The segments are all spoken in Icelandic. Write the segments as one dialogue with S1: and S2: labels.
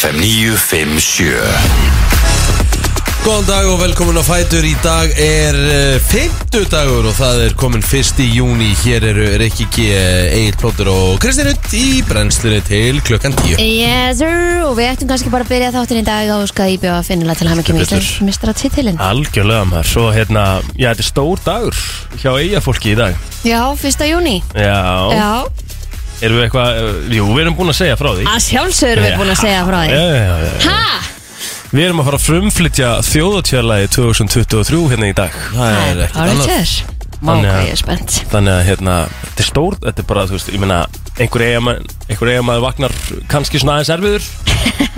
S1: FM 957
S2: Góðan dag og velkomin á Fætur Í dag er uh, fimmtudagur og það er komin fyrst í júni Hér eru Rikki G, Egil Plóttur og Kristinn Rutt í brennslunni til klukkan 10
S3: Yes sir, og við ættum kannski bara að byrja þáttin í dag og skal íbjóða finnilega til hann ekki
S2: Heldur betur.
S3: mistra titilinn
S4: Algjörlega maður, svo hérna, já þetta er stór dagur hjá eigafólki í dag
S3: Já, fyrsta júni
S4: Já,
S3: Já,
S4: erum við eitthvað, eh, jú við erum búin að segja frá því
S3: að sjálfsögur við búin að segja frá
S4: Já,
S3: því
S4: já, já, já.
S3: Ha?
S4: Við erum að fara að frumflytja þjóðatjörlægi 2023 hérna í dag
S2: Það er ekkert
S3: Árið
S2: annað
S3: tjör Má,
S4: Þannig
S3: hvað
S4: að-
S3: ég er spennt
S4: Þannig að hérna, þetta er stór, þetta er bara, þú veist, ég meina einhver eigamaður, einhver eigamaður vagnar kannski svona aðeins erfiður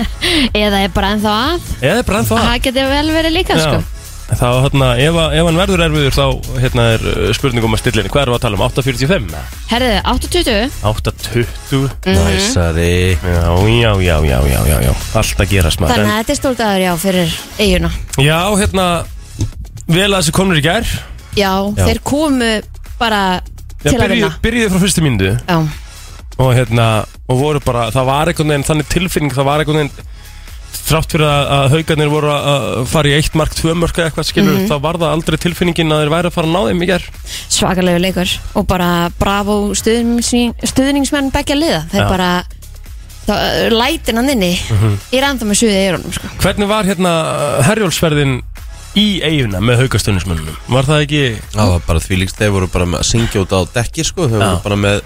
S3: Eða er bara ennþá að
S4: Eða bara ennþá
S3: Það geti vel verið líka sko
S4: En Þá, hérna, ef, að- ef hann verður erfiður þá, hérna, er uh, spurning um að stilla henni Hvað erum við að tala um? 8.45? eða?
S3: Herðu, 8.20
S4: 8.20?
S2: Næsari
S4: Já, já, já, já, já, já, já Allt að gerast maður
S3: Þannig
S4: en-
S3: að þetta er stór dagur já fyrir eiguna
S4: Já, hérna, vel að þessi komnir í gær
S3: Já,
S4: Já.
S3: þeir komu bara
S4: Já,
S3: til að vinna
S4: byrjuðu- Byrjuðu frá fyrstu mínútu
S3: Já,
S4: og hérna og voru bara, það var einhvern veginn þannig tilfinning, það var einhvern veginn þrátt fyrir að, að haugarnir voru að- að fara í eitt mark, tvö mörk eða eitthvað skilur
S3: Mhm.
S4: þá var það aldrei tilfinningin að þeir væri að fara að ná þeim í ger
S3: svakalegu leikur og bara bravo stuðningsmenn, stuðningsmenn begja liða þeir
S4: Já. Mhm.
S3: bara þá, lætin hann inni ég er enda með suðið í eyrunum sko.
S4: hvernig var hérna herjólsferðin í eiguna með haugastunnismönnum var það ekki
S2: Það var bara því líkst, þeir voru bara með að syngja út á dekki sko Þeir voru
S4: Já.
S2: bara með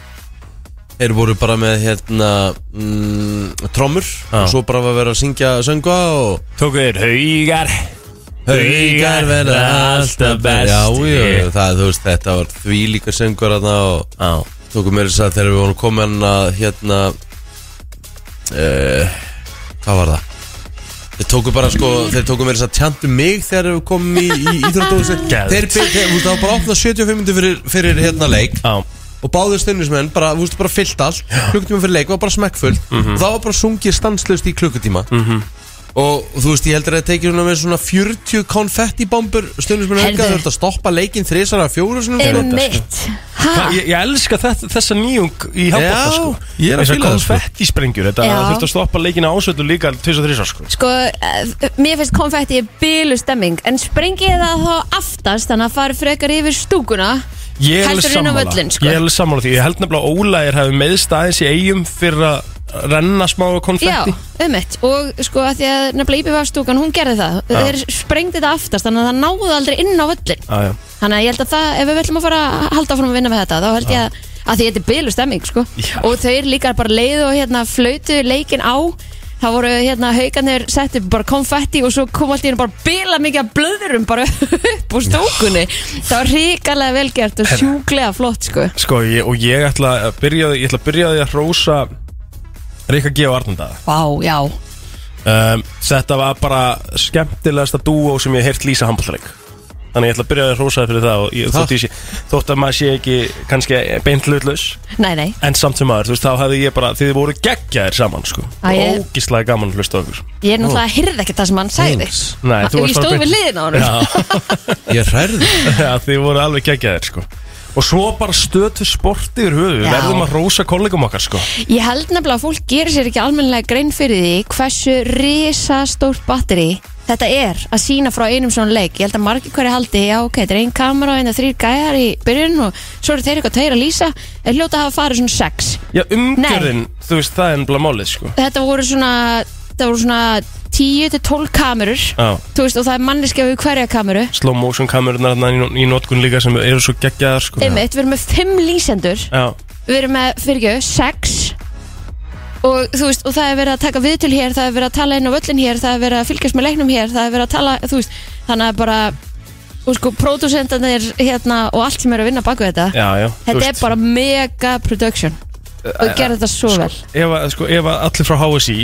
S2: Þeir voru bara með hérna mm, trommur
S4: Já.
S2: og svo bara var að vera að syngja söngva og
S4: tóku þeir haugar
S2: Haugar verða alltaf best Já, já, það, þú veist, þetta var því líka söngur þarna og
S4: á,
S2: tókum mér þess að þegar við vorum komin að hérna uh, hvað var það? Þeir tóku bara sko, þeir tóku mér þess að tjantu mig þegar við komum í, í íþróttúsi
S4: Geðveikt.
S2: Þeir byrja, þeir, þú veist, það var bara opnað 75 minnum fyrir, fyrir hérna leik
S4: á,
S2: og báðu stundinsmenn, bara, þú veist, bara fyllt allt klukkutíma fyrir leik, var bara smekkfull og það var bara sungið stanslust í klukkutíma og þú veist, ég heldur að það tekið svona með svona 40 konfettibombur stundinsmenn auka,
S3: Heyrðu.
S2: þú veist að stoppa leikinn þrisara fjóru sinum
S3: Emmitt
S4: sko. Ég, ég elska þetta, þessa nýjung í handbólta
S2: Já,
S4: sko
S2: ég er að
S4: Þessar
S2: fíla það, sko.
S4: konfettisprengjur, þetta
S3: Já.
S4: þurfti að stoppa leikina ásöldu líka 2003 sko
S3: Sko, eh, mér finnst konfetti í bílu stemming en sprengið það þá aftast þannig að fara frekar yfir stúkuna
S4: Ég er alveg
S3: heldur inn á
S4: sammála.
S3: völlin sko.
S4: Ég er alveg sammála því, ég held nefnilega að Ólægir hafi meðst aðeins í eigum fyrir að renna smá
S3: Já,
S4: konfetti
S3: ummitt og sko að því að nefnilega IPV stúkan hún gerði það þeir sprengdi þetta aftast þannig að það náði aldrei inn á völlin
S4: Já, já.
S3: Þannig að ég held að það, ef við viljum að fara að halda áfram að vinna með þetta, þá held ég að, að því þetta er bylu stemming, sko.
S4: Já.
S3: Og þau eru líka bara leið og hérna flautu leikin á, þá voru hérna haugarnir settu bara konfetti og svo kom allt í hérna bara bila mikið að blöðurum bara upp úr stókunni. Það var ríkalega velgert og sjúklega flott, sko.
S4: Sko, ég, og ég ætla að byrja, ég ætla að byrja á því að hrósa Ríkka G. og Arnandaða
S3: Vá, já.
S4: um, Þetta var bara skemmtilegasta dúó sem ég hef heyrt lýsa handbóltaleg Þannig ég ætla að byrja á því að hrósa þér fyrir það og ég,
S2: Takk.
S4: þótt, ég sé, þótt að maður sé ekki kannski beint hlutlaus
S3: Nei, nei.
S4: En samt sem maður, þú veist, þá hefði ég bara, þið voru geggjaðir saman, sko
S3: Æ, ég-
S4: Ógislega gaman að hlusta á okkur
S3: Ég er náttúrulega að hyrða ekkert það sem hann sagði.
S2: Thanks.
S4: Nei, þú varst
S3: ég
S4: bara
S3: stóð
S4: beint-
S3: við liðin á hann.
S4: Já,
S2: Ég hrærði
S4: Já, þið voru alveg geggjaðir sko Og svo bara stötu sporti yfir höfu Við
S3: Já.
S4: verðum að rósa kollegum okkar sko
S3: Ég held nefnilega að fólk gerir sér ekki almennilega grein fyrir því hversu risastórt batteri þetta er að sína frá einum svona leik. Ég held að margir hverju haldi, já ok, þetta er einn kamera og einn að þrýr gæjar í byrjun og svo eru þeir eitthvað tveir að lýsa, er hljóta að hafa farið svona sex.
S4: Já, umgjörðin, þú veist, það er ennbla málið sko
S3: Þetta voru svona, þetta voru svona 10-12 kamerur,
S4: Já,
S3: þú veist, og það er manneskja við hverja kameru.
S4: slow motion kamerunar þarna í, nó- í notkun líka sem eru svo geggjaðar sko
S3: Einmitt, við erum með fimm lýsendur,
S4: Já,
S3: við erum með, fyrir ekki, sex og þú veist, og það er verið að taka viðtöl hér, það er verið að tala inn á völlin hér það er verið að fylgjast með leiknum hér, það er verið að tala þú veist, þannig að bara og sko, pródúsendanir hérna og allt sem er að vinna baku þetta,
S4: já, já þú
S3: þetta
S4: veist,
S3: er bara mega production og gera þetta svo vel
S4: Ef, að- sko, ef að allir frá HSI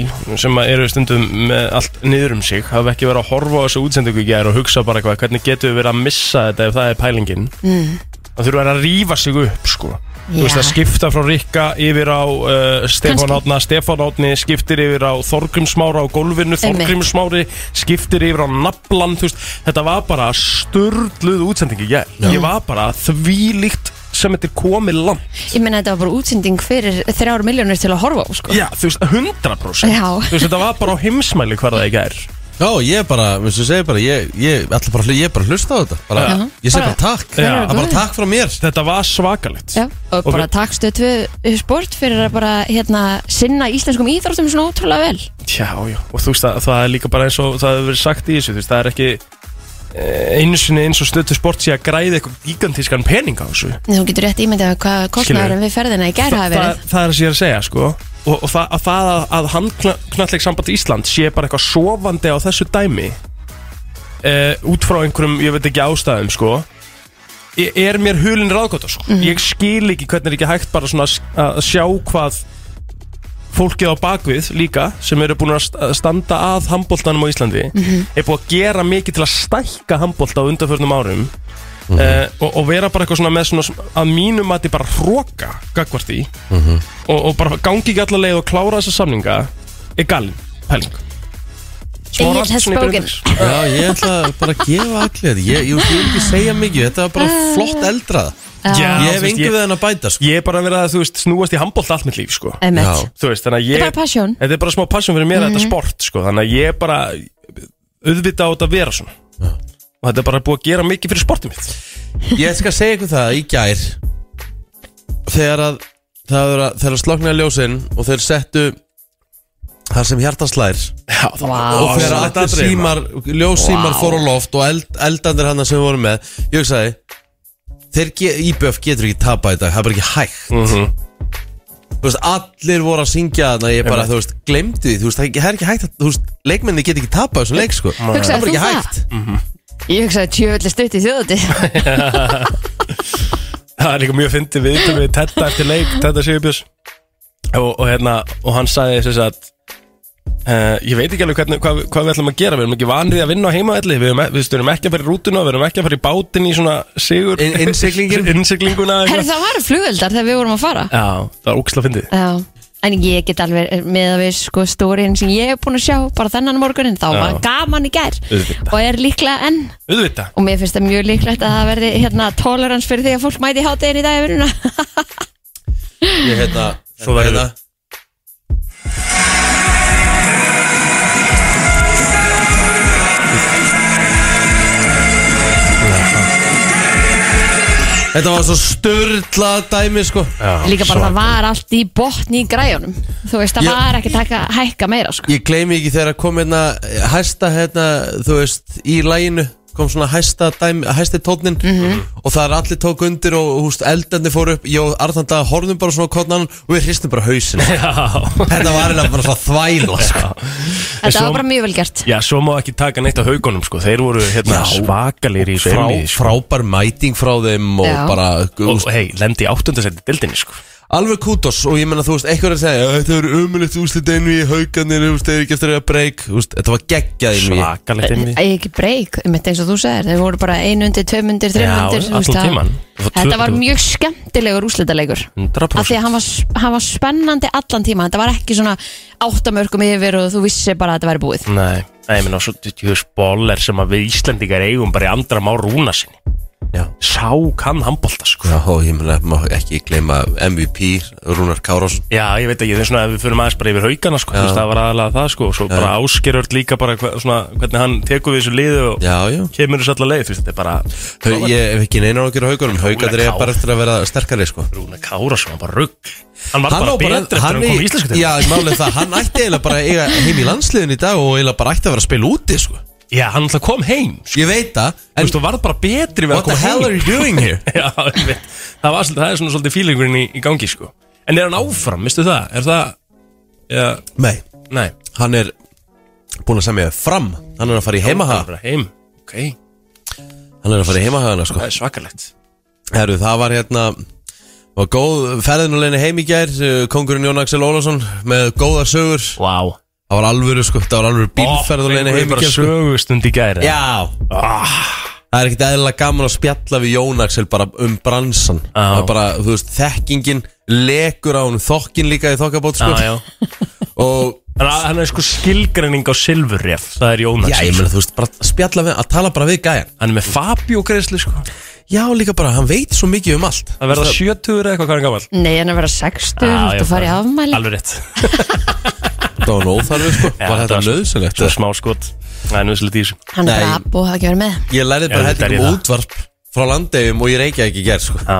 S4: sem að eru stundum með allt niður um sig hafa ekki verið að horfa á þessu útsendingu í gær og hugsa bara eitthvað hvernig getum við verið að missa þetta ef það er pælingin mm. það þurfa að rífa sig upp sko Þú veist að skipta frá Rikka yfir á uh, Stefán
S3: Kannski.
S4: Átna, Stefán Átni skiptir yfir á Þorgrim Smára á gólfinu,
S3: Einmitt.
S4: Þorgrim Smári skiptir yfir á Naflan, þú veist, þetta var bara störluð útsendingi, ég, ég var bara þvílíkt sem þetta er komið langt
S3: Ég meina þetta var bara útsending fyrir þrjár miljónir til að horfa á sko
S4: Já, þú veist, 100%
S3: Já.
S4: Þú veist, þetta var bara á heimsmæli hvað það ekki er
S2: Já, ég bara, eins og ég segi bara Ég, ég ætla bara, að hlu- ég bara að hlusta á þetta bara,
S3: Já.
S2: Ég segi
S3: Bara-
S2: bara takk
S4: Já.
S2: Það er bara takk frá mér
S4: Þetta var svakalegt
S3: Já, og
S4: Og
S3: bara
S4: við-
S3: takk stöð tvö sport fyrir að bara hérna sinna íslenskum íþróttum svona ótrúlega vel
S4: Já, já, og þú veist að það er líka bara eins og það hefur verið sagt í þessu, þú veist, það er ekki eh, einu sinni eins og stöttu sport sé að græði eitthvað gigantískan pening á þessu
S3: En Þú getur rétt ímyndað hvað kostnaðurinn við ferðina í gær hafi
S4: það,
S3: verið
S4: það er að sé að segja, sko og, og það, að, það að, að handknalleg samband Ísland sé bara eitthvað sofandi á þessu dæmi eh, út frá einhverjum, ég veit ekki ástæðum, sko e- er mér hulin ráðgóta, sko
S3: Mhm.
S4: ég skil ekki hvernig er ekki hægt bara svona að s- að sjá hvað fólkið á bakvið líka sem eru búin að st- að standa að handbóltanum á Íslandi
S3: Mhm.
S4: er búið að gera mikið til að stækka handbólta á undanförnum árum eh, og, og vera bara eitthvað svona með svona sm- að mínum að þið bara hróka gagvart í og, og bara gangi ekki allar leið og klára þessa samninga er galin, pæling
S3: Egill
S4: allt
S3: has
S4: svona í
S3: spoken.
S4: brunnis.
S2: Já, ég ætla bara að gefa allir þetta Ég, ég, ég vil ekki segja mikið, þetta var bara flott eldrað
S4: Já,
S2: Ég
S4: þú
S2: hef
S4: veist,
S2: engu
S4: ég-
S2: við henn að bæta sko.
S4: ég er bara verið að þú veist snúast í handbólt allt mitt líf sko.
S3: Einmitt.
S4: þú veist, þannig að ég
S3: Eh, Þetta er bara passion. Mhm.
S4: þetta er bara smá passion fyrir mér þetta sport sko. þannig að ég er bara auðvitað á þetta að vera svona og þetta er bara búið að gera mikið fyrir sportið mitt
S2: Ég skal segja ykkur það í gær Þegar að Það er að, þegar að sloknaði ljósin Og þeir settu Það sem hjarta slær
S4: Já, það
S3: Vá.
S2: og þegar allir símar, ljósímar
S3: Vá.
S2: fór á loft og eld, eldandir hann sem við vorum með ég hugsaði þeir ge, IBF getur ekki tapað í dag, það er bara ekki hægt
S3: Mhm.
S2: þú veist, allir voru að syngja þannig að ég bara,
S4: Einmitt.
S2: þú veist, glemdi því þú veist, það er ekki hægt, að, þú veist, leikmenni getur ekki tapað þessum leik, sko, það er
S3: Hugsaðir
S2: bara
S3: þú
S2: ekki
S3: það?
S2: hægt
S3: Ég hugsaði tjöfellir stutt í þjóðuti
S4: Það er líka mjög fyndið við viðtölu við Tetta eftir leik, Tetta Sigurbjörns og, og hérna, og hann sagði þess að uh, ég veit ekki alveg hvernig, hvað, hvað við ætlum að gera, við erum ekki vanrið að vinna á heimavelli, við, erum- e, við störum ekki að fara í rútuna við erum ekki að fara í bátinn í svona sigur
S2: In- innsiglingin?
S4: innsiglinguna eða
S3: Herri
S4: eitthvað.
S3: það var flugöldar þegar við vorum að fara
S4: Já, það var óksla fyndið
S3: Já En ég get alveg með að við sko stórin sem ég hef búin að sjá bara þennan morgunin þá var
S4: Já.
S3: gaman í gær
S4: Auðvitað.
S3: og er líklega enn
S4: Auðvitað,
S3: og mér finnst það mjög líklegt að það verði hérna tolerans fyrir því að fólk mæti hátegin í dag í vinnuna
S2: ég hérna,
S4: Svo verður-
S2: hérna Þetta var svo störlað dæmi sko
S3: Líka bara það var allt í botni í græjunum Þú veist, það
S2: Já.
S3: var ekki taka, hækka meira sko.
S2: Ég gleymi ekki þegar að kom hérna hæsta hérna, þú veist, í læginu kom svona hæsta dæmi, hæsti tónnin og það er allir tók undir og húst eldandi fór upp, ég og Arðan dag horfðum bara svona á hvorn annan og við hristum bara hausin
S4: já
S2: Þetta var eiginlega bara svona þvæla sko.
S3: Þetta var bara mjög vel gert
S4: Já, svo má ekki taka neitt á haugunum sko, þeir voru hérna
S2: Já.
S4: svakalir í þessu
S2: Frá,
S4: einmiði, sko.
S2: frábær mæting frá þeim og
S3: Já.
S2: bara, þú
S4: og
S2: veist,
S4: hei, lendi í áttundasetti dildinni sko
S2: alveg kútos og ég menna þú veist, eitthvað er að segja þetta eru umulegt úslit einu í haugarnir þú veist, þeir eru ekki eftir að eiga break þú veist, þetta var geggjað einu í
S4: Svakalegt einmiði.
S3: Ég ekki breyk, um þetta eins og þú segir Þeir voru bara einundir, tveimundir, þreimundir
S4: allan tímann. Það var
S3: Þetta var
S4: 200.
S3: mjög skemmtilegur úslitaleikur
S4: 100%.
S3: Af því að hann var, hann var spennandi allan tíma Þetta var ekki svona áttamörkum yfir og þú vissi bara að þetta væri búið
S4: Nei, nei, ég minna, svo tjóðs bóler sem að við Íslendingar eigum bara í andra má rúna sinni
S2: Já.
S4: Sá kann handbolta, sko Já,
S2: Já, og ég menna, má ekki gleyma MVP, Rúnar Kárásson
S4: ég veit ekki, það er svona að við förum aðeins bara yfir haugana, sko þú veist, Það var aðalega það, sko, og svo bara áskerjörð líka bara hver, svona, hvernig hann tekur við þessu liðu og
S2: Já, já
S4: kemur þessu alla leið, þú veist, þetta er bara
S2: Hau, ég hef ekki neina okkur á haugunum Haugarnir er
S4: Kár.
S2: bara eftir að vera sterkari sko
S4: Rúna Kára, svona bara rugg Hann var
S2: á
S4: bara betur eftir að hann kom í íslensku
S2: Já, málið það, hann ætti eiginlega bara að eiga heim í landsliðin í dag og eiginlega bara ætti að vera að spila úti sko
S4: Já, hann alltaf kom heim, sko
S2: Ég veit það,
S4: Þú
S2: en
S4: veist, þú varð bara betri við að
S2: what the
S4: koma
S2: hell are
S4: heim
S2: you doing here?
S4: Já, ég veit, það, var, svolítið- það er svona svolítið feelingurinn í, í gangi, sko En er hann áfram, veistu það? Er það, já,
S2: Nei,
S4: nei
S2: hann er búin að semja fram Hann er að fara í heimahaga
S4: bara heim Ok,
S2: Hann er að fara í heimahagana sko
S4: það er svakalegt
S2: Herru, það var hérna var góð ferðinulegni heim í gær eh, Kongurinn Jón Axel Ólafsson með góða sögur
S4: Vá wow.
S2: Það var alvöru sko, það var alvöru bílferðulegni heim í
S4: bara Ah.
S2: gær sko.
S4: sögustund í gæri
S2: Já Það er ekkert eðlilega gaman að spjalla við Jón Axel bara um bransan Það er bara, þú veist, þekkingin lekur á hún þokkin líka í þokkabót sko.
S4: já
S2: og
S4: Hann hann er sko skilgreining á silfurref Það er Jónas
S2: já, ég meina, þú veist, bara að spjalla við að tala bara við gæjan
S4: Hann er með Fabio greiðslu sko
S2: Já, líka bara, hann veit svo mikið um allt
S4: Það verða 70 eða eitthvað hvað er gammal
S3: Nei, en að vera 60 ah, og fara í afmæli
S4: Alveg rétt
S2: Það var nóþarfið, sko, var
S4: Já, þetta
S2: þetta
S4: var-
S2: nöðsynlegt
S4: Svo smá skot Það er nöðslega dís
S3: Hann er
S2: Nei.
S3: bara app og hafa ekki verið með
S2: Ég lærði
S4: Já,
S2: bara
S4: þetta er
S2: hætti
S4: ég
S2: um
S4: það.
S2: útvarp frá landegjum og ég reykja ekki gert, sko
S4: Já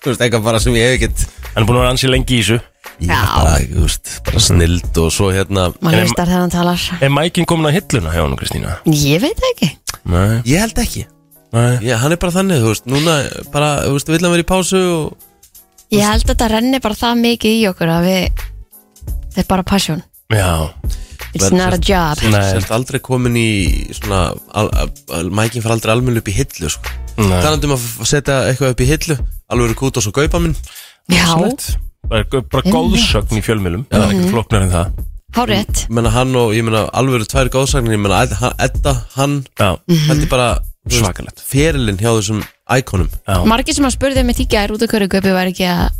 S2: Þú veist, eitthvað bara sem ég hef ekkert
S4: Hann er búin að vera ansi lengi í þessu
S2: Ég
S3: Já.
S2: er bara, þú veist, bara snild og svo hérna
S3: Man
S4: En-
S3: hlustar þegar hann talar
S4: Er mækinn komin á hilluna hjá hann Kristína?
S3: Ég veit það ekki
S4: Nei,
S2: Ég held ekki
S4: nei
S2: Já, hann er bara þannig, þú veist, núna bara, þú veist, vill hann vera í pásu og
S3: Ég held að þetta renni bara það mikið í okkur að við Þetta er bara passion
S4: Já,
S3: It's not a job
S4: nei
S2: Sérst aldrei komin í svona, al, al, al, mækin fara aldrei almenn upp í hillu, sko
S4: Nei.
S2: Talandum að f- setja eitthvað upp í hillu Alveg eru kút og svo gaupa minn
S3: Já,
S4: Bara, bara góðsögn í fjölmjölum Það er ekkert flóknar en það
S3: hárétt
S2: Ég menna hann og, ég menna, alveg eru tvær góðsagnir Ég menna, Edda, hann
S4: Já,
S3: Mm,
S2: Þetta er bara þú veist,
S4: Svakalegt.
S2: Ferilinn hjá þessum íkonum
S4: já,
S3: Margir sem að spurði mig tíkja er út af hverju Gaupi var ekki að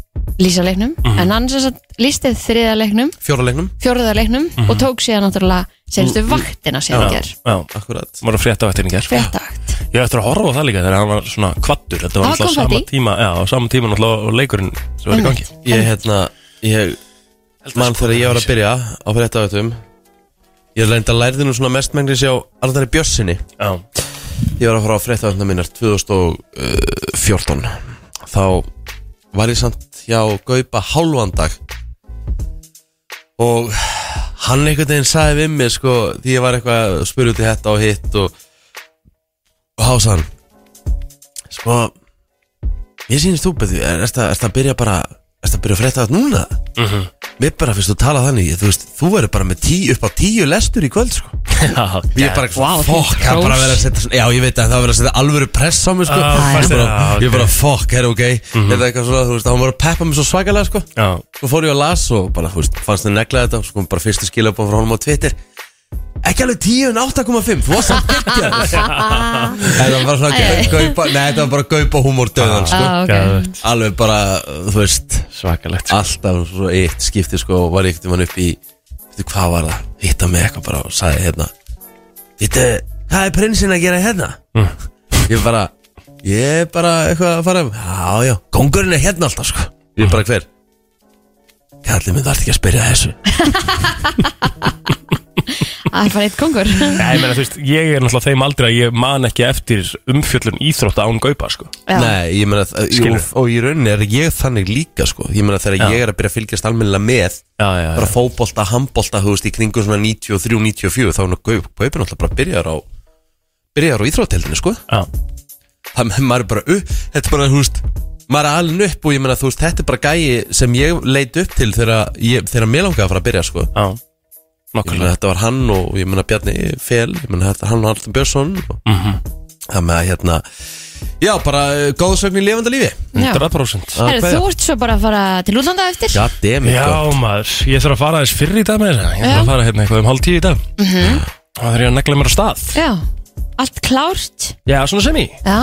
S3: lýsa leiknum
S4: Mhm.
S3: En hann sem sagt lýstið þriða leiknum
S2: Fjóralegnum,
S3: Fjórða leiknum og tók síðan náttúrulega Senstu vaktina síðan
S4: Mhm. já,
S3: ger
S4: já
S2: akkurat
S4: Var að frétta á eftir í gerð
S3: Fréttavakt
S4: Ég ætti að horfa á það líka þegar hann var svona kvattur Þetta var
S3: Hann var
S4: alltaf sama
S3: konfetti.
S4: tíma Já, á sama tíma alltaf og leikurinn sem var í gangi
S2: Ég hérna, ég mann þegar ég var að byrja á fréttavötum Ég reynda lærði nú svona mestmenglis hjá Arnari Bjössinni
S4: Já,
S2: Ég var að fara á fréttavötna minnar 2014 eh, Þá var ég samt hjá Gaupa hálfan dag Og hann einhvern veginn sagði við mig sko Því ég var eitthvað að spyrja út í þetta og hitt og Og hásan Sko Ég sýnist þú betur Er þetta að byrja bara Er þetta að byrja að frétta þetta núna? Mm Mér bara finnst þú tala þannig Þú veist, þú verður bara með tí, upp á tíu lestur í kvöld sko Ég er bara
S3: Vá,
S2: fokk
S3: þvílíkt
S2: Það er bara
S3: hrós.
S2: að vera að setja svona Já, ég veit að það verður að setja alvöru press á mig sko
S4: Já,
S2: Ég
S4: Ah, fannst
S2: er bara,
S4: þér-
S2: ég
S4: já,
S2: er bara
S4: ok. Mhm.
S2: fokk, er ok Er það eitthvað svona, þú veist Hann var að peppa mig svo svakalega sko
S4: já,
S2: Svo fór ég að las og bara, þú veist, fannst þið negla þetta Sko bara fyrstu skilabóð frá honum á Twitter Ekki alveg 10 en 8,5 Þú varst að byggja Það var bara svona gau- gaupa Nei, þetta var bara gaupa húmór döðan sko
S3: Ah, ok.
S4: geðveikt.
S2: Alveg bara, þú veist
S4: Svakalegt sko.
S2: alltaf svo eitt skipti sko og var ég einhvern veginn upp í veitu hvað var það, hitta mig eitthvað bara og sagði hérna veitu, hvað er prinsinn að gera hérna ég bara, ég er bara eitthvað að fara um, já já, kongurinn er hérna alltaf sko, ég bara hver kallið minn þarf ekki að spyrja að þessu
S3: Það er bara eitt kongur
S4: Nei, ég meina, þú veist, ég er náttúrulega á þeim aldrei að ég man ekki eftir umfjöllun íþrótta án gaupa, sko.
S3: Já.
S2: nei, ég meina, að- jú,
S4: Skilur.
S2: og í rauninni er ég þannig líka sko, ég meina þegar
S4: Já.
S2: ég er að byrja að fylgjast almennilega með
S4: Já, já,
S2: bara fótbolta, handbolta, þú veist, í kringum svona 93-94, þá er nú Gaup- Gaupin alltaf bara byrjar á byrjar á íþrótteldinu, sko
S4: já.
S2: það maður er bara upp, þetta er bara, þú veist maður er alveg upp og ég meina, þú veist, þetta er bara gæi sem ég leit upp til þegar, ég, þegar mér langaði að fara að byrja, sko
S4: Já,
S2: ég meina,
S4: nokkulega
S2: þetta var hann og, ég meina, Bjarni Fel ég meina, þetta er hann og Arnaldur Björnsson og það með að, hérna já, bara uh, góðsögn í levanda lífi
S4: 100%
S3: Herru,
S2: Hvað-
S3: þú ert svo bara að fara til útlanda á eftir
S2: God damn it, sko.
S4: Já
S2: Gaup.
S4: maður, ég þarf að fara aðeins fyrir í dag með þess Ég þarf
S3: Já.
S4: að fara hérna eitthvað um hálf tíu í dag mm Það þarf ég að negla mér á stað
S3: Já, allt klárt
S4: Já, svona sem ég
S3: Já,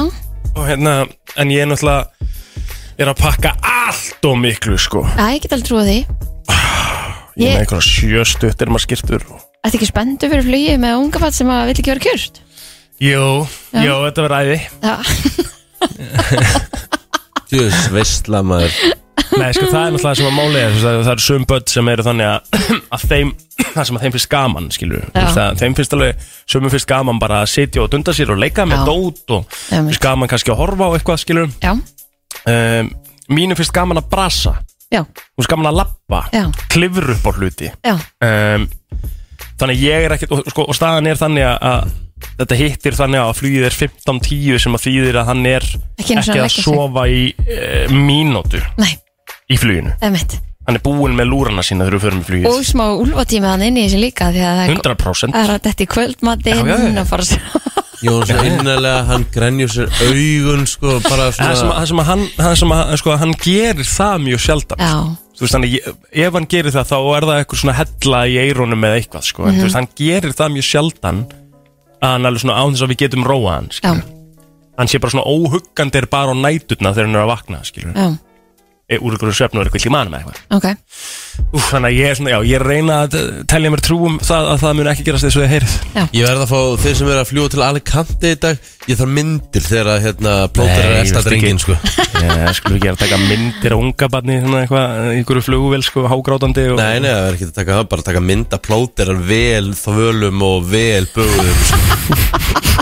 S4: Og hérna, en ég er náttúrulega er að pakka allt og miklu sko
S3: Æ, ég get aldrei trúið því
S4: Ég
S3: Ég-
S4: er með einhverja sjöstuttir maður skýrtur
S3: Þetta ekki spenntu fyrir flugið með ungafatt sem að vill ekki vera kjört
S4: Jú, jú, þetta verður æði
S3: Já,
S2: Djöðs veistla, maður
S4: Nei, sko, það er náttúrulega það sem að máli er þú veist, að Það eru sum börn sem eru þannig að, að þeim, það sem að þeim finnst gaman, skilur við. Þú veist, að Þeim finnst alveg, sumum finnst gaman bara að sitja og dunda sér og leika með
S3: Já.
S4: dót og
S3: Einmitt.
S4: finnst gaman kannski að horfa á eitthvað, skilur
S3: já,
S4: um, Mínu finnst gaman að brasa
S3: já,
S4: Þú finnst gaman að labba
S3: Já.
S4: Klifur upp á hluti
S3: já,
S4: um, Þannig að ég er ekkert og, sko, og staðan er þannig að, að Þetta hittir þannig að flugið er 15.10 sem að þýðir að hann er
S3: Ekki einu sinni að
S4: að
S3: leggja sig.
S4: sofa í e, mínútu
S3: nei,
S4: í fluginu
S3: emitt
S4: hann er búinn með lúrana sína þegar við förum í flugið
S3: Og smá úlfatíma hann inn í þessu líka því að það er-
S4: 100%
S3: það er að þetta í
S4: Já, já,
S3: kvöldmatinn
S4: já.
S3: og fara svo
S2: Ég var svo innanlega, hann grenjur sér augun sko, bara
S4: það sem,
S2: svona
S4: að, það sem að hann, það sem að, sko, hann gerir það mjög sjaldan
S3: Já,
S4: Þú veist, þannig, ég- ef hann gerir það þá er það eitthvað svona hella í eirónum eða eitthvað sko. en, þú
S3: Mhm.
S4: veist, hann gerir það mjög sjaldan að hann alveg svona án þess að við getum róa hann
S3: já,
S4: skilur. hann sé bara svona óhuggandi er bara á næturna þegar hann er að vakna skilur.
S3: já
S4: e, úr ykkur svefn og er eitthvað í manum eða eitthvað
S3: ok
S4: Úf, þannig að ég er svona, já, ég reyna að eh, telja mér trú um það að það mun ekki gerast þessu að heyrið
S2: Ég verð að fá þeir sem eru að fljúa til Alicante í dag Ég þarf myndir þegar að hérna Plóter er
S4: Nei,
S2: að elta
S4: veistu
S2: drengin sko.
S4: ekki. Ég skulle ekki að taka myndir á unga barni svona eitthvað, einhverju flugvél sko, hágrátandi og...
S2: Nei, nei, það verður ekki að taka það Bara að taka mynd að Plóter er vel þvölum og vel bögum sko.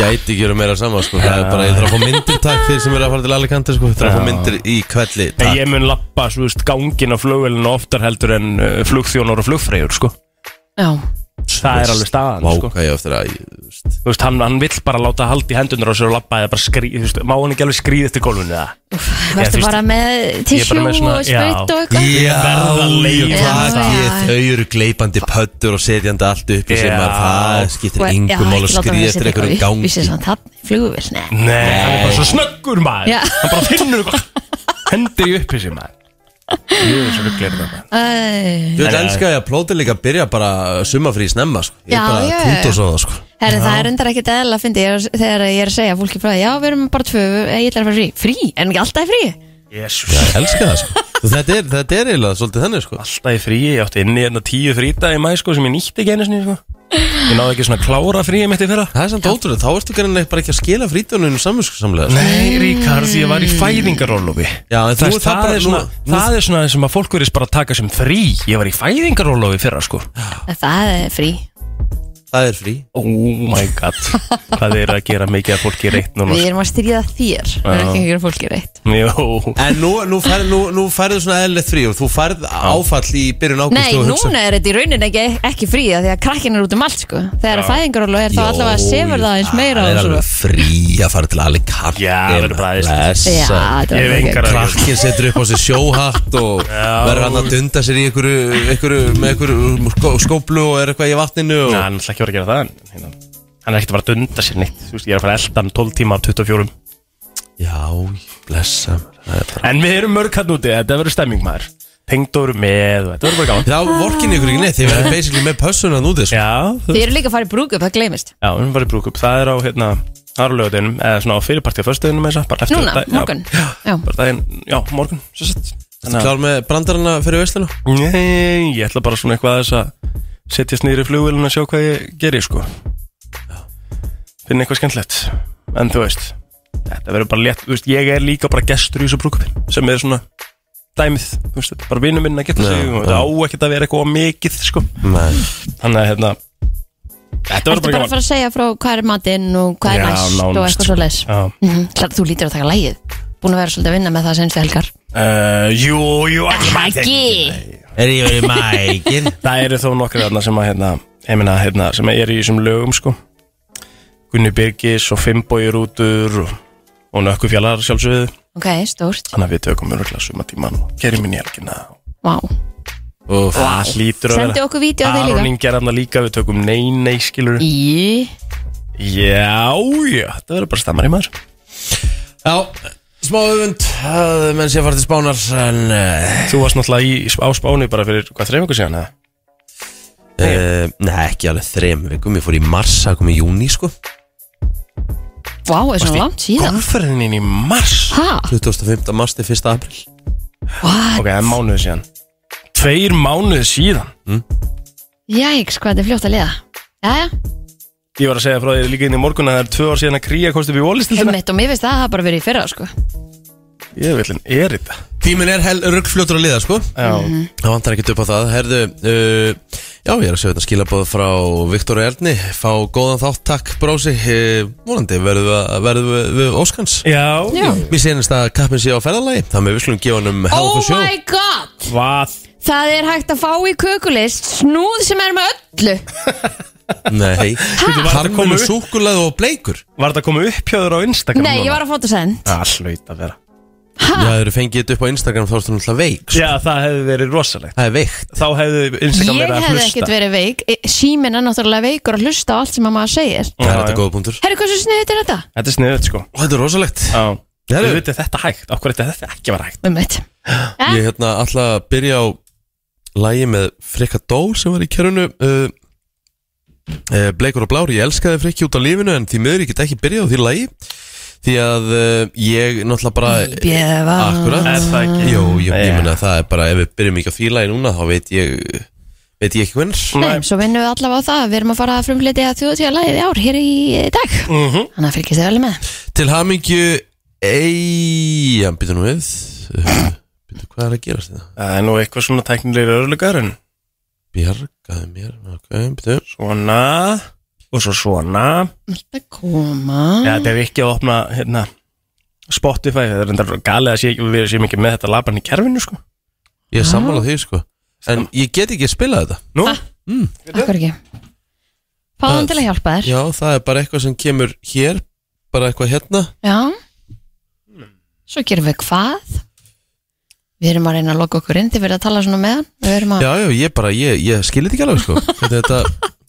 S2: Gæti ekki verið meira sama sko. Það er bara, ég þarf að fá myndir takk Þeir sem eru að fara til Alicante sko. Ég þarf að fá myndir í kvelli
S4: Nei,
S2: takk.
S4: ég mun lappa, svo veist, gangin á flugvélinu oftar heldur en uh, flugþjónar og flugfreyjur, sko.
S3: Já,
S4: Það er alveg staðan,
S2: Vá,
S4: sko.
S2: hvað ég á eftir að ég, þú veist,
S4: Þú veist, hann, hann vill bara láta haldi hendunar á sér og lappa eða bara skrý, þú veist, má hann ekki alveg skrýðast í gólfinu eða?
S3: verður
S4: fyrst-
S3: bara með tissjú
S4: bara með svona-
S3: og sprit
S4: já.
S3: og eitthvað
S4: Ég verð að leiða
S2: það
S3: það.
S2: ég, Þau eru gleipandi pöttur og setjandi allt upp í
S4: Já.
S2: sem að það skiptir engum mál að skrýja eftir einhverju gangi
S3: Vísið samt hann, flugvél, nei
S4: Nei, hann er bara svo snöggur maður.
S3: Já.
S4: Hann bara finnur eitthvað, hendur í uppi sér maður. Jú, svo rugglir þetta maður.
S3: Æ.
S2: Þú veit,
S4: Nei, nei.
S2: elska ég að plóta líka að byrja bara sumafrí snemma, sko Ég
S3: Já,
S2: er
S3: já,
S2: bara
S3: já.
S2: kút og svona, sko
S3: Herri, það er undar ekkert eðla að fyndi þegar ég er að segja fólki frá því, já, við erum bara tvö, ég ætla að fara frí. Frí? En ekki alltaf í frí?
S4: Jésús.
S2: Ég elska það, sko Þú, Þetta er, þetta er eiginlega svolítið þannig, sko
S4: alltaf í fríi, ég átti inni hérna tíu fríta í mæ sko sem ég nýtti ekki einu sinni sko Ég náði ekki svona klára fríi mitt í fyrra
S2: Það er samt ótrúlega, þá ertu gerðin bara ekki að skila frítunum samvinskusamlega, sko
S4: Nei, Ríkard, ég var í fæðingarólofi
S2: Já, en þú
S4: það,
S2: ert það
S4: það,
S2: bara
S4: er svona,
S2: nú-
S4: það er svona sem að fólk verðist bara að taka sem frí Ég var í fæðingarólofi í fyrra sko
S3: En Það er frí.
S2: sko. Það er frí
S4: Oh my god Hvað er að gera mikið að fólki reitt núna
S3: Við
S4: sko?
S3: erum að styrja þér, við erum ekki að gera fólki reitt.
S4: Jó
S2: En nú, nú, fær, nú, nú færðu svona eðlilegt frí og þú færð áfall í byrjun águst
S3: Nei, núna er þetta í rauninni ekki, ekki frí af því að krakkin er út um allt, sko. Þegar að fæðingarólu er þá allavega að sefur það eins meira
S2: Það
S3: og
S2: er
S3: svo.
S2: alveg frí að fara til Alicante
S4: Já, það er bara æðislegt.
S3: Já,
S2: Blessa.
S3: þetta
S4: Ég hef
S3: var
S4: engar
S3: ekki.
S4: að
S2: Krakkin setur upp á sig sjóhatt og verður hann að dunda sér í einhverju, einhverju með einhverju skó- skóplu og er eitthvað í vatninu og...
S4: Nei, hann ætla ekki að vera að gera það en, hérna, Hann er ekkert að fara að dunda sér neitt Þú veist, Ég er að fara að elda hann 12 tíma af 24
S2: Já, blessa mér, það er bara...
S4: En við erum mörg hann úti, þetta verður stemming maður Tengdóru með, og þetta verður bara gaman
S2: Þá vorkinni ykkur ekki neitt, þið verður basically með pössunan út þessu
S4: Já, þú
S3: Þið eru líka að fara í brúkup, það gleymist.
S4: Já, við erum bara í brúkup, það er á hérna árlögutinum, eða svona á fyrirparti á föstuðinum eða bara eftir
S3: Núna,
S4: dag-
S3: morgun.
S4: Já,
S3: Já.
S4: bara daginn, já, morgun, svo sett Þannig að,
S2: Klár með brandarana fyrir veistinu?
S4: nei, ég ætla bara svona eitthvað að þess að setjast niður í flugvélun og sjá hvað ég geri, sko Finn eitthvað skemmtlegt, en þú veist Þetta verður bara létt, þú veist, ég er líka bara gestur í þessu brúkupi, sem er svona dæmið, þú veist, þetta er bara vinur minn að geta
S2: Já,
S4: sig og
S2: já.
S4: þetta á ekkert að vera eitthvað of mikið, sko
S2: Nei
S4: Þannig að, hérna, þetta verður
S3: Ertu
S4: bara
S3: bara að
S4: gaman
S3: fara að segja frá hvað er matinn og hvað er
S4: Já,
S3: næst og
S4: nánast.
S3: eitthvað svo leis.
S4: Já.
S3: Þú lítir að taka lægið. Búin að vera svolítið að vinna með það senstu helgar.
S4: Uh, jú, jú, ekki mæti
S3: Ekki!
S2: Er ég verið mækir?
S4: Það eru þó nokkri þarna sem að hérna, ég meina, hérna, sem er í þessum lögum sko Gunni Birgis og Fimboi Rútur og, og Nökku Fjallar sjálfsögðu
S3: Ok, stórt.
S4: Þannig að við tökum öruglega suma tíman og gerum minni helgina
S3: Vá.
S2: Úf,
S4: Það hlýtur að
S3: Sendi
S4: vera
S3: okkur vídeo af því líka.
S4: Aron Ingi er þarna líka, við tökum nei, nei, skilur
S3: Í,
S4: Já, já, þetta verður bara stammar í maður
S2: já, smá öfund, að menn sé að fara til spánar en... Uh,
S4: Þú varst náttúrulega í, á Spáni bara fyrir hvað þreif ykkur síðan, eða?
S2: uh, nei, ekki alveg þrem vikum, ég fór í mars, það kom í júni sko
S3: vá, er svona langt síðan.
S4: Golferðininn í mars
S3: Hæ?
S2: 25. mars til 1. april
S4: Ok, það er mánuðu síðan Tveir mánuðu síðan
S3: Jæks, hvað þetta er fljótt að liða. Jæja,
S4: Ég var að segja frá þér líka inn í morgun að það er tvö ár síðan að kríja kosti upp í volistildina
S3: heimitt og mér finnst það að það bara verið í fyrra, sko.
S4: Ég vil en er þetta
S2: Tíminn er ruggfljótur að liða sko
S4: Já,
S3: Mhm.
S2: Það vantar ekkert upp á það, herðu, uh, já ég er að segja þetta skilabóð frá Viktor Erni, fá góðan þátt, takk brósi, uh, vonandi verðum við, að- verðum við, við Óskans.
S4: já,
S3: Já.
S2: Mér séðist að kappin sé á ferðalagi, það með við slum gefa hann um health
S3: Oh
S2: og sjó.
S3: my god!
S4: Hvað?
S3: Það er hægt að fá í kökulist snúð sem er með öllu.
S2: Nei,
S4: var þetta
S2: harminu
S4: komið upp?
S2: súkulað og bleikur.
S4: Var þetta að koma upp hjá þér á Instagram?
S3: Nei, ég var að fóta send.
S4: Allaut að vera
S2: Já, þeir eru fengið þetta upp á Instagram þá erstu náttúrulega veik.
S4: Já, það hefði verið rosalegt
S2: Það er veikt.
S4: Þá hefði Instagram
S3: Ég
S4: verið að
S3: hefði
S4: hlusta
S3: ekkert verið veik. Símin er náttúrulega veikur að hlusta á allt sem að maður segir.
S2: Það er
S4: Já,
S2: þetta
S4: já.
S2: góða punktur.
S3: Herru, hversu sniðið er þetta?
S4: Þetta er sniðut sko
S2: Og þetta er rosalegt.
S4: Já
S2: Já,
S4: Þú
S2: já.
S4: veit þetta hægt Okkur þetta þetta ekki var hægt
S3: Um mitt.
S2: Ég hérna alltaf að byrja á lægi með Frikka Dól sem var í kerfinu uh, uh, Bleikur og Blár, ég elskaði Frikki út á lífinu en því miður ég get ekki byrjað á því lægi Því að uh, ég náttúrulega bara
S3: Bjöfa
S2: Akkurat
S4: Er það ekki?
S2: Jú, jú, ég
S4: Já.
S2: meina það er bara Ef við byrjum ekki að fíla í núna Þá veit ég Veit ég ekki hvernig
S3: Nei, svo vinnum við allavega á það Við erum að fara að frumleiti að þjóðtíðalagið í ár hér í dag
S4: Mhm.
S3: Þannig að fylgist þið vel með
S2: Til hamingju Ei, já, býtum nú við Býtum, hvað er að gerast hérna? þetta?
S4: Það er nú eitthvað svona teknilegir örlugar en
S2: Bjargaði mér, ok, býtum
S4: svona og svo svona
S3: Alltaf koma
S4: Já, þetta er ekki að opna hérna Spotify, það er enda galið að sé ekki við séum ekki með þetta laban í kerfinu sko
S2: Ég er sammála því, sko En ég get ekki að spila þetta
S4: Nú,
S3: Akkur ekki Fáðan til að hjálpa þér
S2: Já, það er bara eitthvað sem kemur hér Bara eitthvað hérna
S3: Já Svo gerum við hvað Við erum að reyna að loka okkur inn Þið verða að tala svona með hann Við erum að
S2: Já, já, ég bara, ég, ég skilir þetta ekki alveg, sko Hvernig þetta,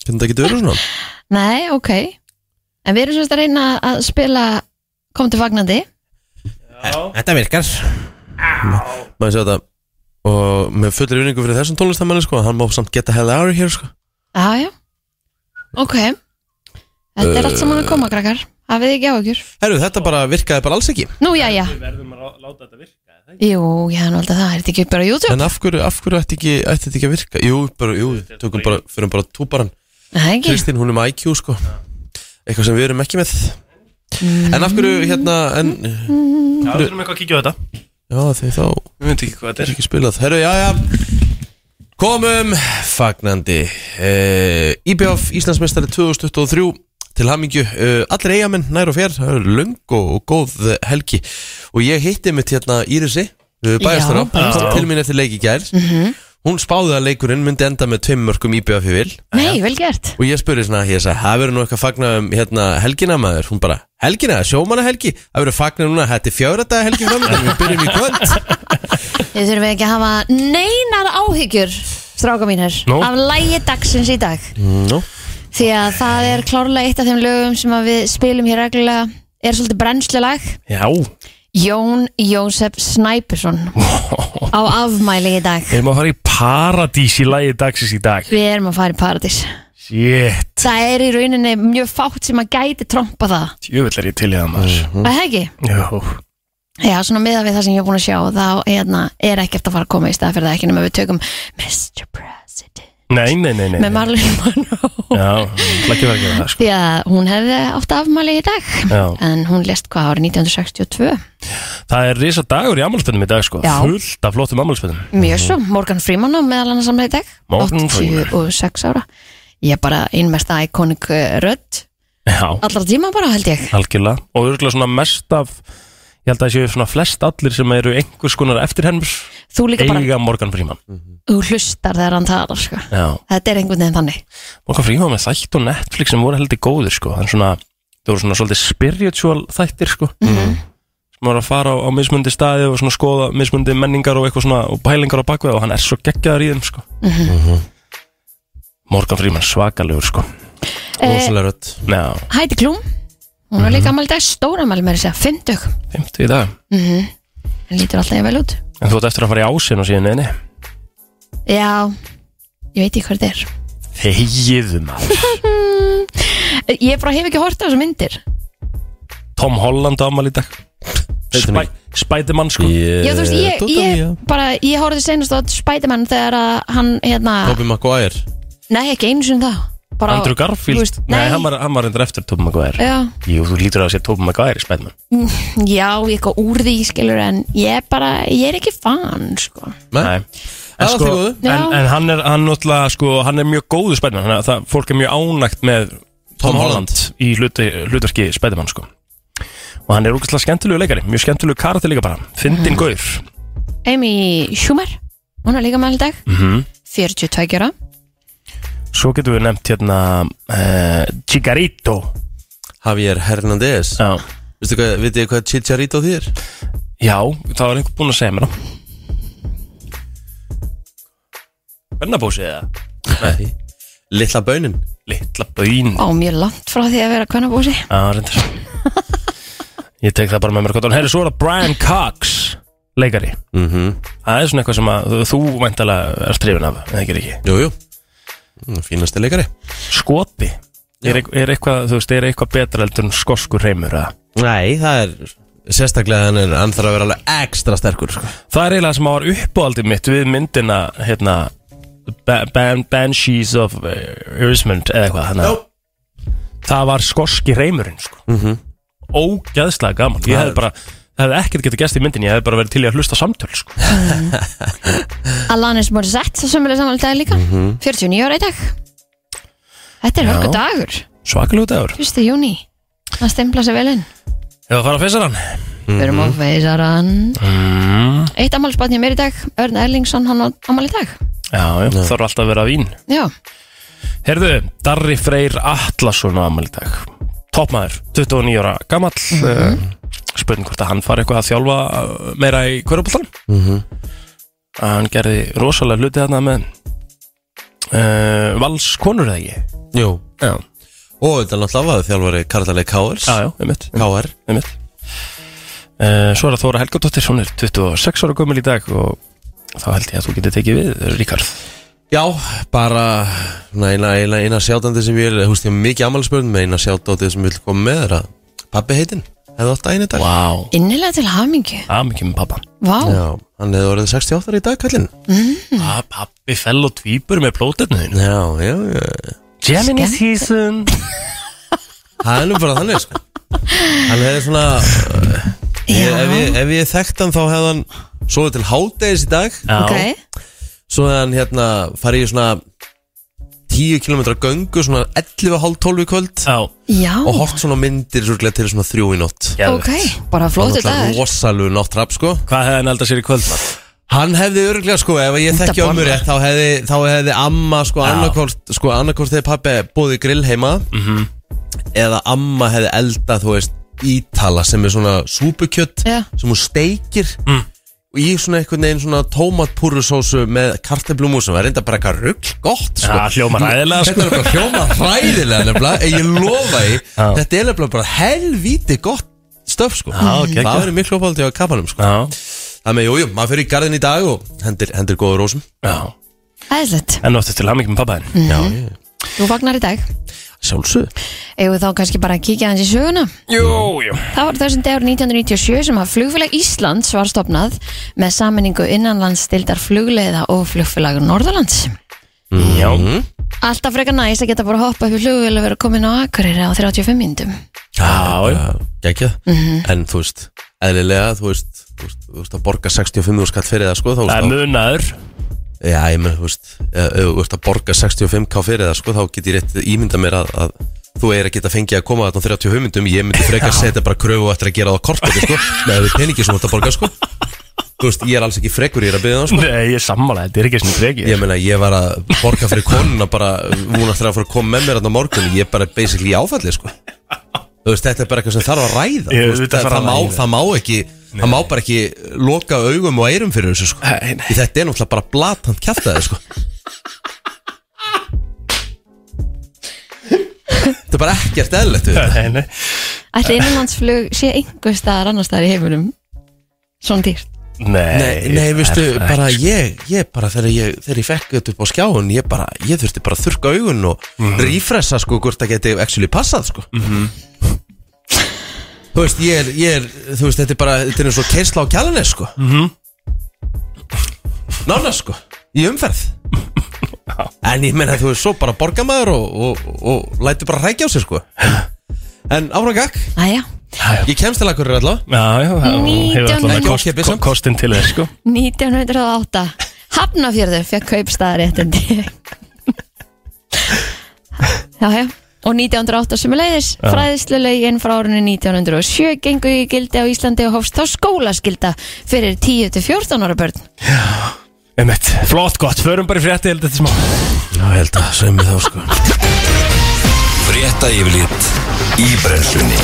S2: hvernig þetta getur verið svona
S3: Nei, ok En við erum semst að reyna að spila Kom til fagnandi
S2: Þetta virkar Maður sé þetta Og með fullri vinningu fyrir þessum tónlistamanni sko Hann má samt geta hell out of here sko
S3: Já, já Ok Þetta er allt saman að koma, krakkar Hafið þið ekki á okkur
S2: Herru, þetta bara virkaði bara alls ekki
S3: Nú, já, já
S4: við verðum að láta þetta virka
S3: Jú, ég hann valda það Er þetta ekki bara á YouTube?
S2: En af hverju, af hverju ætti, ekki, ætti þetta ekki að virka? Jú, bara, jú, tökum bara, fyrir bara túparan
S3: Nei, ekki
S2: Kristín, hún er með IQ sko Eitthvað sem við erum ekki með En af hverju, hérna, en
S4: Já, við erum eitthvað að kíkja á þetta
S2: Já, því þá
S4: Við veitum ekki hvað þetta
S2: er ekki spilað Herru, já, já Komum, fagnandi uh, IBF Íslandsmeistari 2023 til hamingju uh, Allir eigamenn nær og fjær það eru Löng og, og góð helgi Og ég hitti mitt hérna Írisi uh, Bæjastara,
S4: bæjarstjóra.
S2: til mín eftir leik í gær Hún spáði að leikurinn myndi enda með tveim mörgum IBF í vil
S3: Nei, vel gert
S2: Og ég spurði svona, ég sagði, það verður nú eitthvað fagnar um hérna, helgina maður Hún bara, helgina, sjómanna helgi Það verður fagnar núna, þetta er fjögra daga helgi framöndan Við byrjum í kvöld
S3: Þið þurfum ekki að hafa neinar áhyggjur Stráka mínir
S4: Nú.
S3: Af lægi dagsins í dag
S2: Nú,
S3: Því að það er klárlega eitt af þeim lögum sem að við spilum hér reglulega Er svolítið brennslulag
S4: Já,
S3: Jón Jósef Snæpusson Á afmæli í dag
S4: við erum að fara í paradís í lagi dagsins í dag
S3: Við erum að fara í paradís
S4: Shit,
S3: Það er í rauninni mjög fátt sem að gæti trompa það
S4: jöfull er ég til í það maður
S3: Það er það ekki?
S4: Jú,
S3: Já, svona miða við það sem ég er búin að sjá þá hérna, er ekkert að fara að koma í stað fyrir það ekki nema við tökum Mr. President
S4: nei, nei, nei, nei.
S3: með Marlon Monroe
S4: Já, ekki verið að gera það sko.
S3: því að hún hefði átt afmæli í dag
S4: Já.
S3: en hún lest hvað árið 1962
S4: Það er risa dagur í ammálspöndum í dag sko
S3: Já.
S4: Fullt af flottum ammálspöndum
S3: mjög svo, Morgan Freeman á meðal annars afmæli í dag
S4: Mhm. Morgan Freeman.
S3: 86 ára ég er bara einmesta iconic eh, rödd
S4: Já,
S3: allra tíma bara held ég
S4: algjörlega Og örgulega svona mest af Ég held að það séu svona flest allir sem eru einhvers konar eftirherms
S3: þú líka bara,
S4: Eiga Morgan Fríman
S3: þú hlustar þegar hann talar sko.
S4: Já,
S3: þetta er einhvern veginn þannig
S4: Morgan Fríman með þætt og Netflix sem voru heldur góðir sko Þannig svona, það voru svona svolítið spiritual þættir sko
S3: Mhm.
S4: Sem voru að fara á, á mismundi staði og svona skoða mismundi menningar og eitthvað svona Og pælingar á bakveð og hann er svo geggjaður í þeim sko
S3: Mhm.
S4: Morgan Fríman svakalegur sko
S2: rosalega rödd
S4: Já,
S3: Heidi Klum hún
S4: Mhm.
S3: var líka afmæli í dag, stóra afmæli með þess að 50
S4: 50 í dag
S3: Hún lítur alltaf ég vel út
S4: En þú átt eftir að fara í ásinn og síðan neini
S3: Já, ég veit ekki hvað þetta er
S4: Þegiðu maður
S3: Ég bara hef ekki hort á þessu myndir
S4: Tom Holland á amal í dag
S2: Veitum
S4: Spæ, Spædermann sko
S2: Ég,
S3: Já, þú veist, ég, ég Ah. bara, ég horfði senast á Spiderman þegar að hann, hérna
S2: Tobey Maguire
S3: Nei, ekki einu sinni það bara,
S4: Andrew Garfield
S3: þú veist,
S4: Nei,
S3: nei. Eh.
S4: hann var, hann var endur eftir Tobey Maguire Eh?
S3: Já,
S4: Jú, þú lítur að sé Tobey Maguire í Spædermann
S3: já, ég eitthvað úr því, skilur En ég bara, ég er ekki fan, sko
S2: Nei,
S4: Nei En,
S2: Það var
S4: sko,
S2: því góðu.
S3: Já.
S4: en, en hann er hann náttúrulega sko, hann er mjög góðu spædermann þannig að það- fólk er mjög ánægt með Tom,
S2: Tom
S4: Holland, í hluti, hlutverki spædermann sko. og hann er úkastlega skemmtilegu leikari mjög skemmtilegu karakter líka bara fyndin gaur
S3: Amy Schumer, hún er líka með í dag
S4: Mhm.
S3: 42 ára
S4: svo getum við nefnt hérna uh, Chigarito
S2: Javier Hernández
S4: Já,
S2: Vistu hvað, vitið þið hvað Chicharito þýr?
S4: já það var einhver búinn að segja mér það Hvernabósið eða?
S2: Nei Lilla baunin
S4: Litla bauðin Já,
S3: Á mjög langt frá því að vera kvennabósi
S4: reyndar Ég tek það bara með mér kvartan Herri, svo er það Brian Cox Leikari
S2: mm
S4: Það er svona eitthvað sem að þú- þú væntalega er strifin af eða ekki er ekki
S2: Jú, jú Mm, Fínasti leikari
S4: Skoti er, eitth- er eitthvað, þú veist, er eitthvað betra heldur en skoskur reymur eða?
S2: Nei, það er sérstaklega hann er hann þarf að vera alveg ekstra sterkur sko.
S4: Það er eiginlega sem að var uppáaldið mitt við myndina hérna, Ba- Ban Banshees of uh, Irismond eða eitthvað hana.
S2: Já.
S4: Það var skoski reymurinn sko. mm -hmm. Ógæðslega gaman Ég hefði bara, það hefði ekkert getið gæst í myndinni Ég hefði bara verið til í að hlusta á samtöl sko.
S3: Alanis Morissette sem er samanlega dag líka 49 ára í dag Þetta er
S4: Já.
S3: hörku dagur,
S4: Svakalegu dagur
S3: 1. júni Það stimpla sér vel inn
S4: Ef það fara að fesa hann
S3: Við erum á veisaran
S4: mm.
S3: Eitt ammálspatnið mér í dag, Örn Erlingsson hann á ammál í dag
S4: Já, já, það er alltaf að vera vín
S3: Já,
S4: Herðu, Darri Freyr Atlason á amal í dag Topmaður, 29 ára gamall mm Spurning hvort að hann fari eitthvað að þjálfa uh, meira í hverjabóltan mm -hmm. Hann gerði rosalega hluti þarna með uh, Vals konur eða ekki
S2: Jú
S4: Já,
S2: Og þetta er náttúrulega var þjálfari Karlalei Káers
S4: já, já, einmitt,
S2: Káer
S4: einmitt. Uh, Svo er að Þóra Helgadóttir, hún er 26 ára gömul í dag og þá held ég að þú getur tekið við, Ríkard
S2: Já, bara svona eina, eina, eina sjátandi sem ég vil Þú veist, ég er mikið ammálspörnum með eina sjátandi sem ég vil koma með er að Pappi heitinn hefði átt daginn í dag
S4: Vá,
S3: innilega til hamingju
S4: aðmikið með pappa
S3: Vá,
S2: Já, hann hefði orðið 68 í dag, kallinn
S4: ah, Pappi fell og tvípur með plótetnu þínu.
S2: Já, já, já
S4: Gemini
S3: Skemmt.
S4: season
S2: Það er nú bara þannig, sko Hann hefði svona uh, ég, ef, ég, ef ég þekkt hann þá hefði hann Svoðið til hádegis í dag
S4: Já.
S3: ok
S2: Svo hefði hann hérna farið í svona 10 km göngu Svona 11.30 í kvöld
S4: Já,
S3: Já,
S2: Og hort svona myndir surglega til svona 3 í nótt
S4: geðvegt.
S3: ok, bara
S2: Það
S3: flótið
S2: var náttúrulega
S3: dagur
S2: rosalegu náttrapp sko
S4: Hvað hefði hann eldað sér í kvöld? maður?
S2: Hann hefði örglega sko, ef ég
S3: Þetta
S2: þekki ömur
S3: banna.
S2: rétt þá hefði, þá hefði amma sko
S4: Já.
S2: annarkort sko, annarkort þegar pappi búið grill heima
S4: Mhm.
S2: eða amma hefði eldað þú veist ítala sem er svona súpukjött
S3: Já.
S2: sem hún steikir mm. og í svona einhvern veginn svona tómatpúrusósu með karteblumú sem var reynda bara eitthvað rugg gott sko.
S4: Já, hljómar hræðilega, sko.
S2: Þetta er bara hljóma ræðilega nefnilega en ég lofa því,
S4: Já.
S2: þetta er nefnilega bara helvíti gott stöf sko.
S4: Já, geggjað.
S2: það verður miklu uppáldi á kapanum sko.
S4: Já,
S2: Þannig, jújú, maður fyrir í garðin í dag og hendir, hendir góður ósum
S4: já
S3: Æðislegt,
S4: En áttu til hamingi með pappa henn
S2: Já, ég,
S3: þú fagnar í dag
S2: sjálfsög
S3: Eigum við þá kannski bara að kíkja hans í söguna
S4: Jú, jú
S3: Það var þessum dagur 1997 sem að flugfélag Íslands var stopnað með sammenningu innanlandsstildar flugleiða og flugfélag Norðalands.
S2: Mm-hmm.
S4: Já,
S3: Alltaf frekar næs að geta bara hoppa upp í flugvél og vera komin á Akureyri á 35 mindum.
S4: já, já
S2: Gækjað, en þú veist eðlilega, þú veist þú veist, þú veist að borga 65 skall fyrir það sko þá,
S4: Það er
S2: þá,
S4: munaður
S2: já, ég menn, þú veist eh, ef þú veist að borga 65k fyrir það sko þá get ég rétt ímynda mér að, að þú er að geta fengið að koma þarna á 30 hugmyndum ég myndi frekar setja bara kröfu og eftir að gera það á kortbóti sko, með þau peningi sem þú ert að borga sko þú veist, ég er alls ekki frekur, ég er að byrja það sko
S4: Nei, ég er sammála, þetta er ekki svona freki
S2: Ég meina, ég var að borga fyrir konuna bara, hún ætlaði að fara að koma með mér þarna á morgun, ég er bara basically í áfalli, sko Þú veist, þetta er bara eitthvað sem þarf að ræða
S4: Ég
S2: Þú veist,
S4: veit að
S2: það,
S4: fara
S2: það,
S4: að
S2: má,
S4: ræða.
S2: það má ekki, það má bara ekki loka augum og eyrum fyrir þessu, sko
S4: Nei, nei.
S2: Því Þetta er náttúrulega bara blatant kjaftaði, sko Þetta er bara ekkert eðlilegt við þetta
S4: Nei, nei.
S3: Ætli innanlandsflug sé einhver staðar annar staðar í heiminum. Svona dýrt.
S2: Nei,
S4: Nei,
S2: nei, veistu,
S4: er það
S2: bara
S4: ekki,
S2: ég, ég bara þegar ég, þegar ég fekk þetta upp á skjáun ég bara, ég þurfti bara að þurrka augun og refresa sko hvort það geti actually passað sko Þú veist, ég er, ég er, þú veist, þetta er bara þetta er eins og keisla á kjalanes sko mm Nána sko, í umferð En ég meina, þú veist, svo bara borga maður og, og, og, og læti bara rækja á sig sko En áfram gakk,
S3: Æja,
S2: ég kemst til akkur allavega
S4: Já, já, það hún hefur
S3: 19.
S4: alltaf
S2: Ekki
S4: kost,
S2: ókeypis,
S4: ko-
S2: samt.
S4: kostin til þess sko
S3: 1908. Hafnafjörður fekk kaupstaðaréttindi. já, já. Og 1908 sem er leiðis, fræðislulegin frá árinu 1907 gengu í gildi á Íslandi og hófst þá skólaskilda fyrir 10-14 ára börn.
S4: Einmitt. Flott gott, förum bara í frétti held þetta smá
S2: Já, ég held að, sveimi þá sko
S1: Frétta yfirlit í brennslunni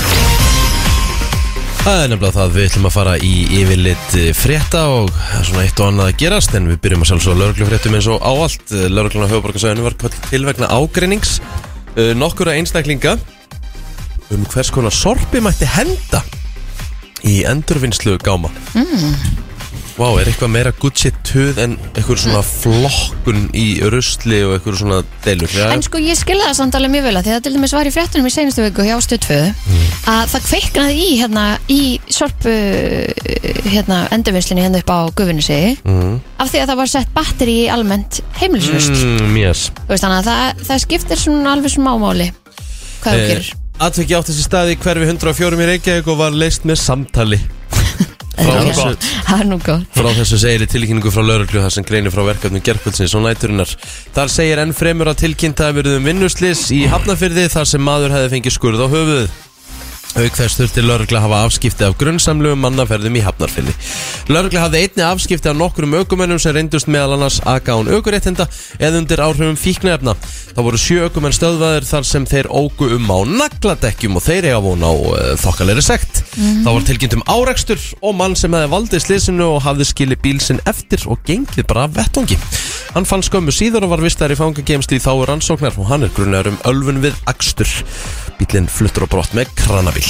S2: Það er nefnilega það við ætlum að fara í yfirlit eh, frétta og það er svona eitt og annað að gerast en við byrjum að sjálfsögða lauruglufréttum eins og áallt lauruglun á höfuborgarsæðinu var kvöld til vegna ágreinings eh, nokkura einstaklinga um hvers konar sorpi mætti henda í endurvinnslu gáma Vá, er eitthvað meira Gucci töð en eitthvað svona flokkun í rusli og eitthvað svona delur Já,
S3: En sko ég skilja það samt alveg mjög vel að því það til dæmis var í fréttunum í seinustu viku hjá Stöðföðu
S2: Mm.
S3: að það kveiknaði í hérna í sorpu hérna endurvinnslinni hérna upp á gufinu sig af því að það var sett batteri í almennt heimilisvist
S2: mm, yes.
S3: þú veist þannig að það, það skiptir svona alveg smámáli hvað þú gerir
S2: Atveki Eh, átti sér staði í hverfi 104 í Reykjavík og var leist með samtali
S3: Það er
S2: frá
S3: nú
S2: þessu-
S3: gott. Það er nú gott
S2: Frá þessu segir í tilkynningu frá lauruglu þar sem greinir frá verkefnum gerkvöldsins og næturinnar. Þar segir enn fremur að tilkynnta að verðum vinnuslis um í hafnafyrði þar sem maður hefði fengið skurð á höfuðið. Auk þess þurfti laurugla að hafa afskipti af grunnsamlugum mannaferðum í hafnarfyrði. Laurugla hafði einni afskipti af nokkrum ökumennum sem reyndust meðal annars aga án ökuréttinda eða undir áhrifum fíknefna. Það voru sjö ökumenn stöðvaðir þar sem þeir ógu um á nagladekkjum og þeir eiga von á uh, þokkalegri sekt. Það var tilkynnt um árekstur og mann sem hefði valdið slísinu og hafði skilið bíl sinn eftir og gengið bara af vettvangi. Hann fann skömmu síðar og var vistar í fangagemsli í þáu rannsóknar og hann er grunnar um ölfun við akstur. Bílinn fluttur á brott með kranabíl.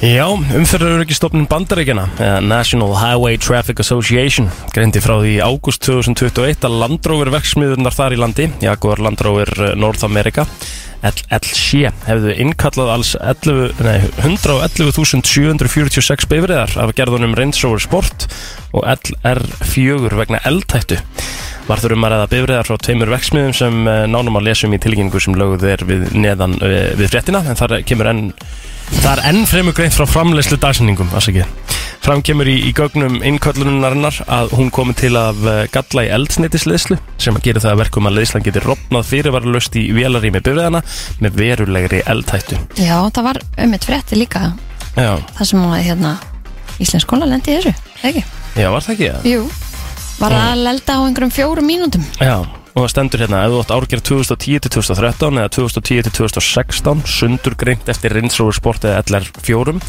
S4: Já, umferðaröryggistofnun Bandaríkjana, eða National Highway Traffic Association, greindi frá því í ágúst 2021 að landróver verksmiðurnar þar í landi, Jaguar eh, Landróver North America, LLC, hefðu innkallað alls 11 nei, 111.746 beifriðar af gerðunum Range Rover Sport og LR4 vegna eldtættu. Var þurfum að reyða bifriðar frá tveimur verksmiðum sem eh, nánum að lesum í tilgjengu sem lögð er við neðan eh, við fréttina, en þar kemur enn Það er enn fremur greint frá framleyslu dagsinningum, afsakið. Fram kemur í, í gögnum innkvöldlunarinnar að hún komi til af eh, galla í eldsneitisleyslu sem að gera það að verkum að leyslan geti rofnað fyrirvaralust í vélarými bifræðana með verulegri eldhættu.
S3: Já það var um eitt frétti líka
S4: Já,
S3: það sem að hérna Íslensk skóla lendi í þessu, eða ekki?
S4: já, var það ekki það?
S3: Jú Var að lelda á einhverjum fjórum mínúndum
S4: Já, og það stendur hérna ef þú átt árgerð 2010-2013 eða 2010-2016 sundur greint eftir rinsróður sport eða LR fjórum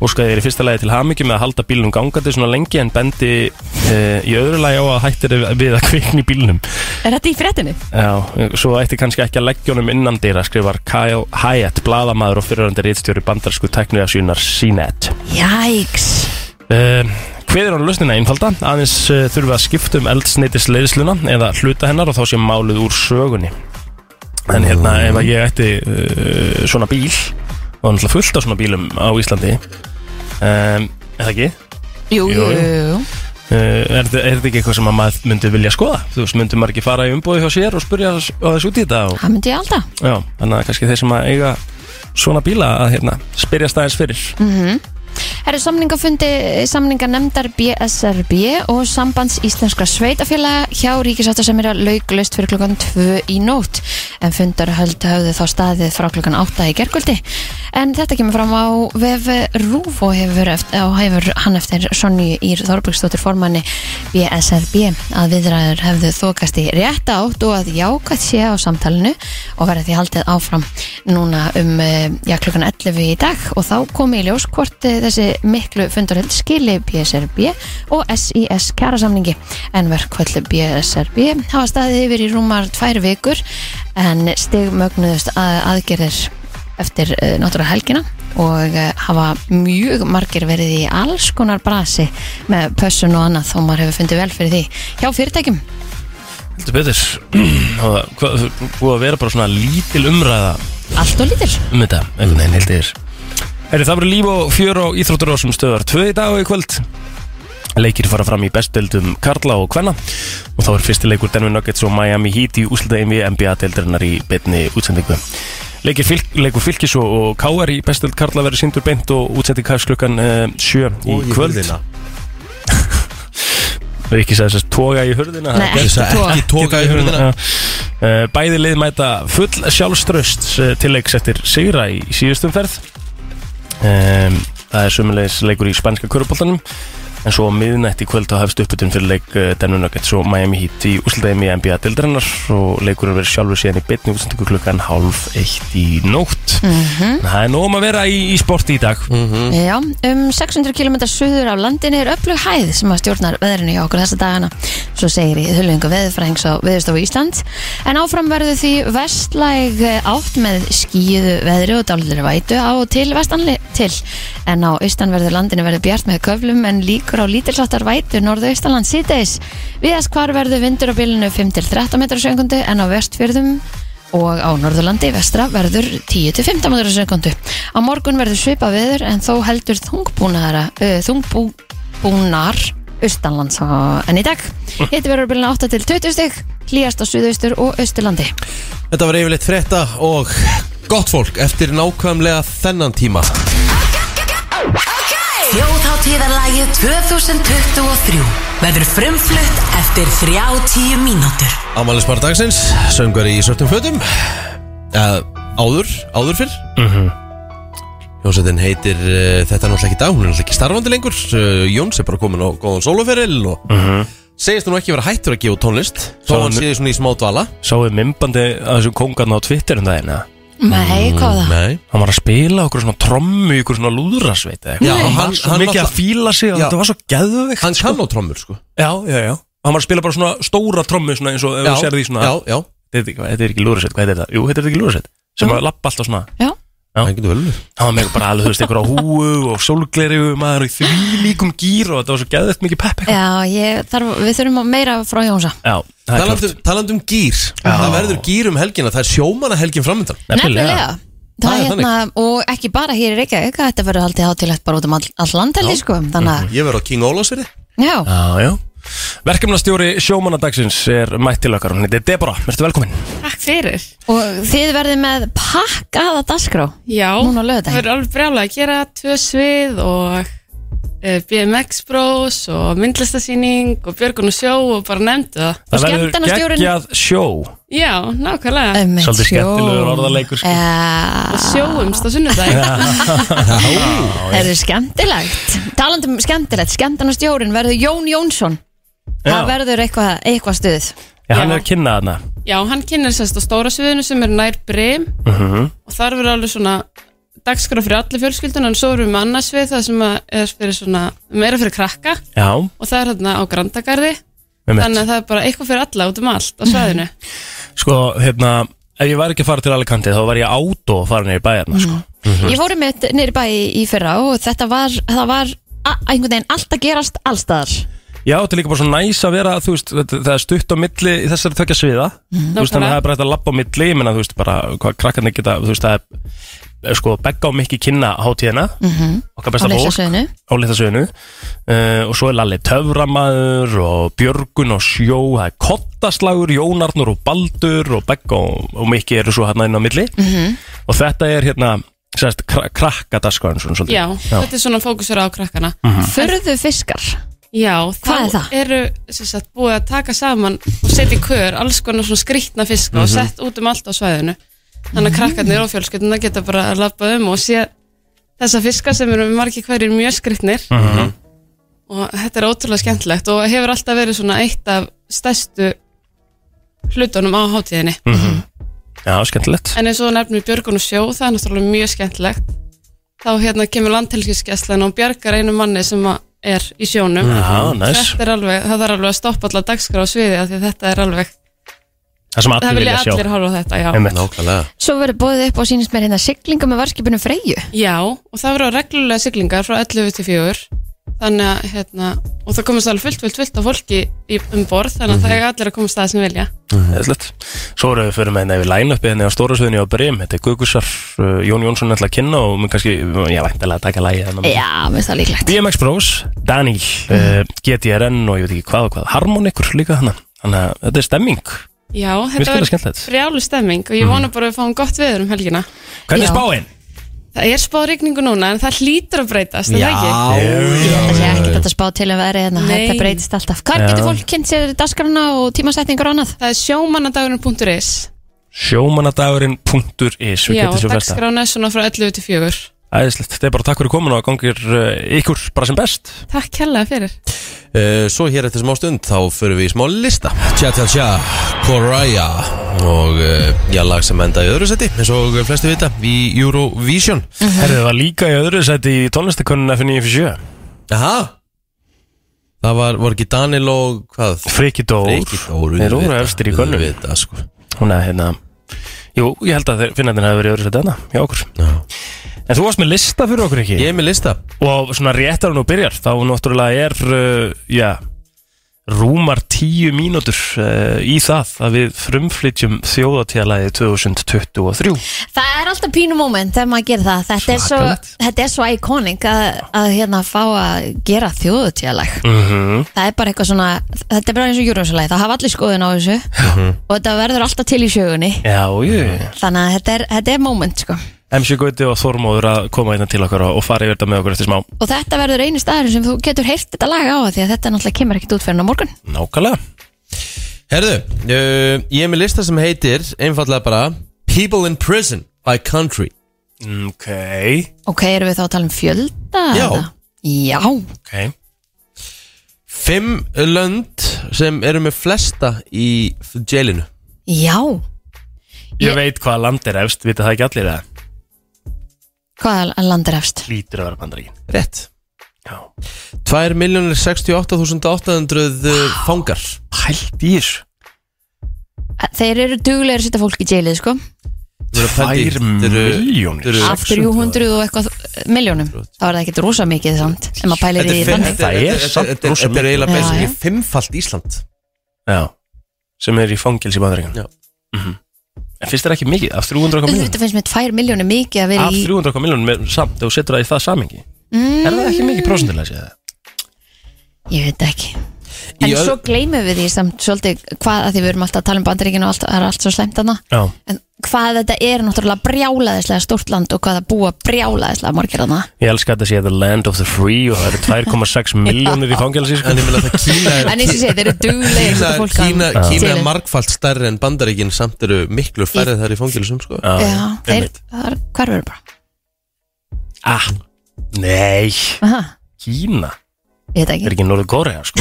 S4: og skoði þér í fyrsta lagi til hamingi með að halda bílnum gangandi svona lengi en bendi e, í öðru lagi á að hættir við að kvikna í bílnum
S3: Er þetta í fréttinni?
S4: Já, svo ætti kannski ekki að leggja honum innan dýra skrifar Kyle Hyatt, bladamaður og fyrirhandi rítstjóri bandarsku tekniðasjónar CNET
S3: Jæks
S4: Uh, Hveð er hann lausnina einfalda? Aðeins uh, þurfa að skipta um eldsneitis leiðsluna eða hluta hennar og þá sé málið úr sögunni En hérna ef að ég ætti uh, svona bíl og hann ætla fullt á svona bílum á Íslandi um, Eða ekki?
S3: Jú,
S4: Jú,
S3: jú,
S4: jú.
S3: jú
S4: Uh, er, þetta- er þetta ekki eitthvað sem að maður myndi vilja skoða? Þú veist, myndi maður ekki fara í umbóði hjá sér og spurja þess- á þessu út í þetta og
S3: Það myndi ég alltaf
S4: Já, þannig að kannski þeir sem að eiga svona bíla að hérna, spyrja staðins fyrir
S3: Það eru samningafundi eh, samninganemndar BSRB og sambands íslenskra sveitafélaga hjá ríkisáttasemira lauglust fyrir klukkan 2 í nótt en fundarhöld höfðu þá staðið frá klukkan 8 í gerkvöldi en þetta kemur fram á vef RÚF og hefur, eftir, og hefur hann eftir Sonju Ír Þorbergsdóttir formanni BSRB að viðræður hefðu þokast í rétt átt og að jákvætt sé á samtalinu og verði því haldið áfram núna um eh, já, klukkan 11 í dag og þá komi í ljós hvort eh, þessi miklu fundurheld skili BSRB og SIS kjærasamningi en verkvöld BSRB hafa staðið yfir í rúmar tvær vikur en stigmögnuðust að aðgerðir eftir uh, náttúrulega helgina og uh, hafa mjög margir verið í alls konar brasi með pössun og annað þó maður hefur fundið vel fyrir því hjá fyrirtækjum
S4: Heldur betur og það- hvað- þú- búið að vera bara svona lítil umræða
S3: allt og lítil
S4: um þetta, einhvern veginn heldur þér Herri, það verður líf og fjör á Íþrótturásum stöðar tvö í dag og í kvöld Leikir fara fram í bestdeildum Karla og Kvenna og þá er fyrsti leikur Denver Nuggets og Miami Heat í úslitaðin við NBA-deildarinnar í beinni útsendingu Leikir fylk, leikur fylgis og, og Káar í bestdeild Karla verður sindur beint og útsending hans klukkan uh, sjö í kvöld Það er ekki sæðis að toga í hurðina
S3: Nei,
S4: það er
S3: ekki toga.
S2: Ekki tóka í hurðina
S4: Eh, Bæði lið mæta full sjálfströst til leiks eftir sigra í síðustum ferð Em, Það er sömulegis leikur í spænska köruboltanum En svo á miðnætt í kvöld þá hefst uppbytun fyrir leik eh, Denver Nuggets og Miami Heat í úsildæmi í NBA dildarinnar og leikurinn verður sjálfur síðan í beinni útsendingu klukkan hálf eitt í nótt En Það er nóg um að vera í, í sporti í dag
S2: Mm.
S3: Já, um 600 km suður af landinu er öflug hæð sem að stjórnar veðrinu hjá okkur þessa dagana svo segir í hulungu veðurfræðings á veðurstofu Ísland en áfram verður því vestlæg átt með skíðu veðri og dálur vætu á og til vestanli til en á austanverður landinu verður bjart með köflum en líkur líkur á lítilsáttar vætu norðaustaland síðdeis. Viðast hvar verður vindur á bylunu 5-13 metrar sekundu en á vestfjörðum og á Norðurlandi vestra verður 10-15 metrar sekundu. Á morgun verður svipa veður en þó heldur þungbúnaðara, uh, þungbúnar austanlands á- en í dag. Hitti verður byluna 8-20 stygg, hlýjast á suðaustur og austurlandi.
S2: Þetta var yfirleitt frétta og gott fólk eftir nákvæmlega þennan tíma
S5: Þjóðháttíðarlægið 2023 verður frumflutt eftir 30 mínútur.
S2: Amalismar dagsins, söngari í svörtum fötum uh, Áður, áður fyrr mm
S4: Mhm.
S2: Jónsveitin heitir uh, Þetta er náttúrulega ekki í dag, hún er náttúrulega ekki starfandi lengur uh, Jóns er bara komin á góðan sóloferil og segist hún ekki vera hættur að gefa út tónlist Þó
S4: Mhm. Svo
S2: hann
S4: hann-
S2: séði svona í smá dvala
S4: Sáuðu mymbandi að þessu kongarn á Twitter um daginn eða?
S3: Nei, hvað
S4: Ah.
S3: var það?
S2: Nei
S4: Hann var að spila okkur svona trommu í okkur svona lúðrasveit eða
S2: Já,
S4: eitthvað. Hann
S2: hann-
S4: var svo
S2: hann
S4: mikið að
S2: náttúrulega-
S4: fíla sig og
S2: Já.
S4: þetta var svo geðveikt
S2: Hann kann á trommur sko
S4: Já, já, já Hann var að spila bara svona stóra trommu svona eins og ef þú sér því svona
S2: já, já,
S4: Þetta er ekki- Þetta er ekki lúðrasveit, hvað heitir þetta? Jú, þetta er ekki lúðrasveit sem var að lappa alltaf svona
S3: Já.
S4: Já.
S2: hann getur vel verið.
S4: Hann var með bara alveg, þú veist, einhver á húu og sólgleri og maður í því líkum gýr og þetta var svo geðveikt mikið pepp eitthvað.
S3: Já, ég, þarf, við þurfum að meira frá Jónsa
S4: Já, það er
S2: Talandi
S4: klart
S2: um, talandi um gýr Það verður gýr um helgina, það er sjómanna helgin framöndan
S3: Nefnilega Það
S2: Það
S3: er
S2: er
S3: hérna, og ekki bara hér í Reykjavík þetta verður haldið hátilegt bara út um all, all landhelgi sko, þannig að,
S2: Ég verður á King Ólafsfyrði
S3: já,
S4: Já, já Verkefnastjóri sjómannadagsins er mætt til okkar, hún heitir Deborah, verður velkomin
S6: Takk fyrir.
S3: og þið verðið með pakkaða dagskrá
S6: Já,
S3: Núna á laugardaginn.
S6: það verður alveg brjálega að gera tvö svið og eh, BMX Bros og myndlistasýning og Björgun og sjó og bara nefndu það.
S4: Það
S3: Og
S4: verður
S3: skemmtanastjórinn-
S4: geggjað sjó
S6: Já, nákvæmlega.
S3: um
S4: Svolítið skemmtilegur orðaleikur, sko.
S3: Eh,
S6: Og sjóumst á sunnudaginn.
S3: Það er skemmtilegt Talandi um skemmtilegt, skemmtanastjórin verður Jón Jónsson
S4: Já.
S3: Það verður eitthvað, eitthvað stuð
S4: Já, hann
S6: Já.
S4: er að kynna þarna
S6: Já, hann kynir sérst á stóra sviðinu sem er nær brim og þar verður alveg svona dagskrá fyrir allir fjölskyldun en svo erum við með annað svið það sem að er fyrir svona meira fyrir krakka
S4: Já,
S6: og það er hérna á Grandagarði
S4: með
S6: þannig að það er bara eitthvað fyrir alla út um allt á svæðinu
S4: Sko, hérna, ef ég var ekki að fara til Alicante þá var ég át og fara niður í bæjarna, sko
S3: Ég fór um eitt nýri bæ í, í fyrra og þetta var, það var a- einhvern veginn allt að gerast allstaðar
S4: Já, þetta er líka bara svo næs að vera, þú veist, þetta, það er stutt á milli í þessari tvekja sviða Þú veist, þannig að það er bara hægt að lappa á milli, ég menna, þú veist, bara hvað krakkarnir geta, þú veist, það er, er sko, begga og mikki kynna hátíðina
S6: Mhm.
S4: Okkar
S3: á
S4: besta fólk
S3: leysasöðinu
S4: á litasögunu uh, og svo er Lalli Töframaður og Björgun og Sjó það er Kottaslagur, Jónarnur og Baldur og Begg og, og Mikki eru svo hérna inn á milli
S6: Mhm.
S4: -hmm. og þetta er hérna sérst, kra krakkadaskvæðin svona svolítið
S6: Já, þetta er svona fókusur á krakkana
S4: Mhm.
S3: Förðu fiskar
S6: Já,
S3: Hvað er
S6: þá
S3: það?
S6: eru sem sagt, búið að taka saman og setja í kör alls konar svona skrýtna fiska og sett út um allt á svæðinu þannig að krakkarnir og fjölskylduna geta bara að lappa um og sé þessa fiska sem eru margir hverjir mjög skrýtnir og þetta er ótrúlega skemmtilegt og hefur alltaf verið svona eitt af stærstu hlutunum á hátíðinni
S4: Já, skemmtilegt
S6: en eins og þú nefnir Björgun og sjó það er náttúrulega mjög skemmtilegt þá hérna kemur landhelgiskeslan og bjargar einu manni sem að er í sjónum
S4: Já, næs
S6: Þetta er alveg, það þarf alveg að stoppa allar dagskrá á sviði af því að þetta er alveg,
S4: Það sem allir
S6: það vilja
S4: vilja sjá
S6: allir horfa á þetta, já.
S4: Einmitt.
S2: Nákvæmlega
S3: Svo verður bóðið upp á sínist mér hérna siglinga með varskipunum Freyju
S6: Já, og það verður reglulega siglingar frá 11 til 4, þannig að, hérna, og það komast alveg fullt, fullt, fullt af fólki í, um borð, þannig
S4: Mhm.
S6: að það er allir að komast að það sem vilja.
S4: Æðislegt. Svo erum við fyrir með henni yfir line-upið henni á stóra sviðinni á Brim Þetta er Gugusar, uh, Jón Jónsson ætla að kynna og mun kannski, ég væntalega að taka lægi hennar
S3: Já, minnst það líklegt
S4: BMX Bros, Dani, uh, GTRN og ég veit ekki hvað og hvað, Harmonikur líka hana. Þannig að þetta er stemming.
S6: Já,
S4: Mér
S6: þetta
S4: finnst þetta
S6: verður
S4: skemmtilegt. Mhm.
S6: frjálu stemming og ég vona bara að við fáum gott veður um helgina.
S4: Hvernig er
S3: Já.
S4: spáin?
S6: Það er spáð rigningu núna, en það hlýtur að breytast, er það ekki?
S3: Það sé ekki þetta spá til að vera hérna
S6: Nei.
S3: Þetta breytist alltaf Hvar
S4: Já.
S3: getur fólk kynnt sér dasgrana og tímasetningur og annað?
S6: Það er sjómannadagurinn.is
S4: Sjómanadagurinn.is Við
S6: Já,
S4: getum svo versta.
S6: dagskrá svona frá 11 til 4
S4: Æðislegt, þetta er bara takk fyrir komin og gangir uh, ykkur bara sem best.
S6: Takk hella fyrir
S2: Uh, svo hér eftir smá stund þá förum við í smá lista Tja tja tja, Koraya og uh, já, lag sem enda í öðru seti eins og flesti vita í Eurovision
S4: Herðu, það var líka í öðru sæti í tónlistakönnun F957.
S2: Aha Það var, voru ekki Daniel og hvað?
S4: Friki Dór.
S2: Freyki Dór
S4: Þeir voru
S2: auðvitað,
S4: efstir í könnun.
S2: auðvitað, sko.
S4: Hún er hérna, jú, ég held að þeir- Finnarnir hafi verið í öðru sæti hana, hjá okkur.
S2: Já.
S4: En þú varst með lista fyrir okkur ekki
S2: Ég er með lista
S4: Og svona réttar hún og byrjar Þá náttúrulega er, uh, já Rúmar tíu mínútur uh, Í það að við frumflytjum Þjóðatíðalagi 2023
S3: Það er alltaf pínu moment þegar maður gerir það Þetta er svo,
S4: Svakalegt.
S3: þetta er svo iconic að, að hérna fá að gera þjóðutíðalag
S4: mm -hmm.
S3: Það er bara eitthvað svona, þetta er bara eins og júrósalagi Það hafa allir skoðun á þessu Og þetta verður alltaf til í sjögunni
S4: Mhm. Já, jú
S3: Þannig að þetta er, þetta er moment sko
S4: MC Gauti og Þormóður að koma hérna til okkar og og fara yfir þetta með okkur eftir smá
S3: Og þetta verður einu staður sem þú getur heyrt þetta lag á Því að þetta náttúrulega kemur ekkert út fyrir en á morgun
S4: Nákvæmlega
S2: Herðu, uh, ég er með lista sem heitir Einfallega bara People in prison by country
S4: Ok,
S3: Ok, erum við þá að tala um fjölda?
S2: Já.
S3: eða? Já,
S4: ok
S2: Fimm lönd sem eru með flesta í jailinu
S3: já
S4: Ég,
S3: Ég-
S4: veit hvaða land er efst, vita það ekki allir það
S3: Hvað landir efst?
S4: Lítur að vera bandaríkin
S2: Rétt
S4: Já
S2: 2.068.800 eh, fangar
S4: Pælt í þessu
S3: Þeir eru duglega að setja fólk í jailið sko
S2: Þeir eru pældi í-
S4: Tvær
S2: þeir eru-
S4: milljónir?
S2: þeir eru-
S3: af 300 og eitthvað miljónum þá er það ekkert rosa mikið samt ef maður pælir
S2: Þetta
S3: í
S2: er
S3: því
S2: fimm-
S3: þannig
S2: þetta
S4: Það er
S2: þetta-
S4: samt
S2: þetta-
S4: rosa
S2: Þetta er
S4: mikið.
S2: eiginlega
S3: Já,
S2: basic
S3: já.
S2: fimmfalt Ísland
S4: Já Sem er í fangils í bandaríkin
S2: Já.
S4: En finnst þér ekki mikið, af 300 kom miljónum
S3: auðvitað finnst mér 2 miljónir mikið að vera
S4: Af
S3: í
S4: 300 kom miljónum samt, þegar þú setur það í það samingi mm. Er það ekki mikið prósendilega séð það?
S3: ég veit ekki
S2: Í
S3: en
S2: öð-
S3: svo gleymum við því samt svolítið hvað að því við erum alltaf að tala um bandaríkinu og allt, það er allt svo slæmt hana
S4: Já
S3: en hvað þetta er náttúrulega brjálaðislega stórt land og hvað það búa brjálaðislega margir hana
S4: Ég elska að þetta sé The Land of the Free og það eru 2,6 miljónir í sko. fangils
S2: En ég meina það Kína er
S3: en eins og ég segi þeir eru duglega
S2: Kína,
S3: fólk að-
S2: Kína, Kína er
S3: Chile.
S2: margfalt stærri en bandaríkin samt eru miklu færri þar í fangilsum sko.
S3: já, þeir,
S4: einmitt.
S3: það er hverfur bara
S4: Ah, nei
S3: Aha,
S4: Kína
S3: ég veit
S4: Er
S3: ekki
S4: ekki Norður Kórea, sko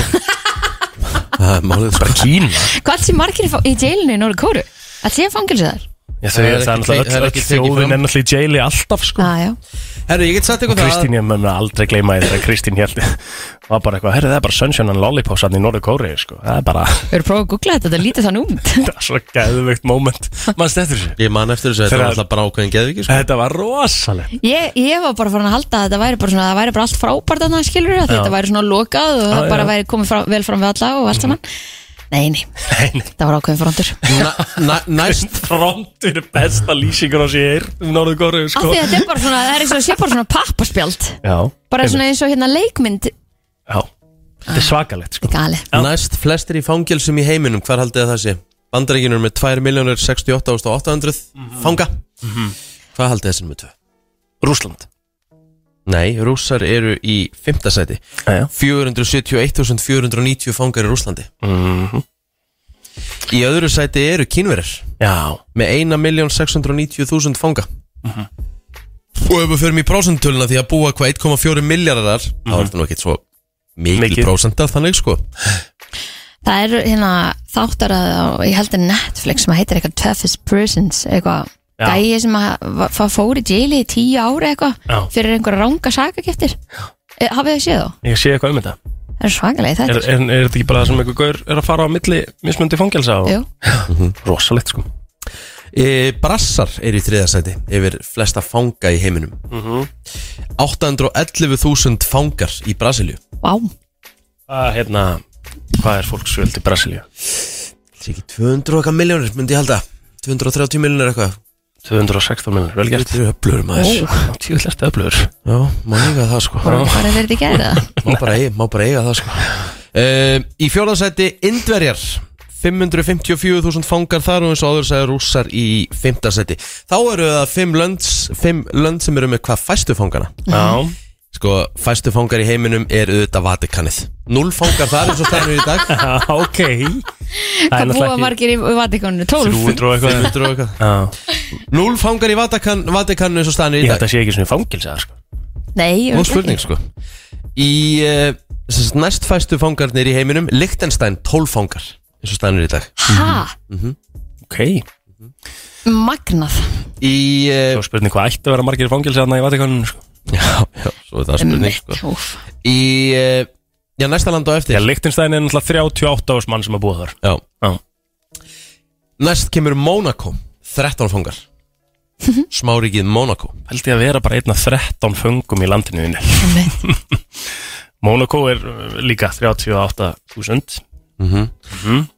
S2: Það er málið sko.
S4: Bara Kína
S3: hvað sé margir í fa- í jailinu í Norður Kóru að sé fangilsu þar
S4: Já, þau,
S2: Það er
S4: það er
S2: ekki- það er
S4: náttúrulega
S2: ekki
S4: öll
S2: tekið fram.
S4: þjóðin er náttúrulega í jaili alltaf, sko
S3: ah, já.
S2: Herru, ég get sagt eitthvað það
S4: Kristín, ég mun aldrei gleyma því þegar Kristín held var bara eitthvað, herri, það er bara Sunshine and Lollipop sann í Norður Kórea, sko Það er bara,
S3: við erum prófað að googla þetta, þetta lítið þann út
S4: það er svo gæðveikt moment Manst eftir þessu?
S2: Ég man eftir þessu, þetta
S4: Þegar-
S2: var alltaf bara ákveðin geðviki sko.
S4: Þetta var rosalegt
S3: Ég, ég var bara farin að halda að þetta væri bara, svona, það væri bara allt frábært að það skilur að þetta væri svona lokað og það
S4: Já,
S3: bara
S4: já.
S3: væri komið frá, vel fram við alla og allt saman. Nei, nei,
S4: Nei, nei,
S3: það var ákveðin frontur.
S2: na, na, Næst
S4: frontur er besta lýsingur á sér um Norður Kórea,
S3: Af
S4: sko
S3: því að þetta er bara svona, það er eins og sé bara svona pappaspjald.
S4: Já,
S3: Bara
S4: einmitt.
S3: svona eins og hérna leikmynd,
S4: Já, þetta er svakalegt, sko
S3: gali.
S2: Næst flestir í fangilsum í heiminum Hvar haldið það sé? Bandaríkin eru með 2.068.800 fanga Hvað haldið þessi með tvö?
S4: Rúsland
S2: Nei, rússar eru í fymta sæti
S4: Já, já
S2: 471.490 fangar í Rúslandi Í öðru sæti eru kínverðir
S4: Já,
S2: með 1.690.000 fanga og ef við förum í prósentöluna því að búa hvað 1,4 miljardar þá er þetta nú ekkert svo mikil
S4: Mikið.
S2: prósenta þannig sko
S3: Það er hérna þáttar að, á- ég held að Netflix sem að heitir eitthvað Toughest Prisons, eitthvað
S4: Já.
S3: gæi sem að va- fa- fór í jaili í tíu ári
S4: Já.
S3: eitthvað fyrir einhverja ranga sakakeftir. Hafið þið séð þá?
S4: ég sé eitthvað um þetta
S3: Það er svakalegi
S4: Er,
S3: þetta.
S4: er, er þetta ekki bara það sem einhver gaur er að fara á milli mismundi fangelsa og
S3: Jú.
S4: rosalegt sko
S2: e, Brassar eru í þriða sæti yfir flesta fanga í heiminum 811.000 fangar í Brasilju
S3: Vá,
S4: að hérna, hvað er fólksvöld í Brasilíu?
S2: Það er ekki 200 okkar miljónir myndi ég halda 230 miljónir eitthvað
S4: 216 miljonir, vel gert
S2: Þetta eru öflugur maður
S4: Tjóðlert öflugur
S2: Já, má eiga það sko
S3: hvað er þetta í gæri það?
S2: Má bara eiga, má bara eiga það sko uh, Í fjóðarsæti Indverjar 554.000 fangar þar og eins og áður sagði rússar í fymtarsæti Þá eru það fimm lönd, fimm lönd sem eru með hvað fæstu fangana
S4: Já,
S2: Sko, fæstu fangar í heiminum er auðvitað Vatikanið Null fangar þar eins og staðan er í dag
S4: Já, ok Það
S3: Hvað búa margir í Vatikonu? 12?
S4: 300 og
S2: 500
S4: eitthvað
S2: og eitthvað.
S4: Já,
S2: Null fangar í Vatikan, Vatikanu eins og staðan er
S4: ég
S2: í
S4: held
S2: dag
S4: að sé ekki svona fangelsa sko.
S3: Nei,
S2: Góð
S3: örugglega
S2: spurning
S3: ekki.
S2: sko Í uh, næst fæstu fangarnir í heiminum Lichtenstein 12 fangar eins og staðan er í dag
S3: Ha,
S4: Ok,
S3: magnað
S2: Í uh,
S4: þá spurning hvað ætti að vera margir í fangelsa þannig í Vatikaninu sko.
S2: Já, já, svo er það spurning
S3: Mitt,
S2: sko.
S3: úf.
S2: Í, eh, já, næsta land á eftir
S4: Já, Lichtenstein er náttúrulega 38 árs mann sem að búa þar
S2: Já.
S4: Já.
S2: Næst kemur Monaco 13 fangar smárikið Monaco
S4: Held ég að vera bara einn af 13 föngum í landinu þínu.
S3: Einmitt.
S4: Monaco er uh, líka 38.000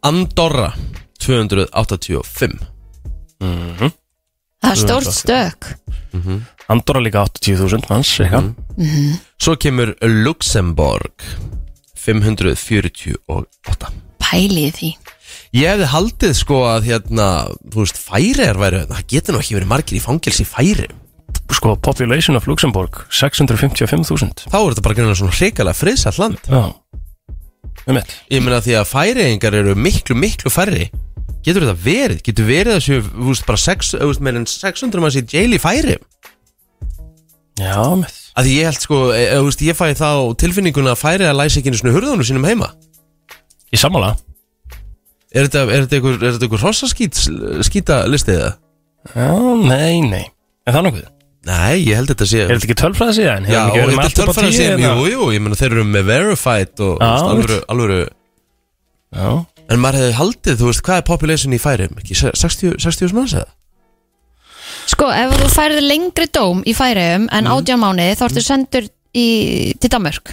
S2: Andorra 285
S3: Það er stórt stök
S4: Andorra líka 80.000 manns mm.
S2: Svo kemur Luxemborg 548
S3: Pælið í því
S2: Ég hefði haldið sko að hérna, þú veist, færiðar væri það getur nú ekki verið margir í fangils í færi
S4: Sko, population of Luxembourg 655.000
S2: Þá er þetta bara grunna svona hrikalega friðsall land
S4: Já Um eitt
S2: Ég meina því að færiðingar eru miklu, miklu færri Getur þetta verið? Getur verið að séu, þú veist, bara sex, þú veist, meir en 600 manns í jail í færi
S4: Já, um eitt
S2: Að því ég held sko, e, e, þú veist, ég fæ þá tilfinninguna að færiðar læsi ekki einu svona hurðunum sínum heima
S4: Í sammála
S2: Er þetta, er þetta einhver, er þetta einhver hrossaskít, skýta listið það?
S4: Já, nei, nei En það nokkuð
S2: Nei, ég held þetta sé
S4: Er þetta ekki tölfræða síðan?
S2: Já,
S4: Hefur
S2: og
S4: ekki verið
S2: þetta
S4: með
S2: er
S4: allt upp á
S2: tölfæra
S4: 10
S2: sem,
S4: hérna?
S2: jú, jú, ég meina þeir eru með verified og
S4: Já,
S2: þú veist, alvöru,
S4: mitt.
S2: alvöru
S4: Já
S2: En maður hefði haldið, þú veist, hvað er population í færum? Ekki 60 60.000 manns eða?
S3: Sko, ef þú færið lengri dóm í færiðum en mm. átján mánuði þá ertu sendur í, til Danmörk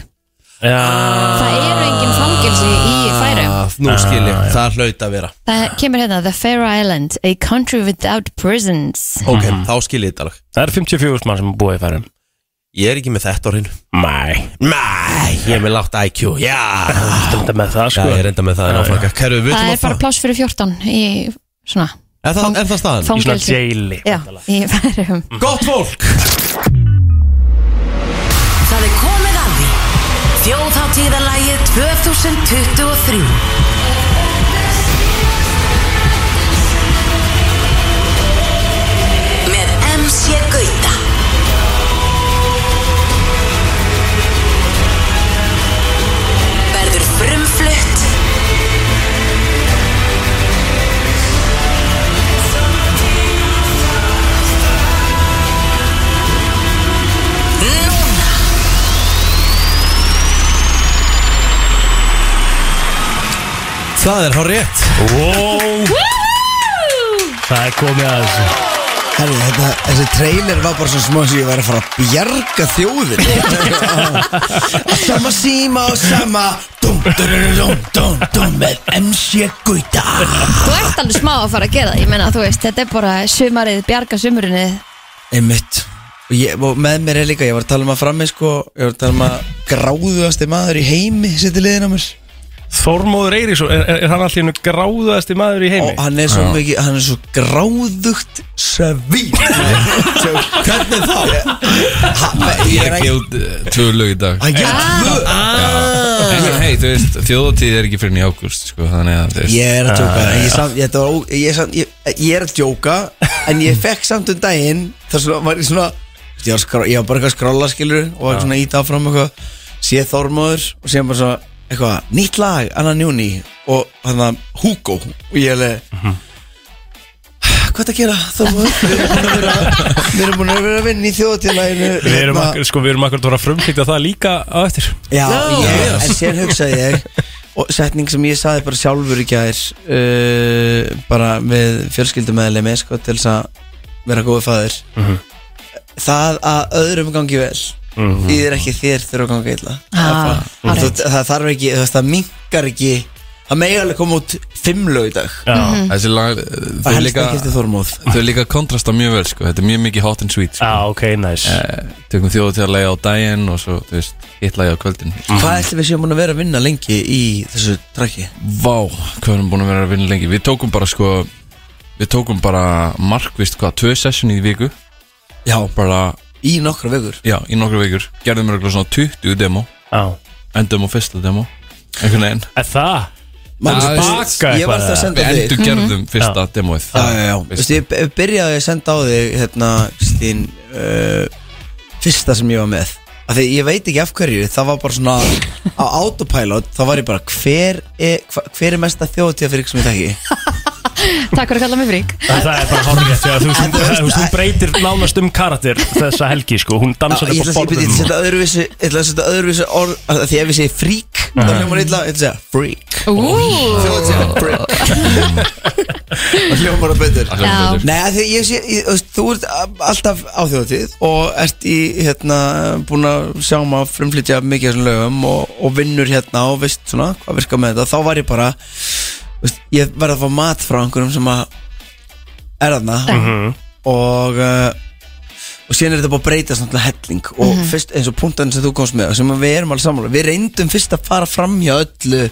S4: Já
S3: Það eru engin fangilsi í færiðum
S2: Ah, Nú skil ég, það hlaut að vera
S3: Það kemur hérna The Faroe Island, a country without prisons
S2: Ok, þá skil ég þetta alveg
S4: Það er 54 mann sem búa í færum
S2: Ég er ekki með þetta orðinu
S4: Mæ
S2: Nei, ég er með lágt IQ, já
S4: Stundar með það
S2: Já,
S4: sko
S2: ég er enda með það en áfraka Kæru, við
S3: Það
S2: viljum
S3: er
S2: að
S3: bara
S2: það
S3: pláss fyrir 14 í svona
S2: Er það, er það staðan?
S4: Í svona
S3: fangelsi.
S4: jaili
S3: Já, í færum
S2: Gott fólk!
S5: Það er komið að því Þjóðháttíðarlægið 2023 Með MC Gauta Verður frumflutt Núna
S2: Það er hár rétt
S4: Wow Það er komið að þessu
S7: Herri, þetta, hérna, þessi trailer var bara svo smá sem ég væri að fara að bjarga þjóðin Að Sama síma og sama Dum, dum, dum, dum, dum Með MC Gauta
S3: Þú ert alveg smá að fara að gera það Ég meina, þú veist, þetta er bara sumarið, bjarga sumurinni
S7: Einmitt og, ég, og með mér er líka, ég var að tala um að frammi sko Ég var að tala um að gráðuðasti maður í heimi Sittir liðin á mér
S4: Þormóður Eiríksson, er, er, er hann alltaf einu gráðasti maður í heimi?
S7: Og hann er svo, mikið, hann er svo gráðugt Svín Hvernig þá? Ég er ekki
S8: út eh, tvö lög í dag
S7: Hann gefur tvö Ah.
S8: En hei, þú veist, þjóðatíð er ekki fyrir í ágúst sko, þannig að þú veist
S7: Ég er að djóka ég, sam, ég, þetta var, ó- ég, sam, ég, ég er að djóka En ég fekk samt um daginn Það svona, var ég svona Ég var, skrá, ég var bara eitthvað að skrolla skilur Og var svona ít áfram eitthvað Sér Þormóður og sér bara svona Eitthvað, nýtt lag, annan júni Og hann það, Hugo Og ég er alveg
S4: Mhm.
S7: Hvað er að gera Þormóður? Við erum búin að vera- við erum búin að vera að vinna í þjóðatíðlæginu
S4: Við erum
S7: hérna-
S4: akkur, sko, við erum akkur að frumflýta það líka á eftir
S7: Já, ég, en síðan hugsaði ég og setning sem ég saði bara sjálfur í gær uh, bara við fjölskyldumæðlemi sko, til þess að vera góðu fæður
S8: Mhm.
S7: það að öðrum gangi vel
S8: Mhm.
S7: þýðir ekki þér þurfa að ganga illa það, er
S3: Ah,
S7: bara-
S3: alright.
S7: það, það þarf ekki, þú veist, það minkar ekki það megi alveg koma út fimm lög í dag
S4: Já,
S8: Þessi lag, eh, þau
S7: það helst
S8: líka,
S7: ekki eftir þormóð
S8: þau líka kontrasta mjög vel sko. Þetta er mjög mikið hot and sweet sko.
S4: já ok, næs
S8: Eh, Tökum þjóðatíðarlega á daginn og svo, þú veist, hitt lagi á kvöldin
S7: Mhm. hvað ætlum við séum búin að vera að vinna lengi í þessu trakki?
S8: Vá, hvað erum búin að vera að vinna lengi Við tókum bara sko Við tókum bara markvist hvað, tvö session í viku
S7: Já,
S8: Bara,
S7: í nokkra vegur
S8: já, í nokkra vikur Gerðum við svona 20 demo
S4: Já,
S8: Endum á fyrsta demo Einhvern veginn
S4: er það?
S7: Magnús,
S8: Já,
S7: þú veist,
S4: baka
S7: ég
S4: eitthvað
S7: var alltaf að
S4: eða?
S7: senda
S8: Við
S7: þig
S8: endur gerðum fyrsta demoið
S7: Já, já, já, Veistu, ég ég byrjaði að senda á þig hérna, Kristín uh, fyrsta sem ég var með af því ég veit ekki af hverju, það var bara svona á autopilot, þá var ég bara hver er, hva, hver er mesta þjóðtíða fyrir ykkur sem ég þekki?
S3: Takk fyrir að kalla mig frík
S4: En Það er bara hálfrétt þegar þú, þú, þú, þú breytir nánast um karakter þessa helgi sko, hún
S7: Já,
S4: dansar
S7: Ég ætla
S4: upp á
S7: að ég byrja að
S4: borðum
S7: setja öðruvísi, ég ætla að setja öðruvísi orð, af því ef ég segi frík Það hljómar illa, þetta segja Freak
S3: Ú,
S7: Þetta segja freak Það hljómar það betur
S8: Það hljómar
S3: Já.
S8: betur.
S7: Nei, af því ég sé, ég, þú veist, þú ert a- alltaf á þjóðatíð og ert í, hérna, búin að sjá maður að frumflytja mikið af þessum lögum og, og vinnur hérna og veist svona hvað virka með þetta, þá var ég bara þú veist, ég verði að fá mat frá einhverjum sem að er þarna
S8: Mhm.
S7: og uh, og síðan er þetta bara að breyta svona helling og fyrst eins og punktan sem þú komst með sem að við erum alveg sammála, við reyndum fyrst að fara fram hjá öllu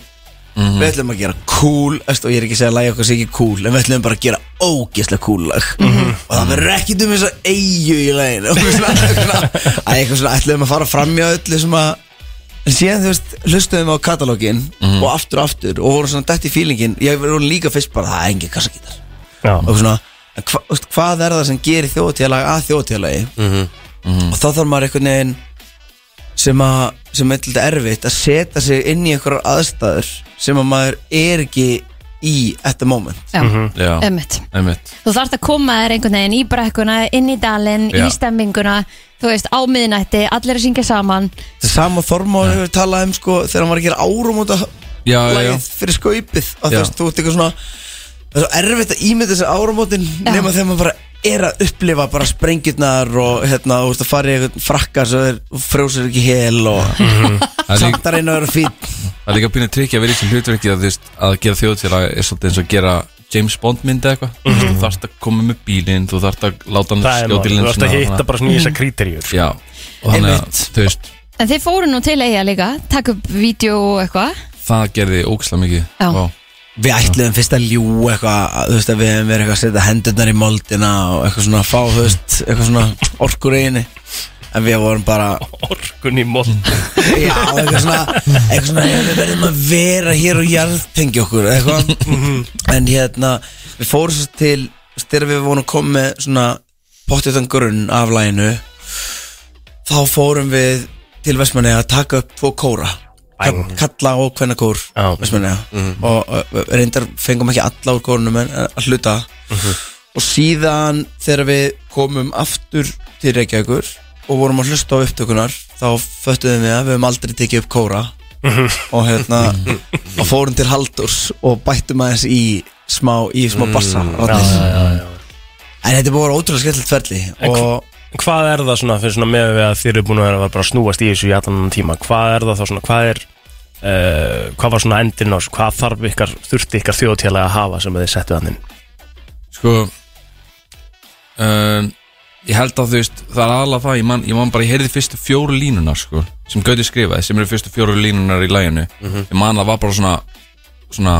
S7: við ætlum að gera cool veist, og ég er ekki að segja að lagi okkar sé ekki cool en við ætlum bara að gera ógeðslega cool lag og það verður ekkert um þess að eigu í laginu og svona, svona, að eitthvað svona ætlum að fara fram hjá öllu sem að En síðan þú veist, hlustuðum á katalógin og aftur og aftur og vorum svona dætt í fílingin ég voru líka fyrst bara, það er engin kassakítar
S4: Já.
S7: og svona, en hva, þú veist, hvað er það sem gerir þjóðtíðalag að þjóðtíðalagi og þá þarf maður einhvern veginn sem að, sem er eitthvað erfitt að setja sig inn í einhverjar aðstæður sem að maður er ekki í at the moment
S3: já,
S8: Já,
S3: emmitt
S8: einmitt
S3: Þú þarft að koma þér einhvern veginn í brekkuna, inn í dalinn, í
S8: Já.
S3: stemminguna Þú veist, á miðnætti, allir að syngja saman
S7: það er sama Þormóður hefur talað um sko, þegar hann var að gera árum út af
S8: Já, já, já.
S7: lagið fyrir skaupið og þú
S8: Já.
S7: veist, þú ert eitthvað svona það er svo erfitt að ímynda þessi áramótin
S3: Já.
S7: nema þegar maður bara er að upplifa bara sprengjurnar og hérna, þú veist að fara í eitthvað frakkar svo þeir frjósir ekki hel og
S8: Mhm. Það er líka-
S7: samt að reyna að vera fín
S8: það er líka pínu trikki að vera í þessu hlutverki að, þú veist, að gera þjóðtíðalag er svolítið eins og að gera James Bond mynd eða eitthvað mm -hmm. Þú þarft að koma með bílinn, þú þarft að láta hann
S4: Mhm. Það er
S8: skjóta í
S4: mál, þú ætti
S8: linsuna
S4: að hitta bara svona í þessa kríteríur
S8: Já, og þannig að
S7: Einmitt.
S8: þú veist,
S3: En þið fóru nú til eiga líka, takk upp vídeo og eitthvað
S8: það gerði ógislega mikið
S3: Já.
S8: Vá.
S7: við ætluðum fyrst að ljú eitthvað þú veist að við hefum verið eitthvað að setja hendurnar í moldina og eitthvað svona að fá, þú veist eitthvað svona orkur í henni en við vorum bara
S4: Orkun í mól
S7: Já, eitthvað svona, eitthvað svona "Já, Við verðum að vera hér og jarðtengja okkur eitthvað En hérna, við fórum svo til Þegar við vorum að koma með svona Pottetan grunn af læginu Þá fórum við Til Vestmanni að taka upp tvo kóra Ka- Kalla og kvennakór
S4: Já.
S7: Vestmanni Og uh, reyndar fengum ekki alla úr kórunum En en að hluta Og síðan þegar við komum aftur til Reykjavíkur og vorum að hlusta á upptökunar þá föttuðum við að við höfum aldrei tekið upp kóra og hérna og fórum til Haldurs og bættum aðeins í smá, í smá bassa mm, en þetta er búin að vera ótrúlega skemmtilegt ferli
S4: En hv-
S7: og
S4: Hvað er það svona fyrir svona með við að þið eru búin að vera bara að snúast í þessu í allan þennan tíma Hvað er það þá svona, hvað er uh, Hvað var svona endin á þessu, hvað þarf ykkar Þurfti ykkar þjóðtjálega að hafa sem þið settu hann inn
S8: Sko um, Ég held að þú veist Það er aðalega það, ég man, ég man bara Ég heyrði fyrstu fjóru línunar sko Sem Gauti skrifaði, sem eru fyrstu fjóru línunar í læginu
S4: Mhm.
S8: Ég man að það var bara svona Svona,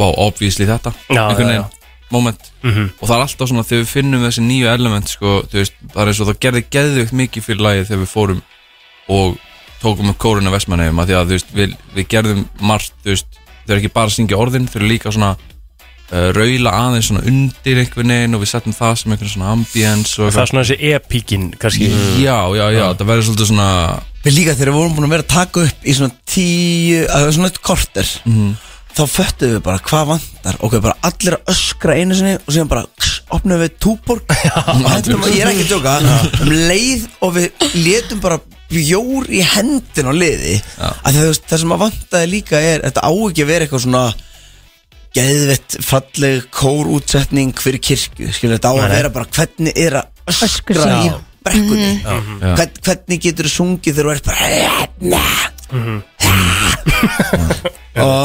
S8: vá, obvísli þetta
S4: Já,
S8: Einhvern
S4: já, Mhm.
S8: veginn, moment Og það er alltaf svona, þegar við finnum þessi nýju element Sko, þú veist, það er eins og það gerði geðveikt mikið Fyrir lægið þegar við fórum Og tókum upp kórinu vestmannefum Því að þú veist, við, við gerðum margt Þú veist, þau eru ekki bara að syngja orðin Þau eru líka svona uh, raula aðeins svona undir einhvern veginn og við setjum það sem einhvern svona ambience og
S4: Það er svona Ah. þessi epíkin kannski
S8: Já, já, já, það verður svolítið svona
S7: við líka þegar við vorum búin að vera að taka upp í svona tíu, að það var svona eitt korter þá föttuðum við bara hvað vantar ok, bara allir að öskra einu sinni og síðan bara kss, opnum við túborg og hendum, ég er ekki að tjóka um leið og við letum bara bjór í hendin á liði af því að þú veist, það sem að vantaði líka er þetta á ekki að vera eitthvað svona geðvett falleg kórútsetning fyrir kirkju, skilur þetta á að vera bara hvernig er að öskra
S3: Öskra.
S7: í brekkunni Hvern, hvernig getur þú sungið þegar þú ert bara hérna og,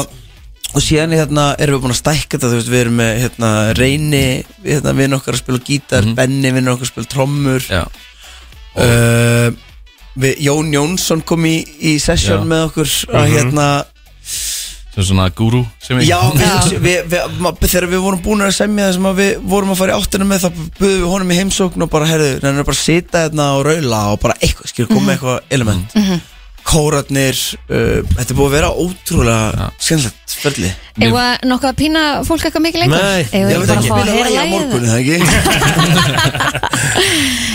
S7: og síðan hérna, erum við búin að stækka þetta þú veist, við erum með hérna, reyni hérna, vinn okkar að spila gítar, Benni vinn okkar að spila trommur
S8: Já,
S7: uh, við, Jón Jónsson kom í, í session
S8: Já.
S7: með okkur að hérna
S8: sem svona guru sem ég
S7: Já, við, við, við, ma- þegar við vorum búin að semja það sem að við vorum að fara í áttina með þá buðum við honum í heimsókn og bara herðu, hann er bara að sita hérna og raula og bara eitthvað, skilur,
S3: Mhm.
S7: koma með eitthvað element Kóratnir, uh, þetta er búið að vera ótrúlega ja. skemmtilegt ferli
S8: Mér-
S3: Eða nokkuð að pína fólk eitthvað mikið lengur?
S2: Nei,
S3: Eigum við
S7: Ég
S3: bara að
S7: veit ekki
S3: fá að
S7: spila
S3: heyra
S7: lægi á
S3: lagið?
S7: morgun, það ekki?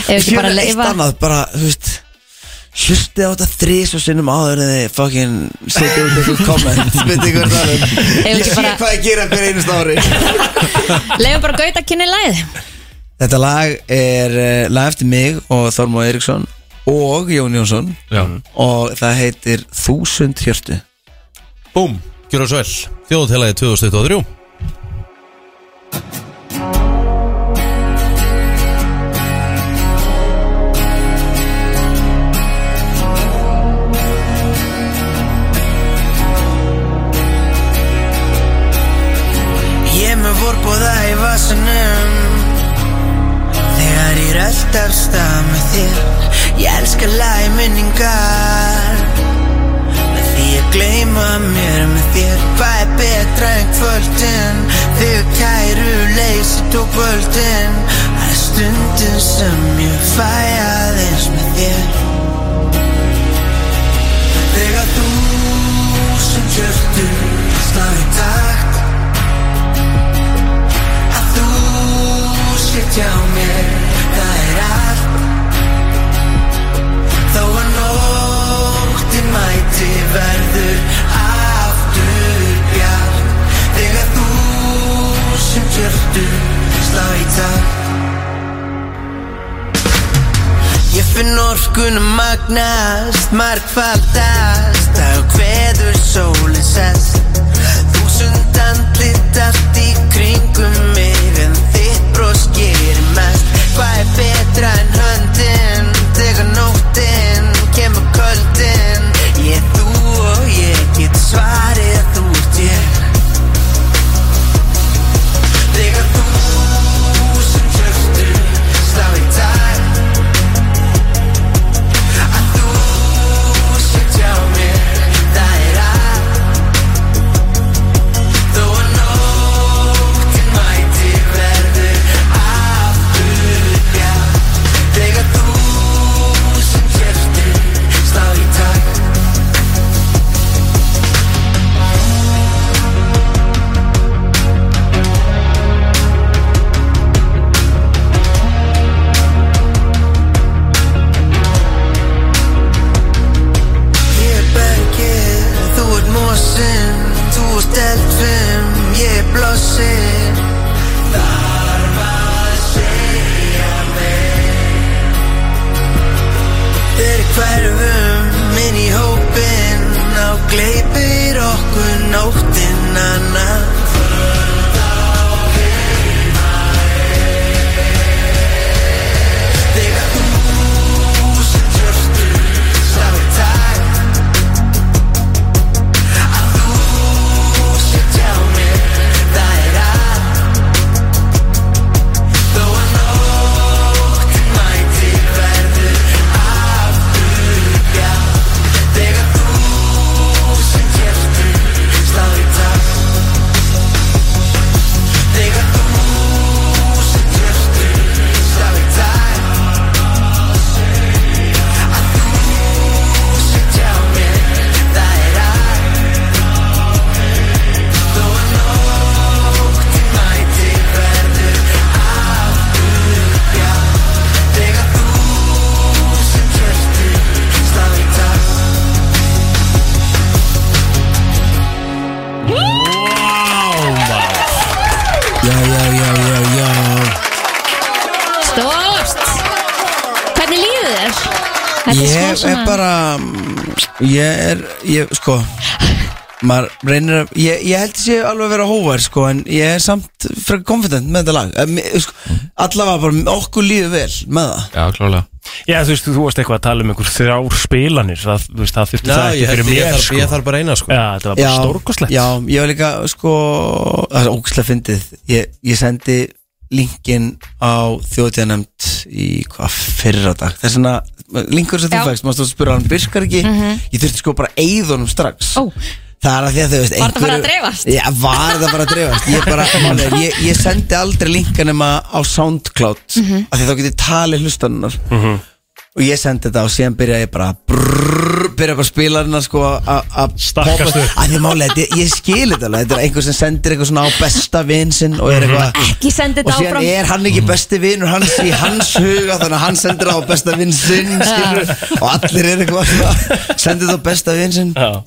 S3: Eigum við ekki bara að
S7: Ég veit eitt
S3: leifa
S7: annað, bara, þú veist Hlustið á þetta þrís og sinnum áður en þið fucking setja út eitthvað komment Veit ekki hvað það er
S3: Eigum
S7: um. Ég
S3: við
S7: sé
S3: ekki bara-
S7: hvað ég gera hver einust ári
S3: Leifum bara að gauta að kynna í lagið
S7: Þetta lag er uh, lag eftir mig og Þormóð Eriksson og Jón Jónsson
S8: Já,
S7: og það heitir Þúsund Hjörtu
S2: Búm, gjör það svo vel Þjóðutelaði 2023
S9: Ég er með vorbóða í vasanum Þegar ég er alltaf stað með þér Ég elska lagi minningar Með því að gleyma mér með þér Hvað er betra en kvöldin Þegar kæru leysið og kvöldin Það er stundin sem ég fæ aðeins með þér Þegar þú sem kjörtur slá í takt að þú sitt hjá mér það er allt þó að nóttin mæti verður aftur bjart þegar þú sem hjörtur slá í takt Ég finn orkunum magnast, margfaldast Dag og hverður sólin sest Þúsund andlit allt í kringum mig En þitt bros gerir mest Hvað er betra en höndin Þegar nóttin kemur köldin Ég er þú og ég get svarið að þú ert ég Þegar þú sem hjörtur slá í dag Að þú sért hjá mér, það er allt. Þó að nóttin mæti verður aftur bjart. Þegar þú sem hjörtur slá í takt. Ég er bergið, þú ert mósin Þú ert eldfim, ég er blossin Þarf að segja mig Þeir hverfum inn í hópin Ná gleipir okkur nóttin annan Þegar þú sem tjörstur slá í takt
S7: Já, já, já, já, já
S3: Stórt Hvernig líður þér? Þetta er
S7: Ég
S3: smá
S7: er
S3: svona-
S7: bara mm, Ég er, ég, sko maður reynir að, ég, ég held að sé alveg að vera hóvar sko, en ég er samt frekar confident með þetta lag Eh, mér- sko, allavega bara okkur líður vel með það
S8: Já, klálega
S4: Já, þú veist, þú varst eitthvað að tala um einhver þrjár spilanir það, Þú veist, það þurfti
S2: Já,
S4: það ekki
S2: ég,
S4: fyrir
S2: ég,
S4: mér
S2: ég, þarf,
S4: sko.
S2: ég þarf bara eina sko
S4: Já, þetta var bara stórkoslegt
S7: Já, ég var líka sko Það er ógæslega fyndið Ég, ég sendi linkin á þjóðtíðanemnd í hvað fyrra dag Þess vegna linkur sem
S3: Já. Mhm.
S7: þú fækst Mástu að spura hann byrskar ekki Ég þurfti sko bara eithunum strax
S3: Ó.
S7: Það er að því að þau veist
S3: Var það bara að
S7: einhverju-
S3: dreifast?
S7: Já, var það bara að dreifast Ég, bara, málega, ég, ég sendi aldrei linka nema á SoundCloud mm
S3: Mhm.
S7: af Því þá getið talið hlustanunnar Og ég sendi þetta og síðan byrja ég bara brrrr, Byrja bara spilarina sko að- að
S4: Stakkast
S7: poppa-
S4: upp.
S7: Að því máli, ég, ég skil þetta alveg Þetta er einhver sem sendir eitthvað svona á besta vin sinn Og
S4: Mhm.
S7: er eitthvað
S3: Ekki sendi
S7: Og
S3: þetta
S7: síðan
S3: áfram
S7: er hann ekki besti vinur hans í hans huga Þannig að hann sendir það á besta vin sinn skilur, Og allir er eitthvað svona, Sendir það á besta vin sinn
S4: Já.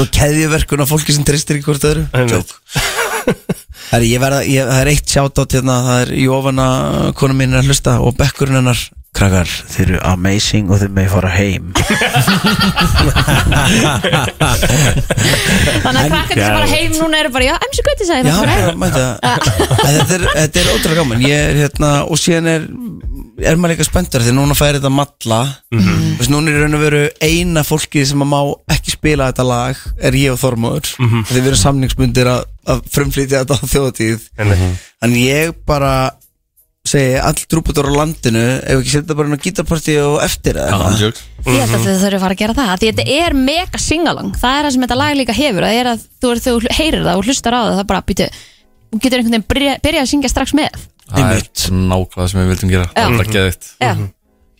S7: og keðjuverkun af fólki sem tristir í hvort öðru
S4: Einmitt.
S7: Joke. Það er, ég verða, ég, það er eitt sjátt átt hérna, það er Jóvana, konu mín er að hlusta og bekkurinn hennar
S10: krakkar, þeir eru amazing og þeir með fara heim
S3: Þannig að krakkarnir sem bara heim núna eru bara Já, emsi gutti sagði
S7: Já,
S3: það
S7: bara
S3: fyrir
S7: mæta En Þetta er, þetta er ótrúlega gaman Ég er hérna, og síðan er er maður líka spenntur því núna færi þetta matla mm
S2: Mhm.
S7: -hmm. núna er í raun og veru eina fólkið sem að má ekki spila þetta lag er ég og Þormóður mm
S2: Mhm.
S7: -hmm. því við erum samningsbundir að, að frumflytja þetta á þjóðatíð en ég bara segi all drúputur á landinu ef ekki setja bara inn á gítarpartí og eftir eða eitthvað
S11: Andjóks
S3: Ég held að þau þurfum að fara að gera það Því þetta er mega singalong Það er það sem þetta lag líka hefur Það er að þú, er, þú heyrir það og hlustar á það Það er bara að býtu Þú getur einhvern veginn byrja, byrja að syngja strax með
S11: Það er nákvæmlega það sem við vildum gera Það
S3: Já.
S11: er bara geðitt
S3: Já,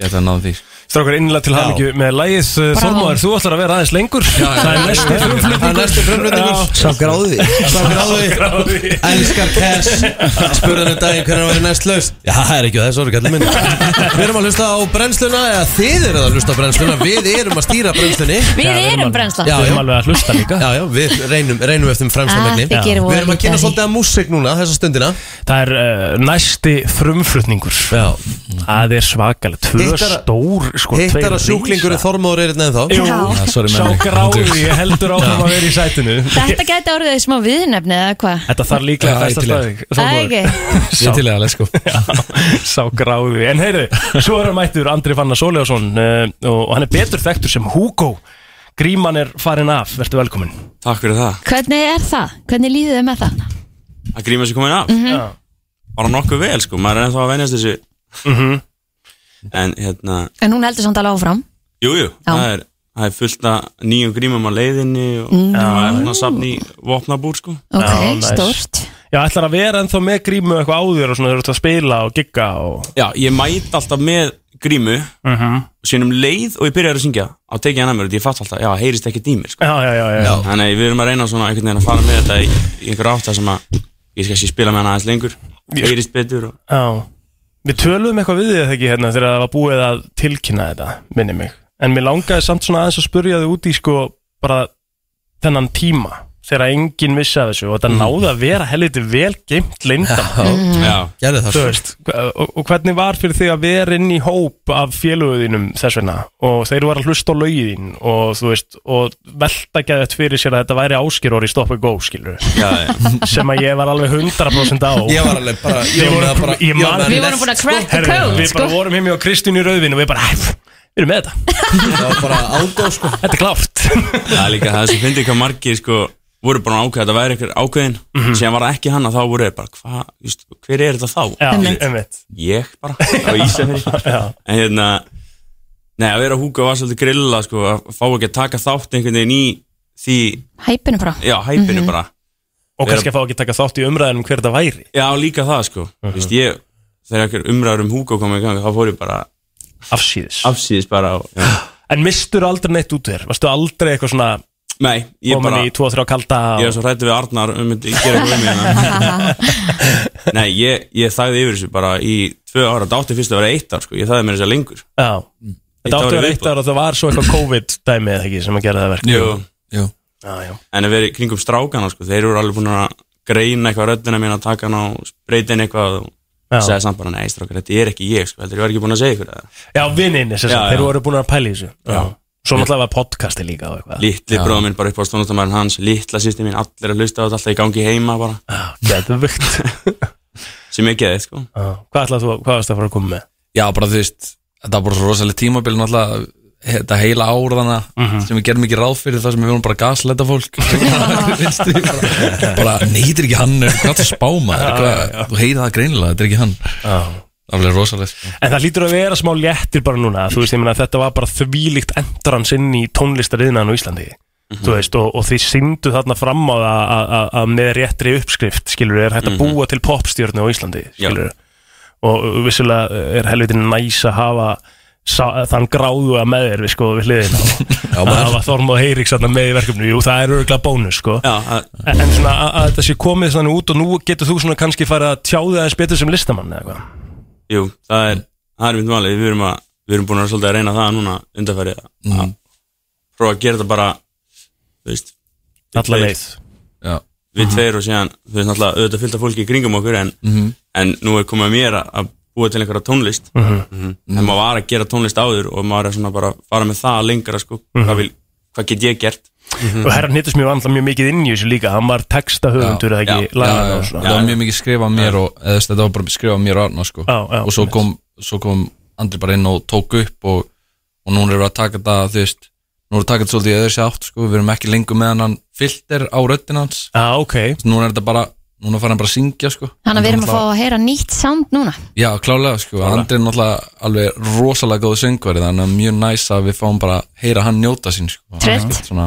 S11: Geta að náðum því
S4: Strákar innlega til hamingju með lægið Þormóður, þú ætlar að vera aðeins lengur Það er næstu
S2: Það er næstu frumflutningur
S7: Sá gráði
S2: Sá gráði Elskar Cash Spurðan um daginn hvernig var næst laust Já, það er ekki á þessu orði kallið minn Við erum að hlusta á brennsluna eða þið eru að hlusta á brennsluna Við erum að stýra brennslunni
S3: við erum brennsla
S2: Já,
S4: Við erum
S2: já,
S4: alveg að hlusta líka
S2: já, já við reynum, reynum eftir fremsta
S3: Ah,
S2: megni
S3: þið gerum
S2: Við erum
S3: voða
S2: að kynna
S3: lítið af því.
S2: svolítið að músik núna þessa stundina
S4: Það er uh, næsti frumflutningur
S2: Já
S4: Það er svakalega, tvö
S2: Hittara-
S4: stór sko,
S2: Hittar að sjúklingurinn Þormóður er hérna ennþá
S4: Jú,
S3: Já.
S11: sorry,
S4: sá
S11: menni.
S4: gráði heldur áfram að vera í sætinu
S3: Þetta gæti orðið smá viðnefni eða hvað
S4: Þetta þarf líklega
S11: Já,
S4: að
S11: ég til
S4: festa
S11: í.
S4: staðið
S3: Það er ekki
S11: Ég til eða, let's go
S4: Sá gráði, en heyrðu, svo er hann mættur Andri Fannar Sóljánsson uh, og hann er betur þekktur sem Hugo Gríman er farin af, vertu velkomin
S8: Takk fyrir það
S3: Hvernig er það? Hvernig líðið þið með það? Mhm.
S8: Að gríma sér komin af
S4: Já.
S8: Bara nokkuð vel sko, maður er ennþá að venjast þessu
S4: Mhm.
S8: En hérna,
S3: En hún heldur samt alveg áfram
S8: jújú, jú,
S3: Já.
S8: það, er, það er fullt að nýjum grímum á leiðinni Og maður er svona að safna í vopnabúr sko
S3: Mm. Ok,
S4: Já, næs.
S3: stórt
S4: Já, ætlar að vera ennþá með grímu eitthvað áður og svona þurft að spila og gigga og...
S8: Já, ég mæt alltaf með grímu
S4: Uh -huh.
S8: Sýnum leið og ég byrjar að syngja Á tekið hann að mér og ég fatt alltaf, já, heyrist ekki dýmir sko
S4: Já, já, já, já, já.
S8: Þannig að við erum að reyna svona einhvern veginn að fara með þetta Í, í einhver átt það sem að Ég skal ekki spila með hann aðeins lengur Heyrist betur og
S4: Við töluðum eitthvað við þið ekki hérna þegar það var búið að tilkynna þetta, minni mig En mér langaði samt svona aðeins að spurja þið út í sko bara þennan tíma þegar enginn vissi af þessu og þetta náði að vera helviti vel geimt lindamál
S8: Já,
S2: Gerðu það sko.
S4: Þú
S2: svo.
S4: veist, hva- og, og hvernig var fyrir þig að vera inn í hóp af félöguðinum þess vegna og þeir voru að hlusta á laugiðin og þú veist, og velta geðið fyrir sér að þetta væri áskýror í Stop and Go skilur,
S8: já, já
S4: sem að ég var alveg 100% á
S2: Ég var alveg bara
S4: Við vorum-
S2: var bara-
S4: ég
S2: var
S4: man-
S2: bara
S4: Við
S3: Við vorum búin að crack the
S4: Herri,
S3: code
S4: við bara
S3: sko.
S4: vorum heim hjá Kristín í rauðin og við bara, "Æ, pff, við erum með þetta
S2: lest- Það var bara ágóð sko
S4: þetta er klárt
S8: Það er líka það sem finnir hvað margir sko voru bara ákveðið að það væri einhver ákveðin
S4: Mhm.
S8: síðan var það ekki hann að þá voru þeir bara hva, just, hver er þetta þá?
S4: Já,
S3: Einmitt.
S4: einmitt.
S8: Ég bara, á Ísafjörði
S4: Já.
S8: en hérna, nei að vera húka var svolítið grilla sko, að fá ekki að taka þátt einhvern veginn í því,
S3: Hæpinu bara
S8: já, hæpinu
S4: Mhm.
S8: bara
S4: og kannski að fá ekki að taka þátt í umræðinum hver þetta væri
S8: Já, líka það sko,
S4: Mhm.
S8: uh veist ég þegar einhver umræður um húka komið í gang þá fór ég bara
S4: afsýðis
S8: afsýðis bara og, já.
S4: en mistur aldrei neitt út þér, varstu aldrei eitthvað svona
S8: nei, ég bara
S4: komin í 2-3 kalda
S8: Ég
S4: og-
S8: var svo hrættu við Arnar um að gera eitthvað um mig hérna. Nei, ég, ég þagði yfir þessu bara í tvö ára Þetta átti fyrst að vera eitt ár, sko. ég þagði mér þess að segja lengur
S4: Já, þetta
S8: Mm.
S4: áttu
S8: Eitt ár í
S4: að vera
S8: viðbót.
S4: eitt ára og það var svo eitthvað COVID-dæmi eða ekki sem að gera það verk
S8: Jú.
S11: Jú
S4: Já, já,
S8: En að vera í kringum strákana, sko. þeir eru alveg búin að greina eitthvað röddina mín að taka hana og spreyti henni eitthvað og
S4: Já.
S8: segja samt bara, nei strákar, þetta er ekki ég, sko. heldur ég var ekki búin að segja ykkur það
S4: já vinninni, sem sagt,
S8: Já, já.
S4: þeir voru búin að pæla í þessu já. Svo náttúrulega var podcasti líka og eitthvað
S8: Littli bróða minn bara upp á stónustamæðin hans, litla sýsti mín, allir að hlusta á þetta alltaf í gangi heima bara,
S4: Geðvögt
S8: sem ég geði, sko.
S4: Hvað ætlaði þú, hvað varst það að fara að koma með?
S11: Já, bara þú veist, þetta var bara svo rosalega tímabil náttúrulega, þetta heila árðana sem við gerum ekki ráð fyrir það sem við vorum bara að gasletta fólk Veistu, bara, bara neytir ekki hann er hvað það spáma, þú heyrið það greinilega þetta er ekki hann,
S4: Já.
S11: það var rosalega sko.
S4: En það lítur að vera smá léttir bara núna Þú veist, ég meina þetta var bara þvílíkt endrans inn í tónlistariðnaðan á Íslandi Þú veist, og, og þið syndu þarna fram á það að- að- að með réttri uppskrift skilur, er hægt að búa til popstjörnu á Íslandi
S8: Já.
S4: skilur, og vissulega er helviti næs að hafa sá, þann gráðu að með þér við sko við hliðina
S11: Já,
S4: og að
S11: maður,
S4: hafa Þorm og Eirík þarna með í verkefni Jú, það er örgulega bónus sko
S8: Já, að,
S4: en, en svona að, að þetta sé komið þannig út og nú getur þú svona kannski farið að tjáða þess betur sem listamann eða hvað
S8: Jú, það er, það er mitt valið Við erum, að, við erum búin að vera svolítið að reyna það núna undanfæri að
S11: Mhm.
S8: prófa að gera þetta bara þú veist, við
S4: Alla
S8: tveir-
S4: leið
S11: já,
S4: Mhm.
S8: Við tveir og síðan, þú veist náttúrulega auðvitað fylgta fólki í kringum okkur en, en nú er komið að mér að, að
S12: búa til einhverja tónlist
S4: Mhm.
S12: Mhm. en maður var að gera tónlist áður og maður er svona bara að fara með það lengra sko.
S4: Mhm.
S12: hvað, vil, hvað get ég gert
S4: Og herran hittist mjög annað mjög mikið inn í þessu líka Hann var texta höfundur eða
S12: já,
S4: ekki
S12: já,
S4: lagana og
S8: það
S4: svona
S8: var mjög mikið skrifað mér og eða, þú veist, þetta var bara skrifað mér og Arna sko.
S4: Já, já,
S8: og svo
S4: einmitt.
S8: kom, svo kom Andri bara inn og tók upp og, og núna erum við að taka þetta þú veist, nú erum við að taka þetta svolítið í öðru átt sko. við erum ekki lengur með hann filter á röddin hans
S4: Já, ok
S8: núna er þetta bara núna fara hann bara að syngja sko.
S3: Þannig að við erum að fá
S8: Náttúrulega-
S3: að heyra nýtt sound núna
S8: já klálega sko, Andri er náttúrulega alveg rosalega góð söngvari þannig að mjög næs að við fáum bara að heyra hann njóta sín sko. Hann er
S3: Trillt.
S8: ekkert svona,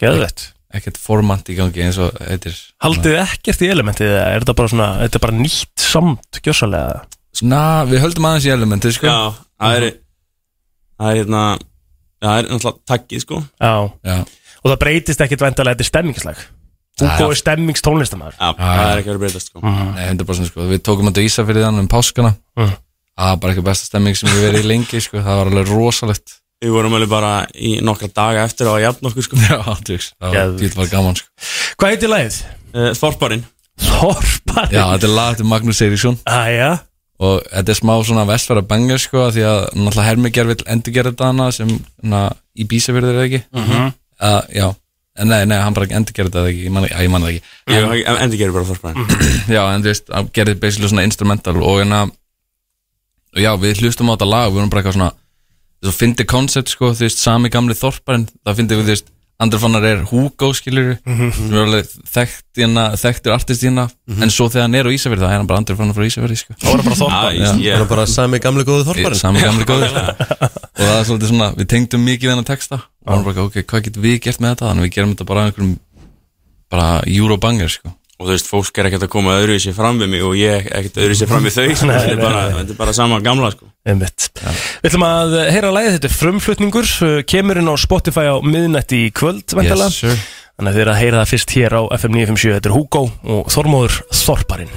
S4: Geðvett
S8: ekkert formant í gangi eins og heitir
S4: Haldið þið ekkert í elementið eða er þetta bara svona Þetta er bara nýtt samt gjössalega
S8: na, við höldum aðeins í elementi sko.
S12: já, það er það er hérna það er náttúrulega takkið sko
S4: Já
S8: Já.
S4: Og það breytist ekkert vendalega Þetta er stemmingslag Hugo er stemmingstónlistamæður
S12: já, það er ekki að breytast sko
S8: Nei, 100% sko, við tókum þetta í Ísafyrði þannig um páskana
S4: Mm.
S8: Það var bara eitthvað besta stemming sem við verið í lengi sko, það var alveg rosalegt
S12: við vorum alveg bara í nokkra daga eftir á að jafna okkur sko
S8: Já, tjóks, það var
S4: Geðveikt.
S8: dýrt var gaman sko
S4: Hvað heitir lagið?
S12: Eh, Þorparinn
S4: Þorpar
S8: Já, þetta er lag til Magnús Eiríksson
S4: Æja
S8: og þetta er smá svona vestfæra bengar sko af því að náttúrulega Hermiger vil endurgera þetta hana sem hana, í Ísafyrði er það ekki mm -hmm. Já, en nei, nei, hann bara endurgera þetta ekki, ég man, já, ég man það ekki
S12: endur gerir bara Þorparinn
S8: Já, en þú veist, hann gerði basically svona instrumental og en að og já, við hlustum á þetta lag og við erum bara eitthvað svona þess að fyndi koncept, sko, þú veist, sami gamli þorparinn, það fyndi við, þú veist Andri Fannar er Hugo, skilur sem er alveg þekkt í hana, þekktur artist í hana, en svo þegar hann er á Ísafjörði það er hann bara Andri Fannar frá Ísafjörði, sko
S4: Það voru bara þorpar
S12: Já, ég-
S2: Það er bara sami gamli góðu þorparinn
S8: sami gamli góður og það er svolítið svona, við tengdum mikið við hennar texta og hann bara, eitthvað, ok, hvað getum við gert með þetta þannig að við gerum þetta bara að einhverjum bara Eurobanger, sko
S12: og þú veist, fólk er ekkert að koma öðruvísi fram við mig og ég ekkert öðruvísi fram við þau sko. þetta er bara, þetta er bara sama gamla sko.
S4: Einmitt. Við ætlum að heyra lagið þetta er frumflutningur uh, kemur inn á Spotify á miðnætti í kvöld væntanlega.
S8: Yes, sir.
S4: þannig að þið er að heyra það fyrst hér á FM 957 þetta er Hugo og Þormóður Þorparinn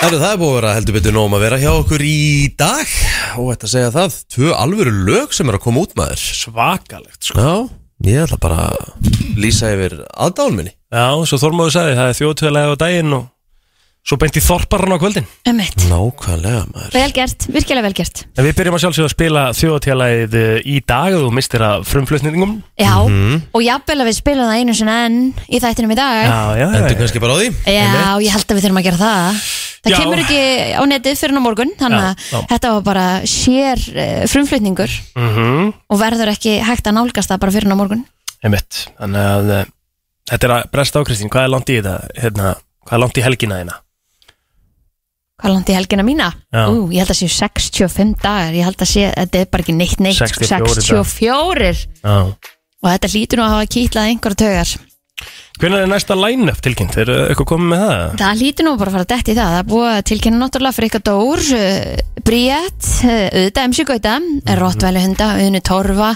S2: Herru, það er búið að vera heldur betur nóg um að vera hjá okkur í dag og þetta segja það, tvö alvöru lög sem er að koma út maður
S4: Svakalegt sko
S2: Já, ég ætla bara að lýsa yfir aðdán minni
S4: Já, svo Þormóður sagði það er þjóðtöðlega á daginn og svo beint í Þorparinn á kvöldin
S3: um eitt
S2: Nákvæmlega maður
S3: Vel gert, virkilega vel gert
S4: En við byrjum að sjálfsögða að spila þjóðtjálæðið í dag og þú mistir að frumflutningum
S3: Já, og jafnvel að við spilum það einu sinni enn í þættinum í dag
S4: Mhm. Já, já,
S2: Endur
S4: já
S2: kannski bara á því
S3: Já, ég held að við þurfum að gera það Það
S4: Já.
S3: kemur ekki á netið fyrir á morgun Þannig
S4: Já,
S3: að
S4: já.
S3: þetta var bara sér eh, frumflutningur
S4: Mhm.
S3: Og verður ekki hægt að nálgast það bara fyrir á morgun
S4: Einmitt, þannig að eh, þetta er að bresta á Kristín, hvað er langt í þetta, hérna, hvað er langt í helgina þína?
S3: Hvað landi helgina mína?
S4: Já.
S3: Ú, ég held að séu 65 dagar Ég held að sé, þetta er bara ekki neitt neitt sko,
S4: 64 dagar.
S3: 64
S4: Já.
S3: Og þetta lítur nú að hafa kýtlað einhverja taugar
S4: Hvernig er næsta line-up tilkynnt? Er uh, eitthvað komið með það?
S3: Það lítur nú bara að fara dætt í það Það er búið að tilkynna náttúrulega fyrir eitthvað Dór uh, Bríett, uh, auðvitað MC Gauta eh, Rottvæli hunda, Unu Torfa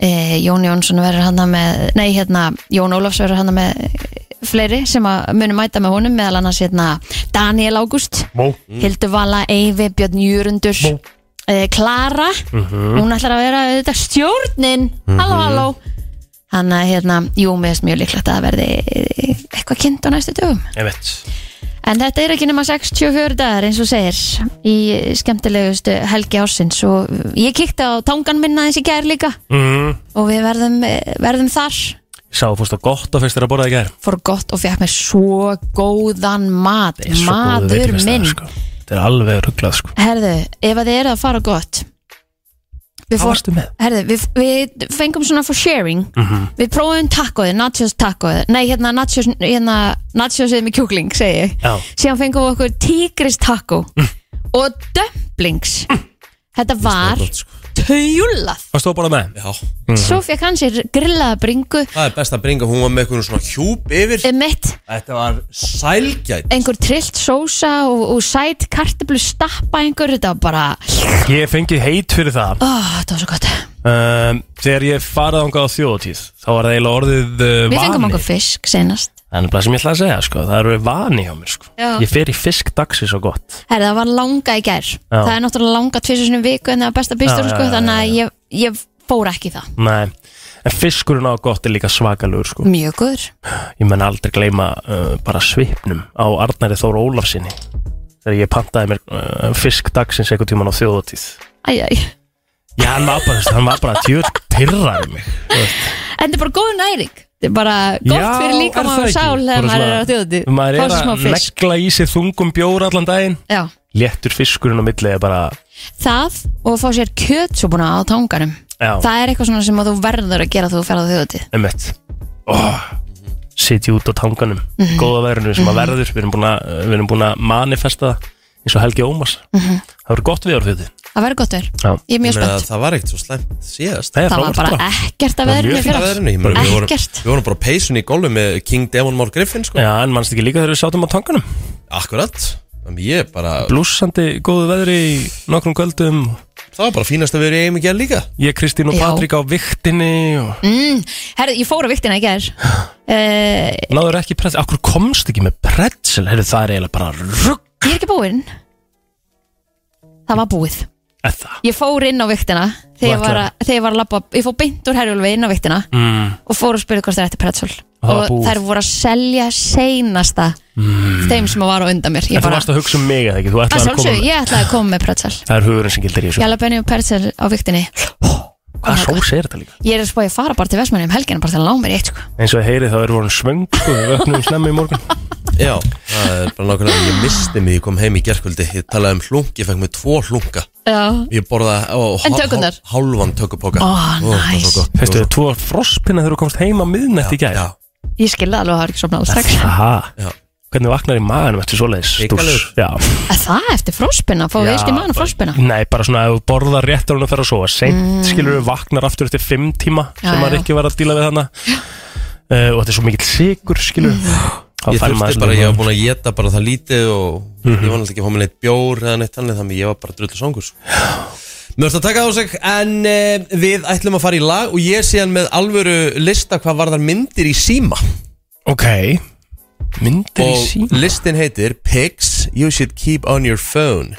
S3: eh, Jón Jónsson verður hann með Nei, hérna, Jón Ólafs verður hann með eh, fleiri sem að munum mæta með honum meðal annars hérna Daniel Ágúst
S4: Mó.
S3: Hildur Vala, Eyvi, Björn Jörundur eh, Klara hún ætlar að vera auðvitað stjórnin halló halló hann að hérna, jú, mér er mjög líklegt að það verði eh, eitthvað kynnt á næstu dögum
S4: Ég veit.
S3: en þetta er ekki nema 64 dagar eins og segir í skemmtilegustu helgi ársins og ég kíkti á tangan minna eins í gær líka
S4: Mm.
S3: og við verðum, eh, verðum þar
S4: Ég sá að fórst á gott og fyrst þér að borða í gær.
S3: fór gott og fekk mér svo góðan mat,
S4: Ég er svo góð
S3: maður
S4: veitingastaður,
S3: minn
S4: Sko. Þetta er alveg rugglað, sko.
S3: herðu, ef að þið eru að fara á gott við
S4: Hvað
S3: fór,
S4: varstu Mhm. með?
S3: Herðu, við, við fengum svona for sharing Við prófum tacoði, nachos tacoði Nei, hérna nachos hérna, Nachosið með kjúkling, segi ég
S4: Já.
S3: Síðan fengum við okkur tigris taco Og dumplings Þetta var
S4: sko.
S3: tjúlað
S4: Varstu að borða með?
S2: Já,
S4: Mm.
S3: Svo fekk hann sér grillaða bringu eh,
S2: það er best að bringa, hún var með eitthvað svona hjúp yfir
S3: Mitt,
S2: Þetta var sælgæt
S3: einhver trillt sósa Og, og sæt kartablu stappa einhver Þetta var bara,
S4: Ég fengi heit fyrir það.
S3: ó, þetta var svo gott
S4: Um, þegar ég farið ángað á þjóðtíð, þá var það eiginlega orðið uh,
S3: Við fengum
S4: vani.
S3: okkur fisk senast
S4: Það er nefnilega sem ég ætla að segja, sko. Það eru vani hjá mér, sko.
S3: Já.
S4: Ég fer í fisk dagsins og gott.
S3: Herri, það var langa í gær Það er náttúrulega langa tvisur sinni í viku en það var besta bílstjórn
S4: Já,
S3: sko,
S4: já, já,
S3: þannig að ég, ég fór ekki í það
S4: Nei. En fiskurinn á gott er líka svakalur sko.
S3: Mjög góður
S4: Ég menn aldrei gleyma uh, bara svipnum á Arnari Þór Ólafsinni Þegar ég pantaði mér uh, fisk dagsins einhvern tíman á þjóðatíð
S3: Æ, æ, æ.
S4: Já, hann var bara, hann var bara tjóð pyrraði mig þú veist.
S3: En þetta er bara góð næring Þetta er bara gott
S4: Já,
S3: fyrir líka
S4: er það
S3: maður
S4: ekki?
S3: sál þegar
S4: Bara
S3: maður er
S4: svona-
S3: á þjóðutíð
S4: Maður er
S3: Fá sér smá
S4: að
S3: fisk.
S4: negla í sig þungum bjór allan daginn
S3: Já,
S4: Léttur fiskurinn á milli er bara
S3: það og að fá sér kjötsúbuna á tanganum
S4: Já,
S3: Það er eitthvað svona sem að þú verður að gera þegar þú ferð á þjóðutíð
S4: emmett oh, Sitji út á tanganum
S3: Mhm.
S4: Góða verðinu sem að verður Við erum búin að, við erum búin að manifesta það eins og Helgi Ómars
S3: Mhm.
S4: Það verður gott við orðið
S3: Það verður gott verður,
S4: Já.
S3: ég er mjög
S2: Meina,
S3: spennt
S2: það var ekkert svo slæmt síðast
S4: Það er
S3: Það var
S4: frábært sko.
S3: bara ekkert að
S4: Það var
S3: verður
S4: mjög
S3: mér
S2: Það
S4: fínt
S3: fyrir
S2: er henni, ég meina, við vorum,
S3: Ekkert.
S2: við vorum bara á peysun í gólfi með King Devon Már Griffin sko.
S4: Já, en mannst ekki líka þegar við sátum á tanganum
S2: Akkurat Þannig Ég bara,
S4: Blúsandi góðu veðri í nokkrum kvöldum
S2: það var bara fínast að vera í eigum ekki að líka
S4: Ég, Kristín og
S3: Já.
S4: Patrik á viktinni og... mm.
S3: Herðu, ég fór á viktina í ger uh,
S4: Náður ekki pretzel Akkur komst ekki með pretzel Heyrðu, Það er eiginlega bara rugg
S3: Ég er ekki búinn Það var búið
S4: Það
S3: Ég fór inn á viktina Þegar ég var,
S4: Þú
S3: að- þegar ég var að labba Ég fór beint úr herjulvi inn á viktina
S4: mm.
S3: Og fór og spurði hvort það er eftir pretzel
S4: Og það var
S3: Og
S4: búið. Mm.
S3: þær voru að selja seinasta Þeim sem var á undan mér Ég
S4: En þú varst að hugsa um mig eða ekki Þú
S3: Að
S4: ætlaðir að koma
S3: sjálfsögðu,
S4: með-
S3: ég ætlaði að koma með pretzel
S4: Það er hugurinn sem gildir í þessu
S3: Jalapenni og pretzel á viktinni
S4: Hvað sós er þetta líka?
S3: Ég er að spóið að fara bara til Vestmanni um helgina Bara til að lána mér í eitt sko
S4: eins og heyrið þá erum við orðin svöng sko, við öknum snemmi í morgun
S2: Já, það er bara nákvæmlega Ég misti mig, ég kom heim í gerkvöldi Ég talaði um hlunk, ég fekk mig tvo hlunka
S3: Já
S2: Ég borðaði á
S3: En tökurnar?
S2: hálfan tökupoka
S3: Ó,
S2: Ó, það var
S3: næs.
S2: svo gott.
S4: Fyrstu þau tvo frostpinna þegar þú komst heim á miðnætt í gæð
S2: Já,
S3: Ég skilði alveg að það var ekki sofnað alveg strax
S4: Aha,
S2: Já.
S4: hvernig vaknar í maganum eftir svoleiðis
S2: Hrikalegur.
S4: dúss? Já.
S3: Að það eftir fróspinna, fóðu
S4: Já,
S3: vilt í mann
S4: bara-
S3: fróspinna
S4: Nei, bara svona ef þú borðar rétt ára að fara að sofa Seint skilur við vaknar aftur eftir fimm tíma
S3: Mm. Já,
S4: sem maður
S3: já.
S4: ekki var að díla við hana uh, og þetta er svo mikill sigur skilur
S3: Mm.
S2: Ég þurfti bara, ég var búin að geta bara það lítið og
S4: Mhm.
S2: ég var náttúrulega ekki að fá mér neitt bjór eða neitt annað þannig ég var bara sko. drullu songur Mörst að taka á sig en e, við ætlum að fara í lag og ég er síðan með alvöru lista hvað varðar myndir í síma
S4: Ok, myndir í
S2: og
S4: síma
S2: listin heitir Pics you should keep on your phone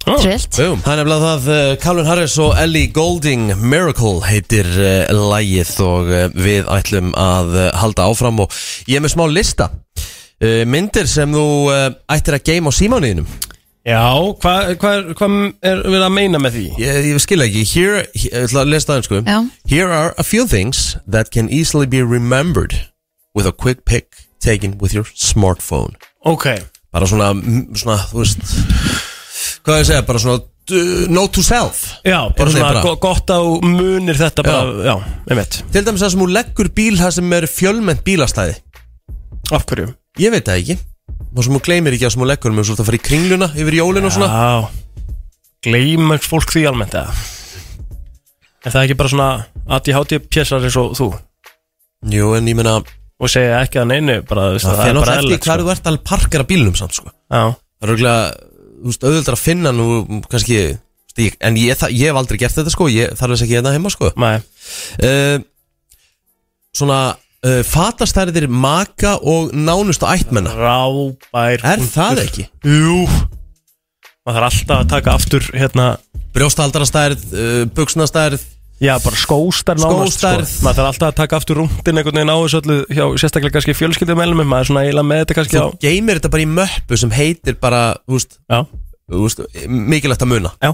S3: Trillt
S2: Boom. Það er nefnilega það eh, Calvin Harris og Ellie Golding Miracle heitir uh, lægið og uh, við ætlum að uh, halda áfram og ég er með smá lista uh, myndir sem þú uh, ættir að geima á símániðinum
S4: Já, hvað hva, hva er verið að meina með því?
S2: Ég, ég skil ekki, here, ég ætla að lesa það sko. einsku
S3: Já.
S2: Here are a few things that can easily be remembered with a quick pic taken with your smartphone
S4: Ok,
S2: Bara svona, mm, svona þú veist Hvað er að segja, bara svona uh, note to self
S4: já, bara
S2: Einhvern veginn
S4: svona
S2: bara.
S4: go- gott á munir þetta bara, já, einmitt
S2: Til dæmis það sem hún leggur bíl það sem er fjölmennt bílastæði
S4: Af hverju?
S2: Ég veit það ekki Það sem hún gleymir ekki að sem hún leggur Mér svolítið að fara í kringluna yfir jólin og svona
S4: Já Gleimur fólk því almennt eða? Er það ekki bara svona ADHD pjessar eins og þú
S2: Jú en ég meina
S4: og segja ekki að neinu bara, þú veist,
S2: Það fyrir
S4: bara
S2: náttúrulega
S4: eðlilegt,
S2: eftir hvað þú ert að parkera bílnum samt sko
S4: sko. Já,
S2: Það er auðvitað Þú veist auðvitað að finna nú Kannski stík. En ég, það, ég hef aldrei gert þetta sko Ég þarf þess ekki hérna heima sko
S4: nei
S2: uh, Svona uh, Fatastærðir maka og nánustu ættmenna
S4: Rábær
S2: Er það ekki?
S4: Jú Maður þarf alltaf að taka aftur hérna
S2: Brjóstaldarastærð, uh, buksnastærð
S4: Já, bara skóstarð nánast,
S2: Skóstærð.
S4: sko. Maður þarf alltaf að taka aftur rúndin einhvern veginn á þessu öllu hjá sérstaklega kannski fjölskyldumælum maður er svona eiginlega með þetta kannski
S2: Þú
S4: á
S2: geymir þetta bara í möppu sem heitir bara Þú veist
S4: Já,
S2: þú veist, mikilvægt að muna
S4: já,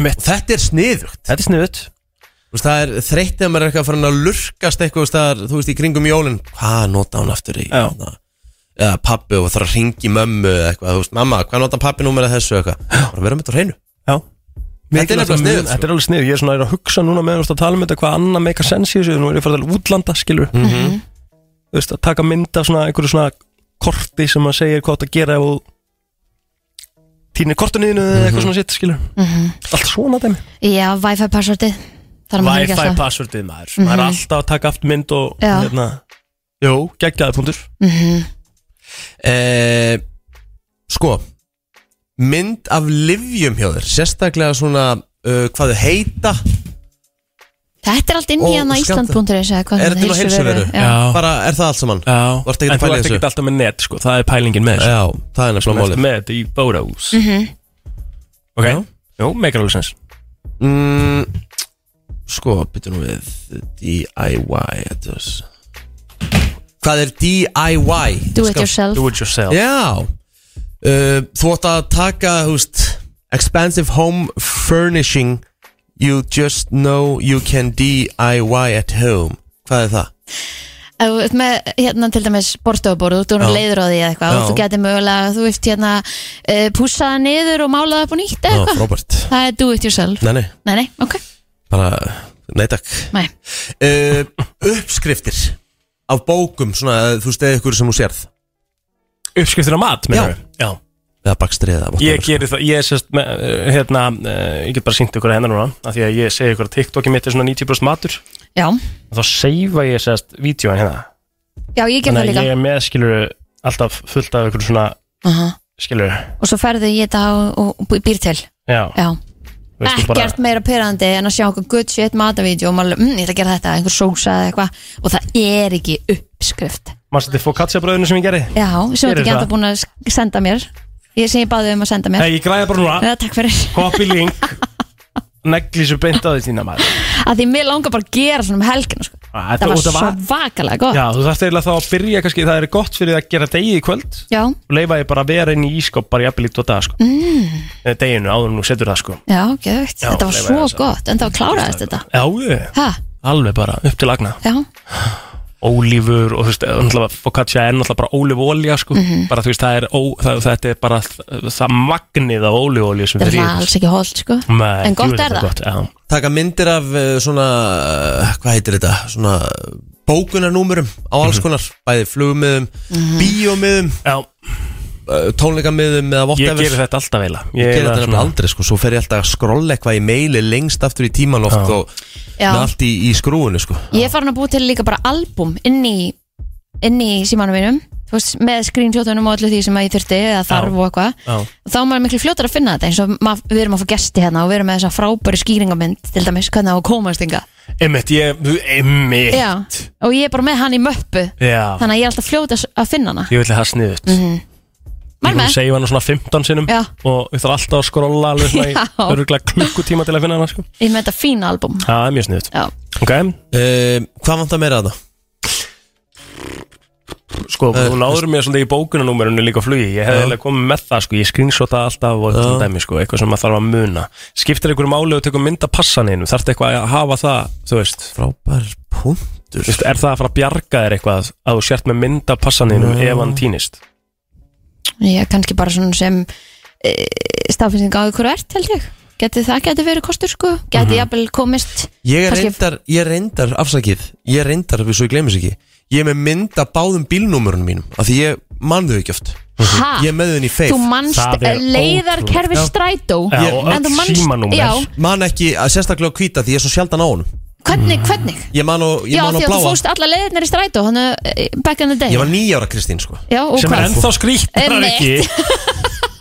S4: einmitt
S2: Þetta er sniðugt
S4: Þetta er sniðut
S2: Þú veist, Það er þreytt að maður er eitthvað farin að lurkast eitthvað þú veist, það er, Þú veist, í kringum jólin Hvað nota hún aftur í
S4: Já.
S2: hérna, eða pabbi og þarf að ringi mömmu eða eitthvað, þú veist, mamma, hvað nota pabbi númerið þessu eitthvað, bara vera með þetta á hreinu
S4: Já
S2: Þetta er nefnilega sniðugt, sko.
S4: Þetta er alveg sniðugt, ég er svona er að hugsa núna meðan þú ert að tala um þetta hvað annað meika sens í þessu Nú er ég að fara til útlanda, skilur Þú veist, að taka mynd af svona einhverju svona korti sem að segja hvað það gera ef þú týnir kortinu þínu eða eitthvað svona sitt, skilur Allt svona dæmi
S3: Já, Wi-Fi passwordið Þar maður ekki alltaf
S4: passwordið maður, maður er alltaf að taka aftur mynd og
S3: Já.
S4: Jú, geggjaði punktur
S2: e, Sko mynd af livjum hjá þér sérstaklega svona uh, hvað þau heita
S3: Þetta er allt inn í
S2: Og
S3: hérna hana
S2: skemmtilegt.
S3: Ísland.is eða hvað
S2: er þetta nú heilsuveru,
S3: Já.
S2: bara er það allt saman
S4: Já,
S2: Þú ert ekkert að
S4: en þú
S2: pæla í
S4: ert
S2: þessu.
S4: ekkert alltaf með net, sko, það er pælingin með þessu
S2: Já, það er
S4: Þú
S2: nefnilega
S4: ert
S2: málið
S4: með þetta í bóraús Ok, jú, meikar alveg sens
S2: mm, Sko, byttu nú við DIY þetta var- Hvað er DIY?
S3: Do it
S2: Skal-
S3: yourself
S4: Do it yourself
S2: Já uh, Þú átt að taka húst, Expensive home furnishing You just know you can DIY at home Hvað er það?
S3: Ef þú ert með hérna til dæmis borstofuborð, þú ert orðinn
S2: Já.
S3: leiður á því eða eitthvað
S2: Já.
S3: og þú getur mögulega, þú ert hérna uh, pússaða niður og málaða upp og nýtt eða
S2: Ná,
S3: eitthvað,
S2: Robert
S3: það er do it yourself
S2: Nei, nei,
S3: Nei, nei, ok,
S2: bara, nei takk
S3: nei
S2: uh, Uppskriftir Af bókum, svona, þú veist, eða ykkur sem þú sérð
S4: Uppskriftir á mat,
S2: Já.
S4: mennum við Já
S2: Eða bakstrið eða whatever,
S4: Ég gerir það, ég sérst með, eh, hérna, eh, ég get bara sínt ykkur að hennar núna af því að ég segi ykkur að TikTokið mitt er svona 90% matur
S3: Já,
S4: og þá seifa ég sérst vídjóin hérna
S3: já ég ger það
S4: Þannig
S3: líka
S4: að ég er með skilur alltaf fullt af ykkur svona
S3: Aha.
S4: skilur
S3: Og svo ferðu ég þetta og, og býr til
S4: Já,
S3: Já,
S4: veistu, bara-
S3: ekkert meira pyrrandi en að sjá einhver good shit matavídeó og maður, alveg, mm, ég ætla að gera þetta, einhver sósa eða eitthvað og það er ekki uppskrift
S4: Manstu þetta focaccia bröðinu sem ég gerði?
S3: Já, sem
S4: Gerir
S3: þú ert ekki
S4: það?
S3: enda búin að s- senda mér Ég sem ég baði um að senda mér
S4: Nei, ég græði bara núna
S3: Eða, Takk fyrir
S4: Copy link Negli svo beint að því þína maður
S3: að því mér langar bara að gera svona um helgina sko.
S4: Æ,
S3: það
S4: og
S3: var
S4: þetta
S3: svo
S4: var-
S3: vakalega gott
S4: Já, þú þarft eiginlega þá að byrja kannski Það er gott fyrir að gera degi í kvöld
S3: já,
S4: og leifa ég bara að vera inn í ískop bara jafnvel í tvo dag sko. mm. Deginu áður en þú setur það sko.
S3: já, geðvögt
S4: Já,
S3: þetta var
S4: leifa
S3: svo
S4: þess að-
S3: gott, en það var kláraðist þetta
S4: Já, ég,
S3: ha,
S4: alveg bara upp til agna
S3: já,
S4: Ólífur og þú veist, náttúrulega focaccia er náttúrulega bara ólífuolja sko.
S3: Mhm.
S4: bara þú veist, það er, ó, það, þetta er bara það, það magnið af ólífuolja sem
S3: þetta
S4: fer í
S3: var
S4: þetta.
S3: alls ekki holdt sko.
S4: Nei,
S3: en
S4: djú,
S3: gott er
S4: þetta
S3: það
S4: gott, já.
S2: taka myndir af eh, svona, eh, hvað heitir þetta svona bókunarnúmurum á alls konar, bæði flugmiðum
S3: Mhm.
S2: bíómiðum,
S4: Já,
S2: eh, tónleikamiðum eða
S4: ég
S2: whatever
S4: gerir þetta alltaf eila
S2: Ég gerði þetta nefnilega aldrei sko, svo fer ég alltaf að skrolla eitthvað í meili lengst aftur í tíman oft og
S3: Já.
S2: með allt í, í skrúinu sko
S3: ég er farin að búi til líka bara album inn í, inn í símanum mínum þú veist, með screenshotunum og öllu því sem að ég þurfti eða þarf og eitthvað
S4: Já.
S3: þá er maður miklu fljótar að finna þetta eins og mað, við erum að fá gesti hérna og við erum með þessa frábæri skýringamind til dæmis hvernig á að komast ynga
S4: Einmitt, ég, einmitt
S3: já, og ég er bara með hann í möppu
S4: Já.
S3: þannig að ég er alltaf fljóta að finna hana
S4: Ég vil það sniðut mm -hmm. Ég
S3: Mæl
S4: vil
S3: með.
S4: segja hana svona 15 sinnum
S3: Já.
S4: og ég þarf alltaf að skrolla alveg svona
S3: Já.
S4: í öruglega klukkutíma til að finna hana sko.
S3: ég er með þetta fína album
S4: Það er mjög sniðut
S3: já,
S4: Ok,
S2: um, Hvað vantar meira að það?
S4: sko,
S2: Eh,
S4: þú náður mér svolítið í bókunanúmerinu líka á flugi Ég hefði eiginlega komið með það, sko, ég screenshota alltaf og eitthvað dæmi, sko, eitthvað sem maður þarf að muna Skiptir einhverju máli og tekur mynda passaninu Þarftu eitthvað að hafa það, þú veist
S2: Frábær punktur
S4: Vist, Er það að fara að bjarga þér eitthvað að þú sért með mynda passaninu ef hann týnist?
S3: ég er kannski bara svona sem e, staðfinnsinga á því hverju ert held ég geti það geti verið kostur sko geti jafnvel komist
S2: Ég er
S3: kannski-
S2: reyndar, ég er reyndar afsakið Ég er reyndar, svo ég glemis ekki Ég er með mynd af báðum bílnúmurunum mínum af því ég man þau ekki oft
S3: ha,
S2: Mhm. Ég er með þau í feif
S3: Ah. þú manst
S4: Það er
S3: leiðarkerfi
S2: ótrúlegt.
S3: strætó
S4: Já, og
S3: en
S4: öll
S3: þú manst
S4: símanúmer.
S3: já,
S2: Man ekki, að sérstaklega á hvíta því ég er svo sjaldan á honum
S3: hvernig, hvernig
S2: Ég man á, ég
S3: já,
S2: man á
S3: því að þú
S2: bláa
S3: fóst alla leiðirnar í strætó þannig eh, back in the day
S2: Ég var nýjára Kristín sko
S3: já, og
S4: Sem er
S3: hvað,
S4: ennþá skrýttar
S3: Einmitt.
S4: ekki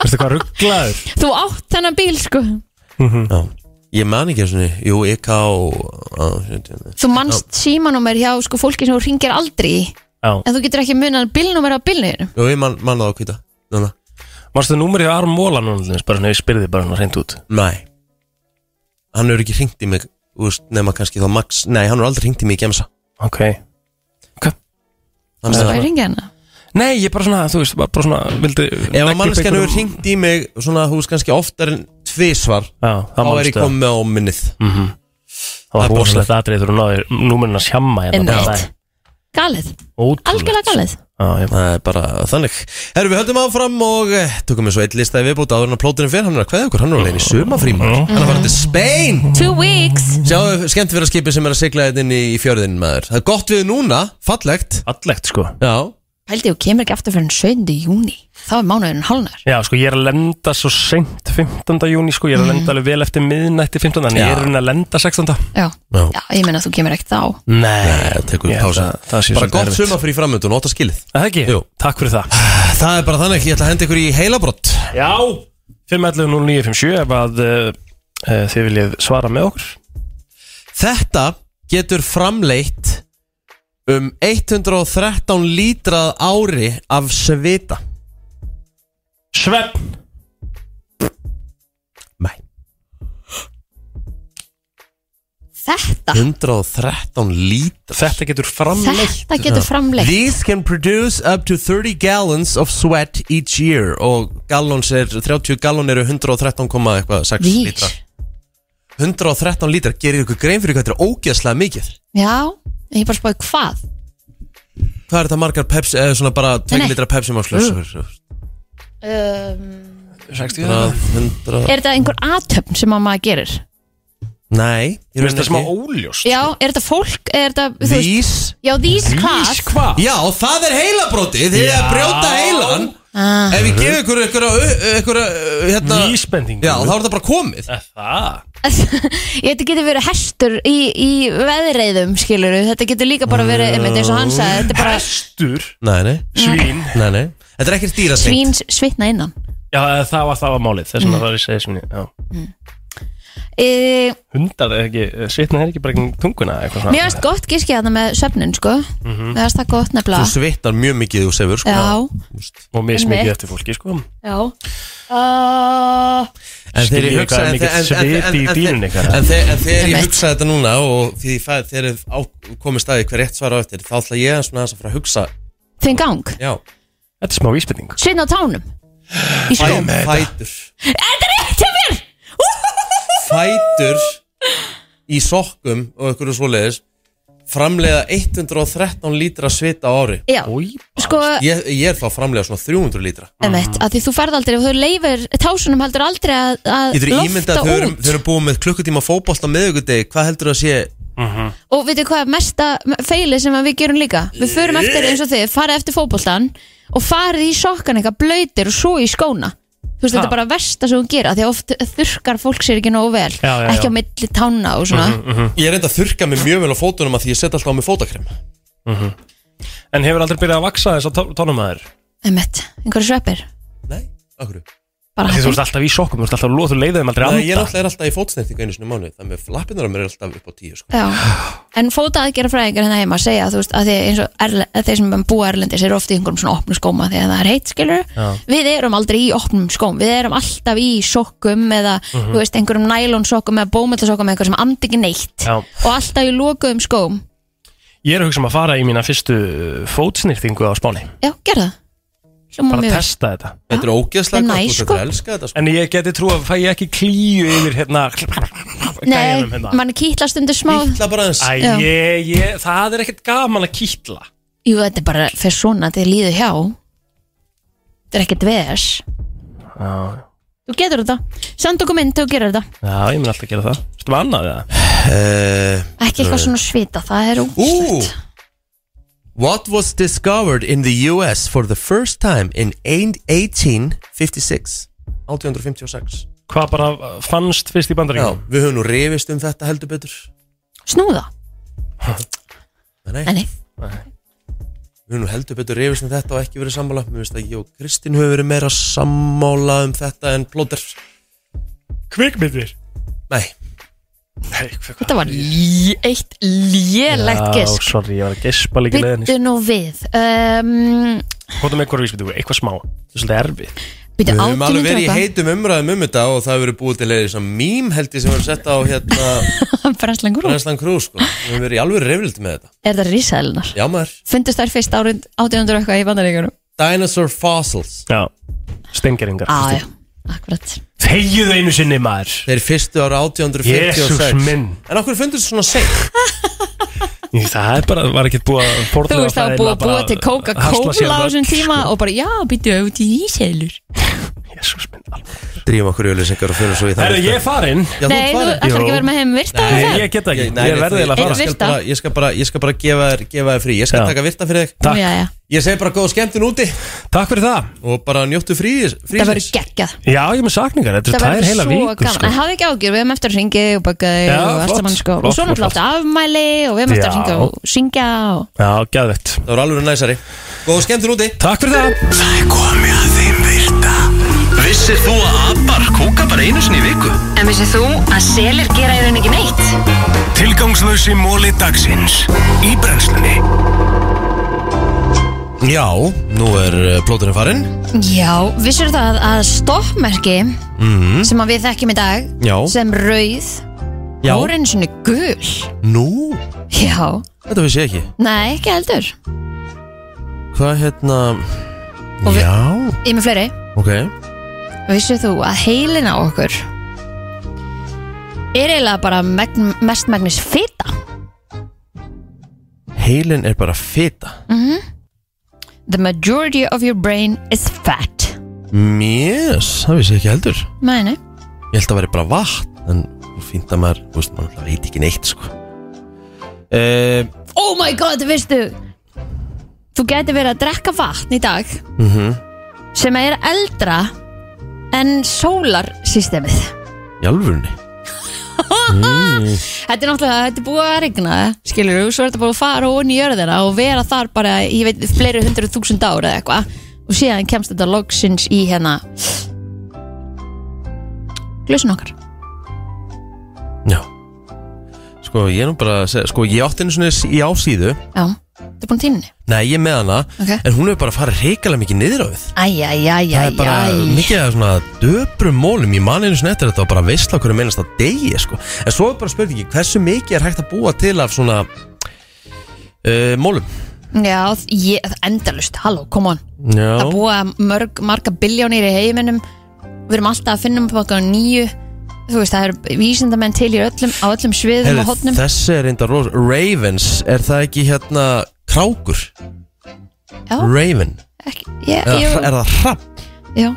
S4: Veistu hvað rugglaður?
S3: þú átt þennan bíl sko
S2: Já. Ég man ekki eins og niður, jú, EK og á,
S3: þú manst símanúmer hjá sko fólki sem þú ringir aldrei í,
S4: Já,
S3: en þú getur ekki munað bílnúmer á bílnum
S2: Jú, ég man, man á að hvíta Núna,
S4: Manstu númerið á Aron Móla núna til dæmis, bara svona, ég spyrði bara hann reynd út
S2: nei Hann hefur ekki hringt í mig, úst, nema kannski þá Max Nei, hann hefur aldrei hringt í mig í gemsa
S4: Ok
S2: Hann
S3: það
S2: sagði
S3: er
S2: það.
S3: ringið hana
S4: Nei, ég bara svona, þú veist, bara, bara svona vildi,
S2: Ef að mannskjan hefur hringt í mig svona, þú veist, kannski oftar en tvisvar
S4: Já,
S2: Þá er
S4: það
S2: ég
S4: manstu það
S2: komið með óminnið
S4: Mhm. Það
S2: Það
S4: var
S2: er bara
S4: rosalegt atrið þegar hún náði númerinn að sjamma hérna bara
S3: Einmitt.
S4: það.
S3: galið,
S4: Ótrúlegt
S3: algjörlega galið
S4: Já, ég-
S2: Það er bara þannig Herru, við höldum áfram og eh, tökum við svo eitt lista í viðbúta áður en að plótinu fyrir Hann er að kveða okkur, hann er alveg í sumafríma Hann er að fara til Spain
S3: two weeks
S2: Sjáðu, skemmt fyrir að skipi sem er að sigla hérna inn í, í fjörðin maður Það er gott við núna, fallegt
S4: Fallegt sko
S2: Já,
S3: Hældi, þú kemur ekki aftur fyrir enn 7. júni Þá er mánuðurinn hálnar
S4: Já sko ég er að lenda svo seint 15. júni sko Ég er að lenda alveg vel eftir miðnætti 15. En ég
S2: Já.
S4: er að reyna að lenda 16.
S3: Já.
S2: Já.
S3: Já, ég meina að þú kemur ekki þá
S4: Nei,
S2: það tekur við
S4: Ég held
S2: pása.
S4: að Það sé
S2: bara
S4: svolítið
S2: gott
S4: erfitt
S2: sumar fyrir framöndun og óta skilið
S4: Er Það ekki?
S2: Jú.
S4: Takk fyrir það
S2: Það er bara þannig, ég ætla að henda ykkur í heilabrott
S4: Já 511 0957 ef að uh, uh, þið viljið svara með okkur
S2: Þetta getur framleitt um 113 lítrað ári af svita
S4: Svepp
S2: Nei
S3: Þetta,
S2: 113 lítra
S4: Þetta getur framleitt
S3: þetta getur framleitt
S2: These can produce up to 30 gallons of sweat each year og gallons er, 30 gallon eru 113,6
S3: Vís
S2: lítra 113 lítra, gerir ykkur grein fyrir hvað þetta er ógeðslega mikið
S3: Já, en ég bara spáði hvað
S2: Hvað er þetta margar Pepsi, eða svona bara 2
S3: Nei. Mm.
S2: litra Pepsi má slösa
S3: um,
S2: 100, 100
S3: Er þetta einhver aðtöfn sem að maður gerir?
S2: Nei, ég
S4: Mér
S2: rauninni
S4: finnst það smá
S2: ekki.
S4: óljós
S3: Já, er þetta fólk? Er þetta, þú veist-
S2: Vís
S3: Já, these hvað?
S4: hvað?
S2: Já, það er heilabrótið, þið er að brjóta heilan
S3: Ah,
S2: Ef ég gef ykkur ykkur, ykkur hérna,
S4: Vísbendingu
S2: Já, þá er þetta bara komið
S4: Er Það
S3: ég þetta getur verið hestur í, í veðreiðum, skilur Þetta getur líka bara verið, einmitt, eins og hann sagði Þetta er bara
S4: Hestur,
S2: Nei, nei,
S4: svín
S2: nei, nei Þetta er ekkert dýra
S3: svín svitna innan
S4: Já, eða það var, það var málið Þess
S3: Mm.
S4: vegna það var ég að segja svín já.
S3: e,
S4: Hundar er ekki, svitna er ekki bara ekki tunguna eða eitthvað svona.
S3: Mér finnst gott gískið þarna með söfnin, sko Mér finnst það gott
S2: Þú
S3: nefnilega
S2: svittar mjög mikið þú sefur sko.
S3: Já,
S4: Og mér smikið
S3: Einmitt.
S4: eftir fólki, sko
S3: já uh,
S2: En þegar
S4: Skiljið
S2: ég hugsa
S4: hvað er
S2: en-
S4: mikið
S2: en- en-
S4: sviti í
S2: en- en-
S4: dýrunni,
S2: en-
S4: Kara.
S2: En þe- en þegar ég
S3: Einmitt.
S2: hugsa þetta núna og því ég fæði þegar ég á- komist að því hver rétt svara á eftir þá ætla ég að svona aðeins að fara að hugsa
S3: Þinn gang,
S2: Já,
S4: Þetta er smá vísbending
S3: svitna á tánum Í skóm
S2: fætur
S3: Þetta er rétt hjá mér
S2: Fætur í sokkum og einhverju svoleiðis framleiða 113 lítra svita á ári
S3: Já, sko,
S2: Ég, ég er þá að framleiða svona 300 lítra
S3: emitt, að því þú færð aldrei og þau leifir, tásunum heldur aldrei að, að
S2: Getur ímyndað
S3: lofta
S2: að þau eru,
S3: út
S2: þau eru búið með klukkutíma fótbolta miðugudegi Hvað heldur það að sé
S3: og veitu hvað, er mesta feili sem að við gerum líka við förum eftir eins og þið, farið eftir fótboltan og farið í sokkan eitthvað blöytir og svo í skóna þú veist, þetta er bara versta sem hún gera því að oft þurkar fólk sér ekki nógu vel
S4: Já, já, já. Mhm,
S3: ekki á milli tána og svona
S2: Ég er enda að þurka mig mjög vel á fótunum að því ég setja alltaf á mig fótakrem
S4: En hefur aldrei byrjað að vaksa þess að tónum að þér?
S3: emitt, einhverju sveppir
S2: Nei, okkur
S3: bara
S4: Því þú ert alltaf í sokkum, þú ert alltaf að loða, þú leiðið þeim aldrei
S2: Nei, ég er
S4: anda
S2: alltaf, er alltaf í fótsnertingu einu sinni í mánuði Þannig að flappinnar á mér er alltaf upp á tíu sko.
S3: Já, en fóta aðgera fræðingar hérna heima segja þú veist að því eins og erle, að þeir sem búa erlendis eru ofta í einhverjum svona opnum skóma því að það er heitt skilur við erum aldrei í opnum skóm við erum alltaf í sokkum eða
S4: Mhm.
S3: þú veist einhverjum nælonsokkum eða bómöllasokkum eða einhverjum sem andi ekki neitt
S4: Já.
S3: og alltaf í lokuðum skóm
S4: Ég er að hugsa um að fara í mína fyrstu uh, fótsnýrtingu á Spáni
S3: já, gerða hljóma
S4: Bara
S3: mjög
S4: að
S3: vel.
S4: testa þetta
S2: Þetta er ógeðslega
S3: Nei,
S2: gott, þú
S3: sko.
S2: þetta elska þetta sko.
S4: En ég geti trú að fæ ég ekki klíu yfir hérna
S3: nei,
S4: gæjanum hérna
S3: mann kýtlast undir smá
S2: Ítla bara eins
S4: Æ,
S3: Já.
S4: ég, ég, það er ekkert gaman að kýtla
S3: jú, þetta er bara fyrir svona að þið líðu hjá þetta er ekkert veðs
S4: Já,
S3: þú getur þetta, send okkur mynd þegar þú gerir þetta
S4: já ég mun alltaf að gera það Vistu maður annað eða?
S2: Eh,
S3: Ekki eitthvað svona svita, það er
S2: Ú
S3: ógæslegt
S2: What was discovered in the US for the first time in 1856 1856
S4: Hvað bara uh, fannst fyrst í
S2: Já,
S4: bandaríkjum?
S2: við höfum nú reyfist um þetta heldur betur
S3: Snúða
S2: Nei, nei,
S3: Nei, nei.
S2: við höfum nú heldur betur reyfist um þetta og ekki verið sammála Mér finnst að ég og Kristín höfum verið meira sammála um þetta en plóter
S4: Kvikmyndir
S2: Nei,
S3: þetta var lí- eitt lélegt
S4: Já,
S3: gisk
S4: sorry, ég var að gespa líka leiðin
S3: Byttu nú við um,
S4: Hvort með eitthvað vísbyrðu, eitthvað smá Það er svolítið erfið
S3: Byttu
S2: við höfum alveg verið í
S3: 1800
S2: heitum umræðum um þetta og það hefur verið búið til leiðis að mím held ég sem var sett á hérna
S3: Brenslangur
S2: Brænslan Krú sko Við höfum verið í alveg reyfildi með þetta
S3: Er það rísaðlunar?
S2: Já maður
S3: Fundust þær fyrst árið 1800 eitthvað í bandaríkjunum?
S2: Dinosaur Fossils
S4: Já, steingeringar
S3: Á, Ah, já, akkurat
S4: Þegjuðu einu sinni maður
S2: Þeir fyrstu ára 1856
S4: Jesús minn.
S2: En okkur fundist svona seint
S4: Jú, Það er bara, var ekkert búið að
S3: Þú
S4: fornlega
S3: veist það var búið að búa til Coca-Cola á þessum tíma
S2: sko.
S3: og bara, já, byttu auðvitað í rísaðlur
S4: Jésús minn alveg
S2: Drífum okkur í öllisengar og fyrir svo í það
S4: Herru, ég er farinn
S2: Já, þú
S3: Nei, þú
S2: farið.
S3: ætlar ekki
S4: Jú.
S3: að vera með heim virta
S4: Nei, ég get það ekki,
S2: Nei,
S4: ég
S2: nei,
S4: verði
S2: þú-
S4: eiginlega að
S2: Ég
S3: Einn
S4: fara
S2: skal
S3: virta.
S2: bara, ég skal bara, ég skal bara gefa, þér, gefa þér frí Ég skal
S4: Já.
S2: taka virta fyrir þig
S4: Takk,
S3: Já, já.
S2: Ég segi bara góð skemmtun úti
S4: takk fyrir það
S2: Og bara njóttu frí, frí
S3: Það verður geggjað
S4: Já, ég er með sakningar, þetta
S3: Það
S4: er tær
S3: verður
S4: heila
S3: svo
S4: vikur
S3: gaman, en
S4: sko.
S3: hafði ekki ágjör, við hefum eftir að ringi og baka
S4: Já,
S3: og allt
S4: flott,
S3: saman sko og
S4: flott,
S3: svo náttúrulega
S4: flott,
S3: átti afmæli og við hefum eftir að
S4: Já.
S3: ringi og syngja og
S4: Já, gæðvegt
S2: Það voru alveg næsari Góð skemmtun úti
S4: Takk fyrir það
S1: Það er komið að þeim virta Vissir þú að abar kúka bara einu sinni í viku?
S5: En vissið þú að selir gera í raun ekki neitt?
S1: Tilgangslösi móli dagsins Í brennslunni
S2: Já, nú er uh, plóturinn farinn
S3: Já, vissur
S4: Mhm.
S3: það að stoppmerki sem að við þekkjum í dag
S2: Já.
S3: sem rauð
S2: Já.
S3: voru einu svona gul
S2: Nú,
S3: Já,
S2: þetta vissi ég ekki
S3: nei, ekki heldur
S2: Hvað hérna
S3: Og við-
S2: Já,
S3: Ég er með fleiri
S2: ok
S3: Vissir þú að heilin á okkur er eiginlega bara megn, mestmagnis fita
S2: Heilin er bara fita
S3: The majority of your brain is fat
S2: Mjöss, það vissi ég ekki heldur
S3: Mæni
S2: Ég held að það væri bara vatn En þú fínt að maður, þú veist, maður náttúrulega veit ekki neitt sko Uh,
S3: Oh my god, veistu Þú gæti verið að drekka vatn í dag
S2: mm -hmm.
S3: sem er eldra en sólarsystemið
S2: Jálfurni
S3: Þetta er náttúrulega, þetta er búið að regna skilur þú, svo er þetta búið að fara onni í jörðina og vera þar bara, ég veit, fleiri hundru þúsund ára eða eitthvað og síðan kemst þetta loksins í hérna glösun okkar
S2: Já Sko ég er nú bara að segja Sko ég átti einu svona í ásíðu
S3: Já, þetta er búin tíminni
S2: Nei ég er með hana
S3: Ok.
S2: En hún hefur bara farið reikalega mikið niður á við Það er bara
S3: Æjæjæjæjæj
S2: mikið af svona döprum mólum Ég man einu svona eftir að þetta var bara veistla hverju meinast að degi sko. En svo er bara spurningi Hversu mikið er hægt að búa til af svona uh, Mólum
S3: Já, ég, endalust, halló, come on
S2: Já
S3: Það búa mörg, marga biljónir í heiminum Við erum alltaf að finna um okkar nýju Þú veist, það eru vísindamenn til í öllum, á öllum sviðum
S2: Heyrðu,
S3: og hotnum
S2: Þessi er reynda rós Ravens, er það ekki hérna Krákur
S3: Já.
S2: Raven
S3: Ekki, ég,
S2: Eða,
S3: ég,
S2: hra- Er það hrapp?
S3: já,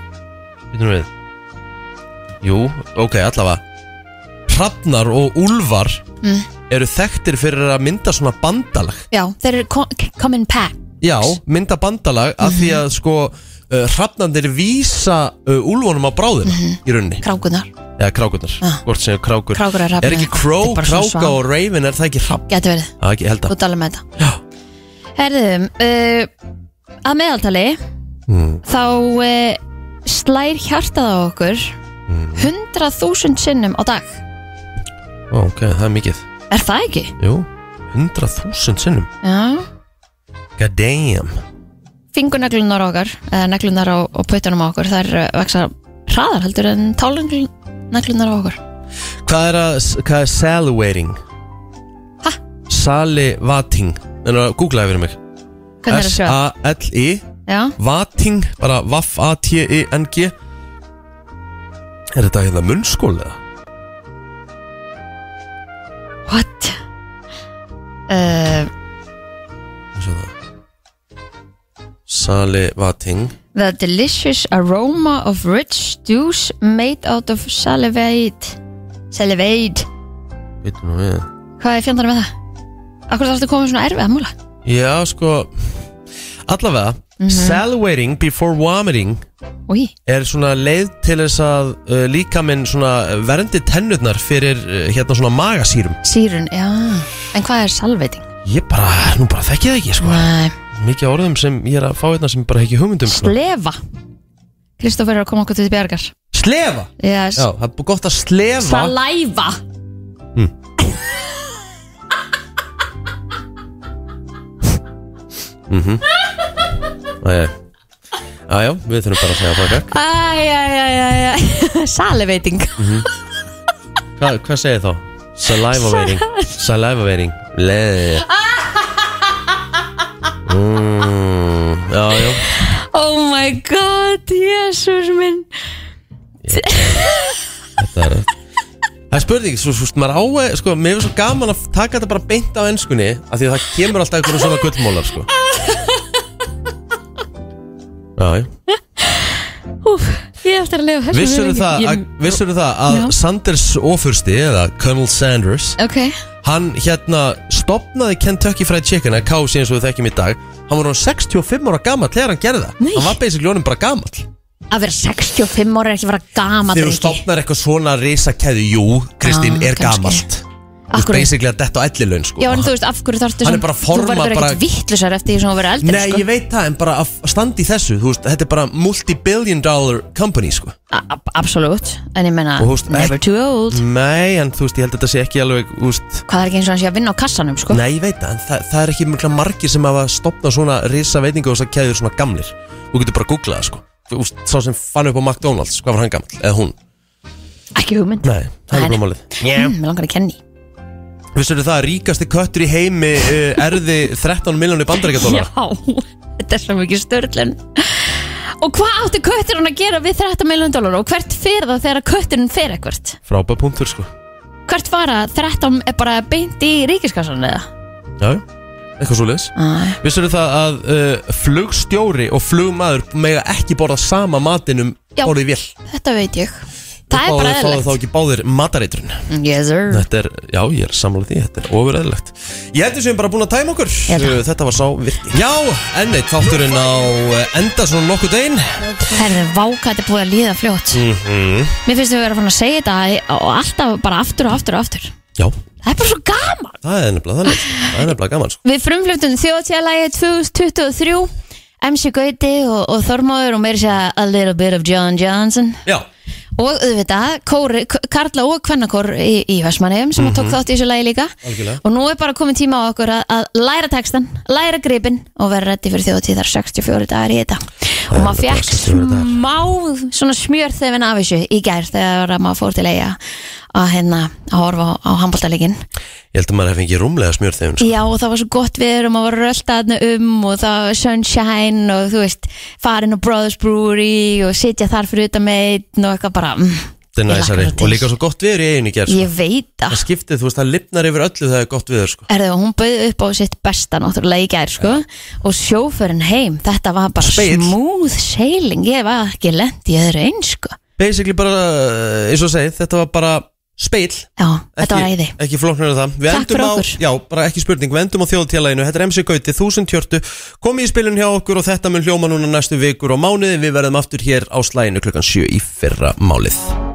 S2: Býtum við Jú, ok, allavega Hrafnar og úlfar
S3: Mm.
S2: eru þekktir fyrir að mynda svona bandalag
S3: já, þeir eru co- come in pack
S2: Já, mynda bandalag af því að sko uh, hrafnandir vísa uh, úlfunum á bráðina í rauninni
S3: krákunar
S2: Eða krákurnar,
S3: Mhm. Ah.
S2: hvort sem er krákur
S3: Krákur er hrafn
S2: Er ekki
S3: eða-
S2: kró,
S3: Þetta er bara svona
S2: kráka
S3: svan.
S2: og raven, er það ekki hrafn?
S3: Gæti verið,
S2: Það er ekki, ég held
S3: þú
S2: að
S3: tala með þetta
S2: Já.
S3: Herðum, uh, að meðaltali
S2: Mm.
S3: þá uh, slær hjartað á okkur
S2: Mm.
S3: 100.000 sinnum á dag
S2: Ó, Ok, það er mikið
S3: Er það ekki?
S2: Jú, 100.000 sinnum
S3: Já
S2: God damn
S3: Fingurneglunar okkar, eða neglunar á, á puttunum á okkur, það er vexar hraðar heldur en tálenglunar á okkur
S2: Hvað er, að, hvað er salivating?
S3: Ha?
S2: Salivating En að googla það fyrir mig
S3: Hvernig er það sjá?
S2: S-A-L-I
S3: Já,
S2: Vating Bara V-A-T-I-N-G Er þetta hérna munnskóla eða?
S3: what? Uh,
S2: Sjá það. Salivating
S3: The delicious aroma of rich stews made out of salivate Salivate
S2: Veitum nú við
S3: Hvað er fjandana með það? Akkur þarfstu að koma með svona erfið að múla
S2: Já sko Allavega Salivating before vomiting
S3: Úi,
S2: er svona leið til þess að uh, líka minn svona verndi tennurnar fyrir uh, hérna svona magasýrum
S3: sírun, já En hvað er salveiting?
S2: Ég bara, nú bara þekki það ekki sko
S3: Nei,
S2: Mikið af orðum sem ég er að fá hérna sem ég bara hef ekki hugmyndum sko.
S3: slefa Kristoffer er að koma okkur til bjargar
S2: Slefa
S3: yes.
S2: Já, það er bú- gott að slefa Hmm.
S3: Salæfa
S2: Mhm. Æja, já, við þurfum bara að segja það ekki
S3: Æjæjæjæjæ Saliveiting
S2: Hva, Hvað segir þá? Saliva veiting Saliva veiting Leði mm, Já, já
S3: Oh my god, jésús minn
S2: Þetta er Það er spurning, svo, svo, maður á, sko, mér er svo gaman að taka þetta bara beint á ennskunni af því að það kemur alltaf einhverjum svona gullmólar, sko Já, já
S3: Úf, ég eftir að lifa þessu
S2: Vissur
S3: lengi.
S2: það,
S3: Ég-
S2: að, vissur það að
S3: Já.
S2: Sanders ofursti eða Colonel Sanders
S3: Ok,
S2: hann hérna stopnaði Kentucky Fried Chicken að kási eins og við þekkjum í dag hann var hann 65 ára gamall þegar hann gerði það
S3: Nei.
S2: hann var basically honum bara gamall
S3: að vera 65 ára er ekki að vera gama
S2: þegar þú stopnar eitthvað svona risakæðu jú, Kristín,
S3: Ah,
S2: er
S3: kannski.
S2: gamalt Þú ert
S3: Akkur
S2: basically að detta á ellilaun sko
S3: Já, en þú veist, af hverju þarftu
S2: Hann
S3: sem-
S2: er bara að forma
S3: Þú verður
S2: bara-
S3: ekkert vittlusar eftir því sem þú verður eldri
S2: Nei,
S3: sko.
S2: ég veit það, en bara að standa í þessu þú veist, Þetta er bara multi-billion dollar company sko.
S3: A- ab- Absolutt, en ég menna
S2: Og þú veist,
S3: Never
S2: ek-
S3: too old
S2: Nei, en þú veist, ég held að þetta sé ekki alveg úst,
S3: Hvað er ekki eins og hann sé að vinna á kassanum, sko
S2: Nei, ég veit það, en það, það er ekki mjög margir sem hafa stopnað svona risa veitinga og þess að keður svona gamlir Þú getur bara að googla það, sko Þú veist, Sá sem fann upp á McDonalds, hvað var hann gamall, eða hún
S3: Ekki hugmynd
S2: Nei, það er bara málið
S3: yeah. mm, Mér langar að kenni
S2: Vissur það að ríkasti köttur í heimi uh, erði 13 miljónir bandaríkjadólar?
S3: Já, þetta er svo mikið störlun Og hvað átti kötturinn að gera við 13 miljón dólar og hvert fer það þegar kötturinn fer ekkvert?
S2: Frábæð punktur sko
S3: Hvert fara 13 er bara beint í ríkiskassan eða?
S2: Já, eitthvað svo leiðis
S3: Æ.
S2: Vissur það að uh, flugstjóri og flugmaður mega ekki borða sama matinum
S3: Já.
S2: borðið vél
S3: Þetta veit ég Það er bara
S2: Og þá- Þá þá
S3: eðlilegt Mm.
S2: ekki báðir matareitrun
S3: Yes sir
S2: Þetta er, já ég er sammála því, þetta er ofuræðilegt Ég heldur sem bara búin að tæma okkur Uh, Þetta var sá virki Já, enn eitt þátturinn á uh, enda svona nokkuð einn
S3: Herðu, vá, hvað þetta er búið að líða fljótt Mér finnst við að vera fann að segja þetta og alltaf bara aftur og aftur og aftur
S2: Já,
S3: Það er bara svo gaman
S2: það er nefnilega þannig Það er nefnilega gaman sko
S3: Við frumflutum þjóðtjálagi 2023 MC Gauti og, og Þormóður og meiri segja a little bit of John Johnson
S2: Já,
S3: og auðvitað kóri, k- Karla og Kvennakór í, í Vestmanneum sem tók þátt í þessu lagi líka
S2: Mhm. Algjörlega.
S3: og nú er bara komið tíma á okkur að, að læra textan, læra gripin og vera reddi fyrir þjóðtíðar 64 dagar í þetta og maður fekk smá svona smjör þegar við af þessu í gær þegar maður fór til eiga að hérna að horfa á, á handbóltalegin
S2: ég held að maður hef fengið rúmlega smjör þeim sko.
S3: Já og það var svo gott viður og maður var röldaðna um og það var sunshine og þú veist farin á Brothers Brewery og sitja þar fyrir utan meitn og eitthvað bara mm,
S2: Þetta er
S3: ég hlakka
S2: næsari
S3: svo til.
S2: Og líka svo gott viður í eiginu gerð sko.
S3: Ég veit
S2: Það
S3: það
S2: skiptið, þú veist, það lifnar yfir öllu þegar það er gott viður sko.
S3: Er það, hún bauð upp á sitt besta náttúrulega í gær sko og sjófurinn heim, þetta var bara
S2: Spegill.
S3: smooth sailing, ég var ekki lent í öðru eins sko.
S2: Basically bara, uh, eins og segið, þetta var bara speil
S3: Já, þetta var æði.
S2: ekki flóknar en það Við
S3: Takk
S2: endum
S3: fyrir
S2: á,
S3: okkur.
S2: já, bara ekki spurning, við endum á þjóðtélaginu Þetta er MC Gauti, 1040 Komið í spilun hjá okkur og þetta mun hljóma núna næstu vikur og mánuði Við verðum aftur hér á slæginu klukkan 7 í fyrra málið